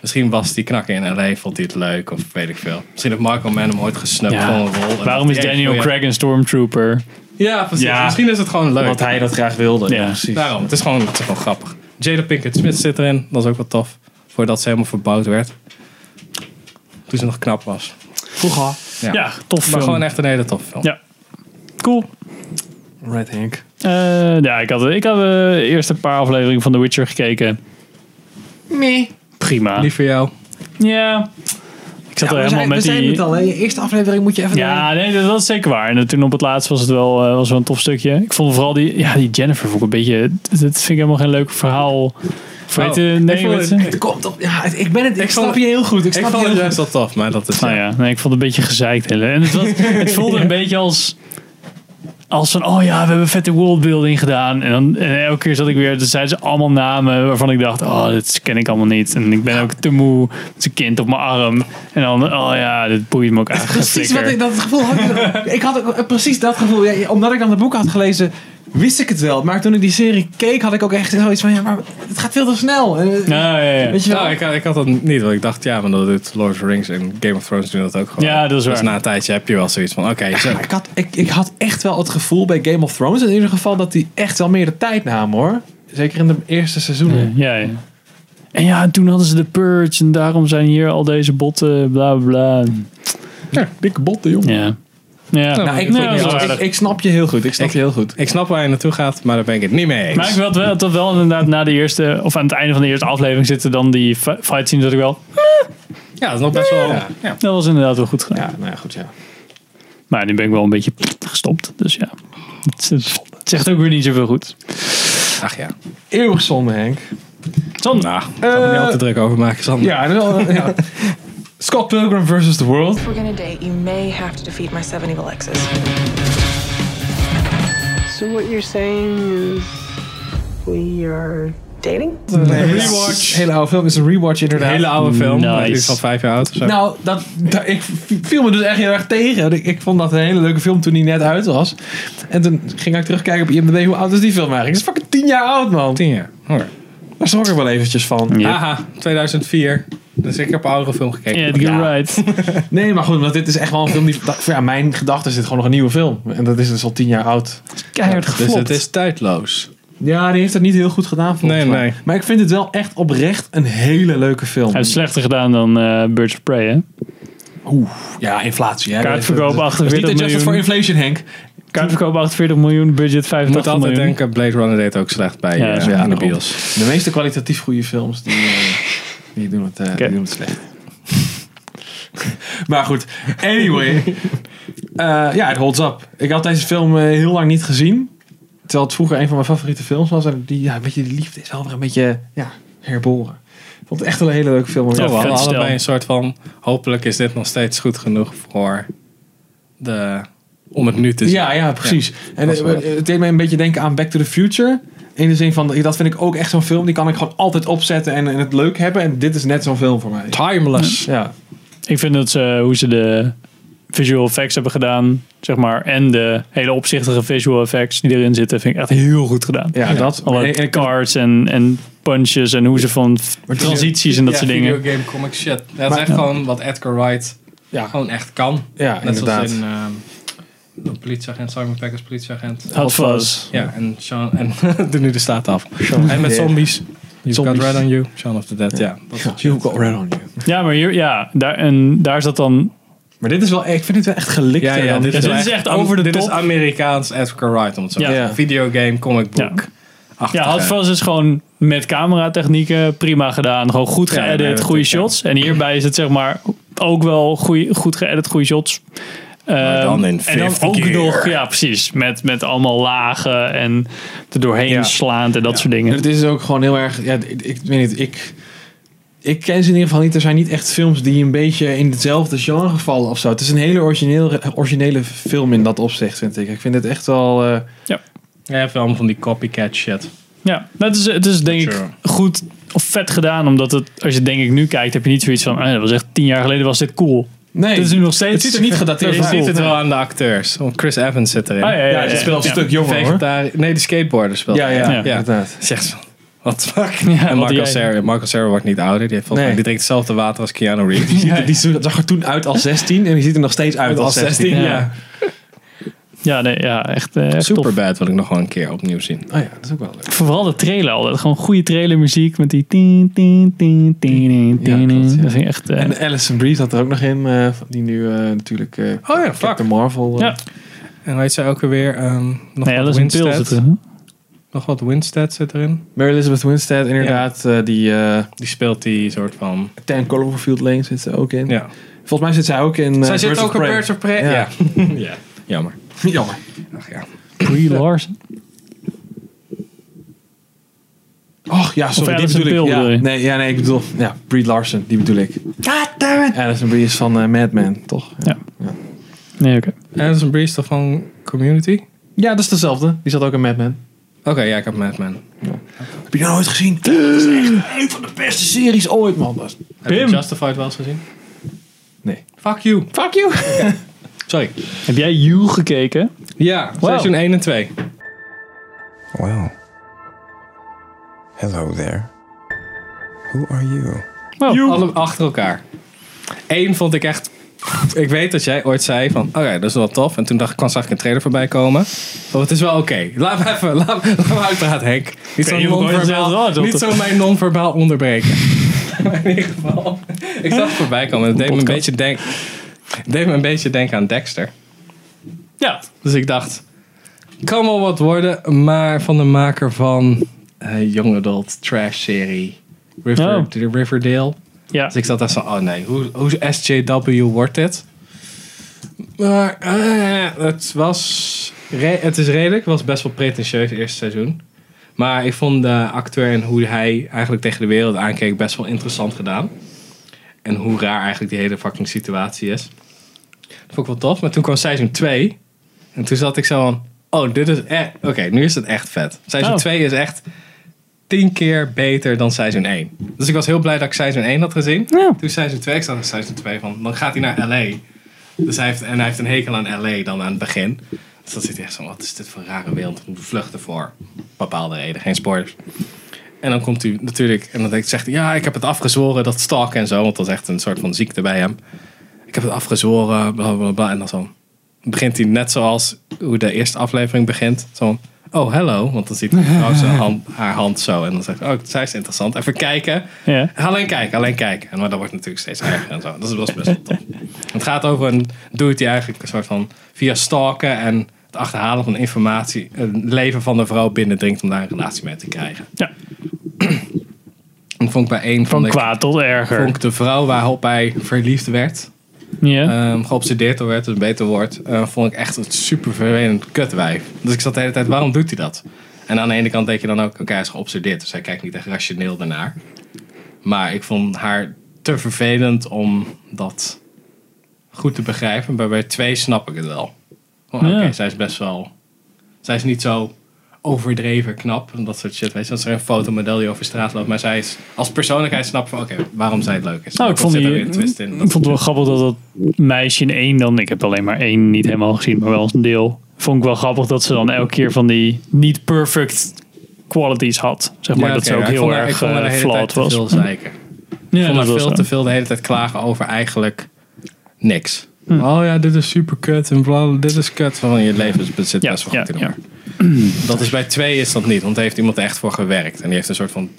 B: Misschien was die knakker in L.A., vond hij het leuk of weet ik veel. Misschien heeft Marco Man hem ooit gesnupt
A: Ja.
B: van een rol. en
A: Waarom
B: dat
A: is
B: hij echt
A: Daniel
B: weer-
A: Craig een stormtrooper?
B: Ja, precies.
A: Ja.
B: Misschien is het gewoon leuk.
A: Omdat hij
D: dat graag wilde.
A: Ja, precies.
B: Daarom, het is gewoon, het is gewoon grappig. Jada Pinkett Smith zit erin. Dat is ook wel tof. Voordat ze helemaal verbouwd werd. Toen ze nog knap was.
A: Vroeger. Ja, tof
B: Maar
A: film.
B: gewoon echt een hele tof film.
A: Ja. Cool.
D: Right, Henk.
A: Eh, ja, ik had, ik had eh, eerst een paar afleveringen van The Witcher gekeken.
D: Nee.
A: Prima.
B: Die voor jou.
A: Ja. Ik zat er helemaal met die...
D: Je eerste aflevering moet je even...
A: Ja, nee, dat, dat is zeker waar. En eh, toen op het laatst was het wel, eh, was wel een tof stukje. Ik vond vooral die, ja, die Jennifer vond ik een beetje. Dat vind ik helemaal geen leuk verhaal. Voor
B: Oh,
A: nee,
B: ik
A: weet
B: vond
A: je?
B: het-
D: Komt op. Ja, het- ik ben het. Ik, snap
B: vond-
D: je heel goed. Ik
B: Ik
D: snap
B: vond
D: je
B: het
D: heel
B: juist wel tof, maar dat is...
A: Nou ja, nee, ik vond het een beetje gezeikt. Hele. En het, was, het voelde een beetje als. Als van, oh ja, we hebben vette worldbuilding gedaan. En, dan, en elke keer zat ik weer, dan zeiden ze allemaal namen waarvan ik dacht, oh, dit ken ik allemaal niet. En ik ben ook te moe, met een kind op mijn arm. En dan, oh ja, dit boeit me ook eigenlijk. geen
D: Precies wat
A: flikker.
D: ik dat gevoel had. ik- ik had ook eh, precies dat gevoel. Ja, omdat ik dan de boeken had gelezen, wist ik het wel. Maar toen ik die serie keek, had ik ook echt zoiets van: ja, maar het gaat veel te snel. Eh, Weet je wel?
B: Nou, ik, had- ik had dat niet, want ik dacht, ja, maar dat doet Lord of the Rings en Game of Thrones doen dat ook gewoon.
A: Ja, dat is
B: Dus
A: waar.
B: na een tijdje heb je wel zoiets van, oké, zo.
D: ik, had, ik, ik had echt wel het gevoel bij Game of Thrones in ieder geval dat die echt wel meer de tijd namen hoor. Zeker in de eerste seizoenen.
A: Ja, ja. En ja, en toen hadden ze de Purge en daarom zijn hier al deze botten, bla bla bla.
D: dikke botten, jongen.
A: Ja. Ja.
B: Nou, ik,
A: Nee, dat is wel
B: ik,
A: aardig.
B: ik snap je heel goed. Ik snap je heel goed. Ik snap waar je naartoe gaat, maar daar ben ik het niet mee eens.
A: Maar ik wil wel, dat wel inderdaad na de eerste, of aan het einde van de eerste aflevering zitten dan die fi- fight scenes dat ik wel.
B: Ja, dat is nog best wel.
A: Dat was inderdaad wel goed gedaan.
D: Ja, nou ja, goed ja.
A: Maar nu ben ik wel een beetje gestopt, dus ja. Het, het- het zegt ook weer niet zoveel goed.
B: Ach ja.
D: Eeuwig zonde, Henk.
A: Zonde.
B: Nou, daar moet je
D: Eh,
B: al te druk over maken, Sander.
D: Ja, dat is wel- ja. Scott Pilgrim versus the World.
M: If we're gonna date, you may have to defeat my seven evil exes.
N: So what you're saying is we are dating?
D: Een rewatch. Hele oude film is een rewatch inderdaad.
B: Hele oude film. maar Die is al vijf jaar oud. of zo.
D: Nou, dat, dat- ik viel me dus echt heel erg tegen. Ik, ik vond dat een hele leuke film toen die net uit was. En toen ging ik terugkijken op IMDb hoe oud is die film eigenlijk. Het is fucking tien jaar oud, man.
B: Tien jaar.
D: Daar zorg ik wel eventjes van.
B: Haha, 2004. Dus ik heb een oudere film gekeken.
A: right.
D: nee, maar goed, want dit is echt wel een film die... Ja, mijn gedachte is dit gewoon nog een nieuwe film. En dat is dus al tien jaar oud.
A: Keihard
B: Dus
D: geflopt.
B: het is tijdloos.
D: Ja, die heeft het niet heel goed gedaan volgens
B: Nee,
D: mij.
B: nee.
D: Maar ik vind het wel echt oprecht een hele leuke film.
A: Hij heeft slechter gedaan dan eh, Birds of Prey, hè?
D: Oeh, ja, inflatie. hè.
A: Kaartverkoop
D: Dat is-
A: 48
D: dat is niet adjusted
A: miljoen.
D: for inflation, Henk.
A: Kaartverkoop 48 miljoen, budget
B: Je moet
A: 85
B: altijd
A: miljoen.
B: denken, Blade Runner deed ook slecht bij
A: Ja,
B: eh,
A: dat is waar.
B: in de
A: Ja,
B: bios.
D: De meeste kwalitatief goede films, die, eh, die, doen, het, eh, die doen het slecht. maar goed, anyway. Eh, ja, het holds up. Ik had deze film eh, heel lang niet gezien. Terwijl het vroeger een van mijn favoriete films was. En die, ja, een beetje die liefde is wel weer een beetje ja, herboren. Ik vond het echt wel een hele leuke film. om
B: Ja,
D: weer
B: we
D: te
B: hadden
D: zien.
B: Oh, allebei een soort van... Hopelijk is dit nog steeds goed genoeg voor de... Om het nu te zien.
D: Ja, Dus ja, precies. En
B: dat is
D: eh,
B: wel-
D: het deed mij een beetje denken aan Back to the Future. In de zin van, dat vind ik ook echt zo'n film. Die kan ik gewoon altijd opzetten en, en het leuk hebben. En dit is net zo'n film voor mij.
B: Timeless.
D: Ja.
A: Ik vind dat ze, hoe ze de visual effects hebben gedaan, zeg maar, en de hele opzichtige visual effects die erin zitten, vind ik echt heel goed gedaan.
D: Ja, dat. oh.
A: Alle
D: En- en-
A: cards en, en punches en hoe ze van transities en dat
B: Ja,
A: soort dingen.
B: videogame comic shit. Dat is
A: Maar-
B: echt gewoon wat Edgar Wright gewoon echt kan.
D: Ja,
B: Net
D: inderdaad.
B: zoals in ehm, de politieagent, Simon Peck als politieagent.
D: Hot Fuzz.
B: Ja, en, Sean, en doe nu de staat af.
D: Shaun of
B: en
D: the
B: met
D: Dead.
B: zombies. You've
D: Zombies.
B: got red on you. Shaun of the Dead, ja.
D: You've got red on you.
A: Ja, maar hier, ja, daar, en daar zat dan.
D: Maar dit is wel, ik vind het wel echt gelikt.
B: Ja, ja, dit, is, echt over de Dit is Amerikaans Edgar Wright, om het zo te
A: Ja.
B: zeggen. Videogame, comic book.
A: Ja, Hot Fuzz is gewoon met cameratechnieken prima gedaan. Gewoon goed
B: Ja,
A: geëdit,
B: nee, dat
A: goede shots. En hierbij is het zeg maar ook wel goeie, goed geëdit, goede shots. Ehm,
B: eh, dan in
A: en dan
B: 50
A: ook
B: keer.
A: nog, ja precies, met, met allemaal lagen en er doorheen slaand en dat soort dingen.
D: Het is ook gewoon heel erg. Ja, ik, ik weet niet. Ik, ik ken ze in ieder geval niet. Er zijn niet echt films die een beetje in hetzelfde genre vallen of zo. Het is een hele originele, originele film in dat opzicht, vind ik. Ik vind het echt wel. eh,
A: ja.
B: Je hebt wel van die copycat shit.
A: Ja, dat is, het is denk
B: Sure.
A: ik goed of vet gedaan. Omdat het, als je denk ik nu kijkt, heb je niet zoiets van... ah, dat was echt tien jaar geleden was dit cool.
D: Nee,
A: dit is nu nog steeds...
B: Het ziet er niet gedateerd uit. Je ziet het wel aan de acteurs. Want Chris Evans zit erin.
A: Oh. Ah, ja, ja, ja, ja. Ja.
B: Vegetari- Nee, de skateboarder speelt.
A: Ja, ja, ja, inderdaad.
B: Zegt ze. Wat fuck.
A: Ja,
B: en
A: wat
B: Michael
A: jij-
B: Cera, Michael Cera wordt niet ouder. Die, heeft volgens mij-
D: Nee.
B: die drinkt hetzelfde water als Keanu Reeves.
D: die, ziet er- die zag er toen uit als 16 en die ziet er nog steeds uit als 16.
B: ja.
A: Ja, nee, ja echt, eh, echt tof.
B: Superbad wil ik nog wel een keer opnieuw zien.
D: Oh ja, dat is ook wel leuk.
A: Vooral de trailer altijd. Gewoon goede trailermuziek met die... Tien, tien, tien, tien, tien, tien. Dat vind ik echt... eh,
D: En Alison Brie zat er ook nog in, eh, die nu eh, natuurlijk eh oh ja, Captain Marvel. eh,
B: En weet zij ook alweer... ehm, nog
D: Nee,
B: wat
D: Alice in Peel
B: Winstead.
A: zit erin.
B: Nog wat Winstead zit erin.
D: Mary Elizabeth Winstead, inderdaad. eh, die,
B: die speelt die soort van...
D: Ten Cloverfield Lane zit ze ook in.
B: Ja.
D: Volgens mij zit zij ook in... eh,
B: zij zit
D: Birds of
B: ook op
D: Prey.
B: Birds of Prey.
D: Ja.
B: ja. Jammer.
D: Jammer.
B: Ach ja.
A: Brie Larson.
D: Och ja, sorry, die
A: Alison
D: bedoel ik.
A: Pill
D: ja.
A: bedoel je?
D: Nee, ja, nee, ik bedoel... Ja, Brie Larson, die bedoel ik. God damn it! Alison Brie is van eh, Mad Men, toch? Ja.
A: Nee, oké.
B: Alison Brie is toch van Community?
D: Ja, dat is dezelfde. Die zat ook in Mad Men.
B: Oké, ja, ik heb Mad Men.
D: Heb je die nou ooit gezien? Dat is echt een van de beste series ooit, man. Dat is-
B: Heb je Justified wel eens gezien?
D: Nee.
B: Fuck you.
D: Fuck you.
B: Sorry.
A: Heb jij You gekeken?
B: Ja,
A: Wow.
B: seizoen 1 en 2.
O: Well. Hello there. Who are you?
B: Alle achter elkaar. Eén vond ik echt... Ik weet dat jij ooit zei van, oké, dat is wel tof. En toen dacht, ik, kwam, zag ik een trailer voorbij komen. Maar het is wel oké. Laat me even, laat, me- laat me uitpraten, Henk. Niet
A: Ik
B: zo,
A: weet niet of ik ooit gezegd
B: non-verbaal,
A: had,
B: niet
A: dat-
B: zo mijn non-verbaal onderbreken. Maar in ieder geval, ik zag het voorbij komen. en Het deed me, een beetje denk, het deed me een beetje denken aan Dexter.
A: Ja.
B: Dus ik dacht, kan wel wat worden, maar van de maker van eh Young Adult Trash Serie River,
A: Oh.
B: de Riverdale.
A: Ja.
B: Dus ik zat daar zo, oh nee, hoe, hoe SJW wordt dit? Maar eh, het was, re- het is redelijk, het was best wel pretentieus het eerste seizoen. Maar ik vond de acteur en hoe hij eigenlijk tegen de wereld aankeek best wel interessant gedaan. En hoe raar eigenlijk die hele fucking situatie is. Dat vond ik wel tof. Maar toen kwam seizoen 2. En toen zat ik zo van... Oh, dit is echt... Oké, nu is het echt vet. Seizoen
A: Oh.
B: 2 is echt tien keer beter dan seizoen 1. Dus ik was heel blij dat ik seizoen 1 had gezien. Toen seizoen 2, ik zat in seizoen 2 van... Dan gaat hij naar L.A. Dus hij heeft, en hij heeft een hekel aan L.A. dan aan het begin. Dus dat zit echt zo... Wat is dit voor een rare wereld? We vluchten voor bepaalde reden. Geen spoilers. En dan komt hij natuurlijk... En dan denkt- zegt hij... Ja, ik heb het afgezworen dat stalken en zo. Want dat is echt een soort van ziekte bij hem ik heb het afgezworen, bla bla bla. En dan zo begint hij net zoals hoe de eerste aflevering begint. Zo oh hello, want dan ziet hij vrouw zijn hand, haar hand zo. En dan zegt hij, oh, zij is interessant. Even kijken.
A: Ja.
B: Alleen kijken, alleen kijken. En Maar dat wordt natuurlijk steeds erger en zo. Dat was best wel tof. Het gaat over een dude die eigenlijk een soort van via stalken en het achterhalen van informatie het leven van de vrouw binnendringt om daar een relatie mee te krijgen.
A: Ja.
B: En vond ik bij één
A: Van
B: vond ik-
A: kwaad tot erger.
B: Vond ik de vrouw waarop hij verliefd werd. Ehm, geobsedeerd door werd, dat is een beter woord. eh, vond ik echt een super vervelend kutwijf. Dus ik zat de hele tijd, waarom doet hij dat? En aan de ene kant denk je dan ook, oké, hij is geobsedeerd. Dus hij kijkt niet echt rationeel daarnaar. Maar ik vond haar te vervelend om dat goed te begrijpen. Maar bij twee snap ik het wel. Van, Oké,
A: Ja.
B: zij is best wel... Zij is niet zo overdreven knap en dat soort shit. Weet je, als er een fotomodel die over straat loopt. Maar zij is als persoonlijkheid snap van, oké, waarom zij het leuk is.
A: Nou, ik
B: Dat
A: vond,
B: zit er
A: die,
B: weer een twist in.
A: ik vond het wel grappig dat dat meisje in één dan... Ik heb alleen maar één niet helemaal gezien, maar wel een deel. Vond ik wel grappig dat ze dan elke keer van die niet perfect qualities had. Zeg maar
B: Ja,
A: dat
B: oké,
A: ze ook
B: maar ik
A: heel
B: vond haar- ik
A: erg
B: vond haar de
A: eh,
B: hele tijd
A: flawed
B: te
A: was.
B: veel
A: Ja,
B: zeiken. ik vond
A: dat
B: haar
A: was
B: veel
A: zo.
B: te veel de hele tijd klagen over eigenlijk niks.
A: Hm.
B: Oh ja, dit is super kut en bla, dit is kut. Van je leven zit best wel goed in elkaar. Dat is bij twee is dat niet, want daar heeft iemand echt voor gewerkt. En die heeft een soort van,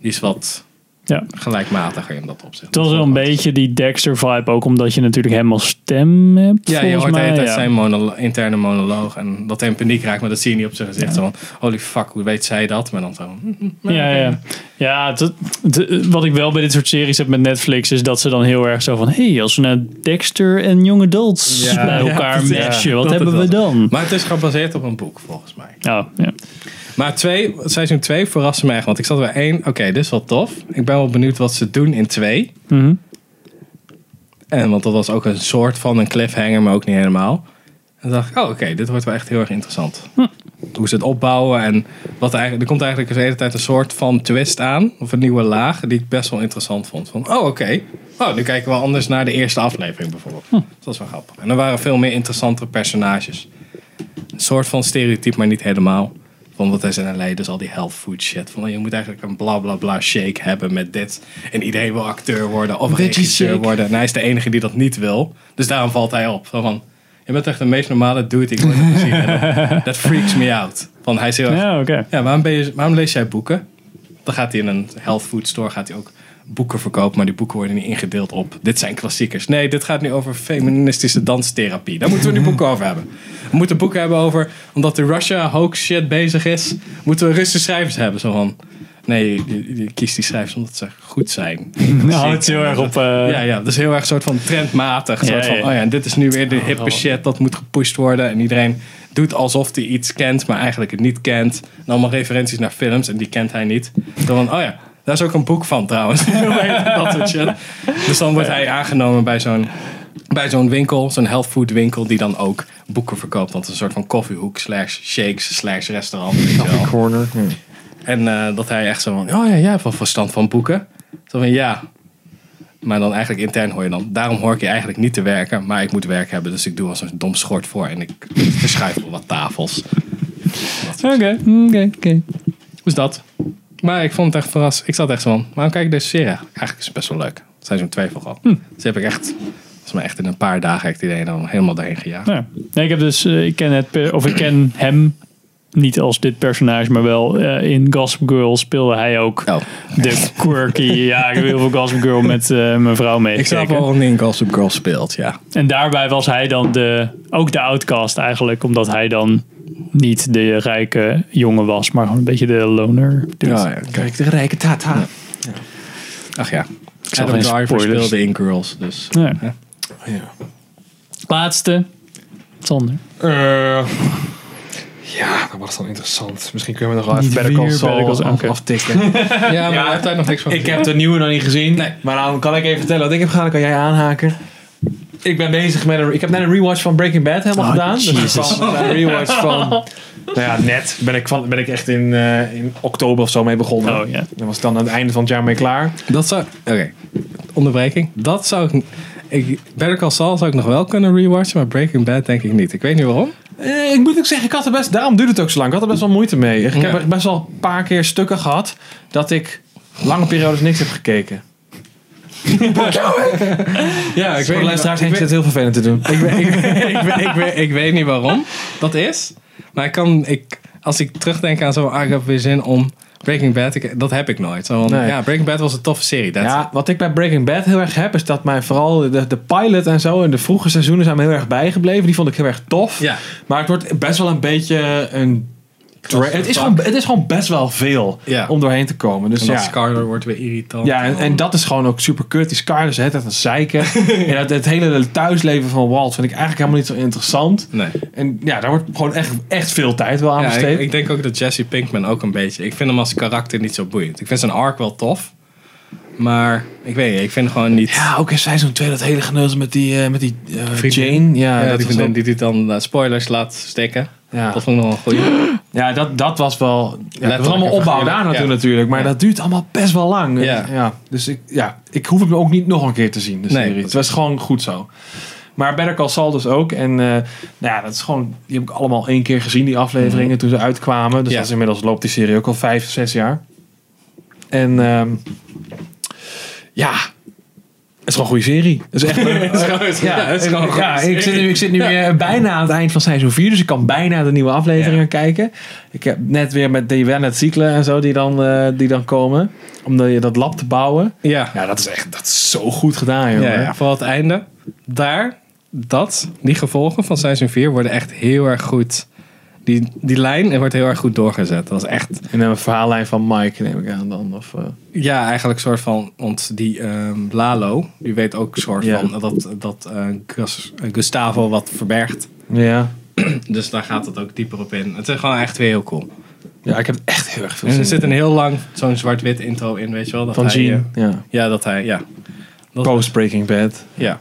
B: die is wat
A: Ja.
B: gelijkmatiger in dat opzicht.
A: Het was wel een beetje die Dexter-vibe ook, omdat je natuurlijk helemaal stem hebt.
B: Ja, je
A: volgens
B: hoort de hele
A: mij,
B: tijd
A: ja.
B: zijn monolo- interne monoloog en dat hij in paniek raakt, maar dat zie je niet op zijn gezicht. Zo van, holy fuck, hoe weet zij dat? Maar dan zo, hm.
A: Ja, ja. ja het- het- wat ik wel bij dit soort series heb met Netflix is dat ze dan heel erg zo van: hé, hey, als we nou Dexter en Young Adults bij elkaar
B: ja,
A: matchen,
B: dat
A: wat hebben
B: het
A: we
B: was.
A: dan?
B: Maar het is gebaseerd op een boek, volgens mij.
A: Oh, ja.
B: Maar twee, seizoen 2 verraste mij echt. Want ik zat bij één. Oké, dit is wel tof. Ik ben wel benieuwd wat ze doen in twee.
A: Mhm.
B: En want dat was ook een soort van een cliffhanger, maar ook niet helemaal. En toen dacht ik, oh oké, dit wordt wel echt heel erg interessant. Hoe ze het opbouwen en wat eigenlijk, er komt eigenlijk de hele tijd een soort van twist aan. Of een nieuwe laag, die ik best wel interessant vond. Van, oh oké, oh, nu kijken we anders naar de eerste aflevering bijvoorbeeld. Dat was wel grappig. En er waren veel meer interessantere personages. Een soort van stereotype, maar niet helemaal. Van wat is in LA, dus al die health food shit. Van oh, je moet eigenlijk een bla bla bla shake hebben met dit. En iedereen wil acteur worden of
A: Veggie
B: regisseur
A: shake.
B: worden. En hij is de enige die dat niet wil. Dus daarom valt hij op. Zo van, je bent echt de meest normale dude die ik ooit heb gezien. En Dat freaks me out. Van hij is heel erg-
A: Ja, oké.
B: ja, waarom, ben je, waarom lees jij boeken? Dan gaat hij in een health food store gaat hij ook boeken verkopen, maar die boeken worden niet ingedeeld op. Dit zijn klassiekers. Nee, dit gaat nu over feministische danstherapie. Daar moeten we nu boeken over hebben. We moeten boeken hebben over, omdat de Russia hoax shit bezig is, moeten we Russische schrijvers hebben. Zo van, nee, je, je- je kiest die schrijvers omdat ze goed zijn.
A: Nou, het is heel erg op. eh,
B: Ja, ja, dat is heel erg soort van trendmatig.
A: Ja,
B: soort van,
A: ja.
B: oh ja, dit is nu weer de hippe
A: grappig.
B: shit, dat moet gepusht worden. En iedereen doet alsof hij iets kent, maar eigenlijk het niet kent. En allemaal referenties naar films en die kent hij niet. Dan van, oh ja, daar is ook een boek van trouwens. Hoe heet dat soort shit. Dus dan wordt hij aangenomen bij zo'n bij zo'n winkel, zo'n health food winkel, die dan ook boeken verkoopt. Want het is een soort van koffiehoek slash shakes slash restaurant.
A: Oh,
B: Coffee
D: corner. hm.
B: En eh, dat hij echt zo van, oh ja, jij hebt wel verstand van boeken. Zo van, ja. Maar dan eigenlijk intern hoor je dan, daarom hoor ik je eigenlijk niet te werken. Maar ik moet werk hebben, dus ik doe als een dom schort voor. En ik verschuif wel wat tafels.
A: Oké, oké, oké.
B: Dus dat. Maar ik vond het echt verrassend. Ik zat echt zo van, waarom kijk ik deze serie? Eigenlijk is het best wel leuk. Seizoen 2 vooral. Dus die heb ik echt, volgens mij echt in een paar dagen, heb ik die dan helemaal daarheen gejaagd.
A: Ja. Nee, ik heb dus, eh, ik ken het, per- of ik ken hem niet als dit personage, maar wel eh, in Gossip Girl speelde hij ook de quirky. ja, ik heb heel veel Gossip Girl met eh, mijn vrouw mee.
B: Ik snap wel een in Gossip Girl speelt, ja.
A: En daarbij was hij dan de, ook de outcast eigenlijk, omdat hij dan niet de rijke jongen was, maar gewoon een beetje de loner. dude.
B: Ja, ja, kijk, de rijke tata. Ach ja. Ik
A: zal
B: Adam
A: geen
B: Driver
A: spoilers.
B: speelde in Girls, dus.
A: Ja.
B: hè.
A: Laatste. Sander.
D: Eh, ja, dat was dan interessant. Misschien kunnen we nog wel even
A: Niet
D: Better Call
A: weer Better Call
D: Saul
A: Saul,
D: af-
A: oké.
D: aftikken.
B: Ja, maar daar heeft hij nog niks van
D: Ik
B: gezien.
D: heb de nieuwe nog niet gezien. Maar dan kan ik even vertellen wat ik heb gedaan. Dan kan jij aanhaken. Ik ben bezig met een... Ik heb net een rewatch van Breaking Bad helemaal
A: Oh,
D: gedaan. Dus ik
A: Jesus.
D: kwam met een rewatch van... Nou ja, net ben ik, van, ben ik echt in, eh, in oktober of zo mee begonnen. Oh, ja. Dan was ik dan aan het einde van het jaar mee klaar.
B: Dat zou... Oké, onderbreking. Dat zou ik... ik Better Call Saul zou ik nog wel kunnen rewatchen, maar Breaking Bad denk ik niet. Ik weet niet waarom.
D: Eh, ik moet ook zeggen, ik had er best, daarom duurde het ook zo lang. Ik had er best wel moeite mee. Ik heb
B: Ja.
D: echt best wel een paar keer stukken gehad dat ik lange periodes niks heb gekeken. ja, ik
B: niet
D: weet
B: wa-
D: de luisteraars
B: ik
D: heeft
B: weet-
D: het heel vervelend te doen.
B: Ik, weet- ik, weet- ik, weet- ik, weet- ik weet niet waarom dat is. Maar ik kan, ik, als ik terugdenk aan zo'n ah, ik heb weer zin om Breaking Bad. ik- dat heb ik nooit. Zo, van,
D: Nee.
B: Ja, Breaking Bad was een toffe serie. Dat,
D: Ja, wat ik bij Breaking Bad heel erg heb, is dat mij vooral de, de pilot en zo en de vroege seizoenen zijn me heel erg bijgebleven. Die vond ik heel erg tof. Maar het wordt best wel een beetje een. dra- Het is, gewoon, het is gewoon best wel veel om doorheen te komen. Dus
B: en dat
D: ja.
B: Scarler wordt weer irritant.
D: Ja, en, en dat is gewoon ook super kut. Die Scar is het een zeiken. en het, het hele thuisleven van Walt vind ik eigenlijk helemaal niet zo interessant.
B: Nee.
D: En ja, daar wordt gewoon echt, echt veel tijd wel aan
B: Ja,
D: besteed.
B: ik, ik denk ook dat Jesse Pinkman ook een beetje. Ik vind hem als karakter niet zo boeiend. Ik vind zijn arc wel tof. Maar ik weet niet, ik vind gewoon niet.
D: Ja, Ah, ook in seizoen 2 dat hele geneuzel met die, eh, met die eh, Jane. Ja, dat
B: die
D: was
B: vriendin
D: wel-
B: die dit dan eh, spoilers laat steken.
D: Ja.
B: Dat vond ik nog een goede.
D: Ja, dat, dat was wel. Ja, dat was
B: Letterlijk
D: allemaal
B: even
D: opbouw
B: gebeurd.
D: daar naartoe
B: Ja.
D: natuurlijk. Maar
B: Ja.
D: dat duurt allemaal best wel lang.
B: Ja.
D: Ja, dus ik, ja, ik hoef het me ook niet nog een keer te zien, de serie. het was gewoon goed zo. Maar Better Call Saul dus ook. En eh, nou ja, dat is gewoon, die heb ik allemaal één keer gezien, die afleveringen, toen ze uitkwamen. Dus dat is inmiddels loopt die serie ook al vijf, zes jaar. En ehm, ja, het is gewoon een goede serie. Het is echt leuk.
B: Het is gewoon- ja, het is gewoon een
D: ja,
B: goede
D: ik zit nu,
B: serie.
D: ik zit nu weer bijna aan het eind van seizoen 4, dus ik kan bijna de nieuwe afleveringen kijken. Ik heb net weer met die Wernet Ziekelen en zo die dan, eh, die dan komen. Om je dat lab te bouwen.
B: Ja.
D: ja, dat is echt dat is zo goed gedaan, joh.
B: Ja, ja, vooral het einde. Daar, dat, die gevolgen van seizoen 4 worden echt heel erg goed. Die, die lijn wordt heel erg goed doorgezet. Dat is echt.
D: En een verhaallijn van Mike, neem ik aan dan. Of, eh,
B: Ja, eigenlijk een soort van. Want die ehm, Lalo, die weet ook een soort
D: Ja.
B: van dat, dat eh, Gus- eh, Gustavo wat verbergt.
D: ja.
B: dus daar gaat het ook dieper op in. Het is gewoon echt weer heel cool.
D: ja, ik heb echt heel erg veel
B: En
D: zin
B: er
D: in.
B: zit een heel lang zo'n zwart-wit intro in, weet je wel. Dat
D: Van
B: hij,
D: Gene,
B: eh,
D: ja.
B: Ja, dat hij, ja. Dat-
D: Post Breaking Bad.
B: Ja.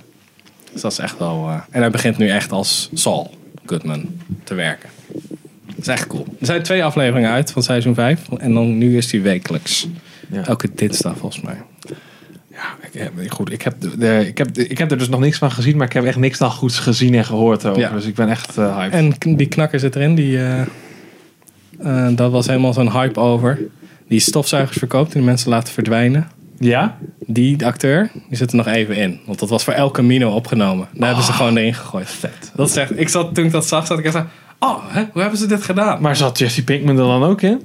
B: Dus dat is echt wel... eh, en hij begint nu echt als Saul Goodman te werken. Dat is echt cool. Er zijn twee afleveringen uit van seizoen 5. En dan nu is die wekelijks. Elke dinsdag volgens mij.
D: Ja, maar goed, ik heb, de, de- ik, heb de- ik heb er dus nog niks van gezien, maar ik heb echt niks dan goeds gezien en gehoord over.
B: Ja.
D: Dus ik ben echt eh, hyped.
B: En kn- die knakker zit erin. Die, eh, eh, dat was helemaal zo'n hype over. Die stofzuigers verkoopt en die mensen laten verdwijnen.
D: Ja?
B: Die de acteur, die zit er nog even in. Want dat was voor El Camino opgenomen. Daar hebben ze gewoon erin gegooid. Vet. Dat is echt, ik zat, toen ik dat zag, zat ik echt zo... Oh, hè, hoe hebben ze dit gedaan?
D: Maar zat Jesse Pinkman er dan ook in?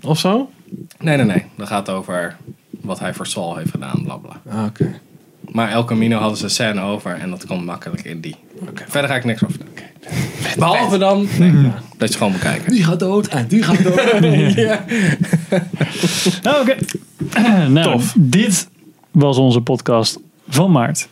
D: Of zo?
B: Nee, nee, nee. Dat gaat over wat hij voor Saul heeft gedaan, bla bla.
D: Ah, Oké.
B: Maar El Camino hadden ze een scène over en dat komt makkelijk in die. Verder ga ik niks over vertellen. Behalve dan dat je gewoon moet kijken.
D: Die gaat dood en die gaat dood.
B: ja.
A: Oké. nou, dit was onze podcast van maart.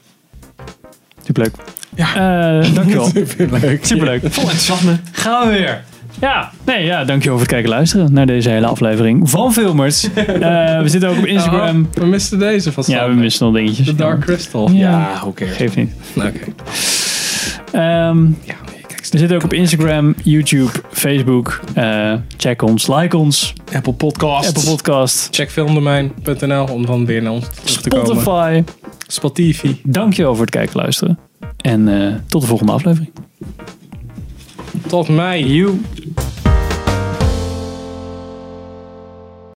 A: Superleuk. Ja. dankjewel.
B: Superleuk.
A: Superleuk. Vol Oh, enthousiasme. Gaan we weer. Ja, nee, ja, dankjewel voor het kijken en luisteren naar deze hele aflevering van Filmers. Eh, we zitten ook op Instagram.
B: Oh, we misten deze van
A: ja, we missen nog dingetjes.
B: The Dark Crystal.
A: Ja,
D: hoe Ah, cares?
A: Geeft niet.
B: Nou, Oké.
A: Ehm, we zitten ook op Instagram, YouTube, Facebook. Eh, check ons, like ons.
D: Apple Podcast.
A: Apple Podcast.
B: Check filmdomein.nl om dan weer naar ons terug te komen.
A: Spotify.
B: Spotify.
A: Dankjewel voor het kijken en luisteren. En eh, tot de volgende aflevering.
B: Tot mei.
A: You.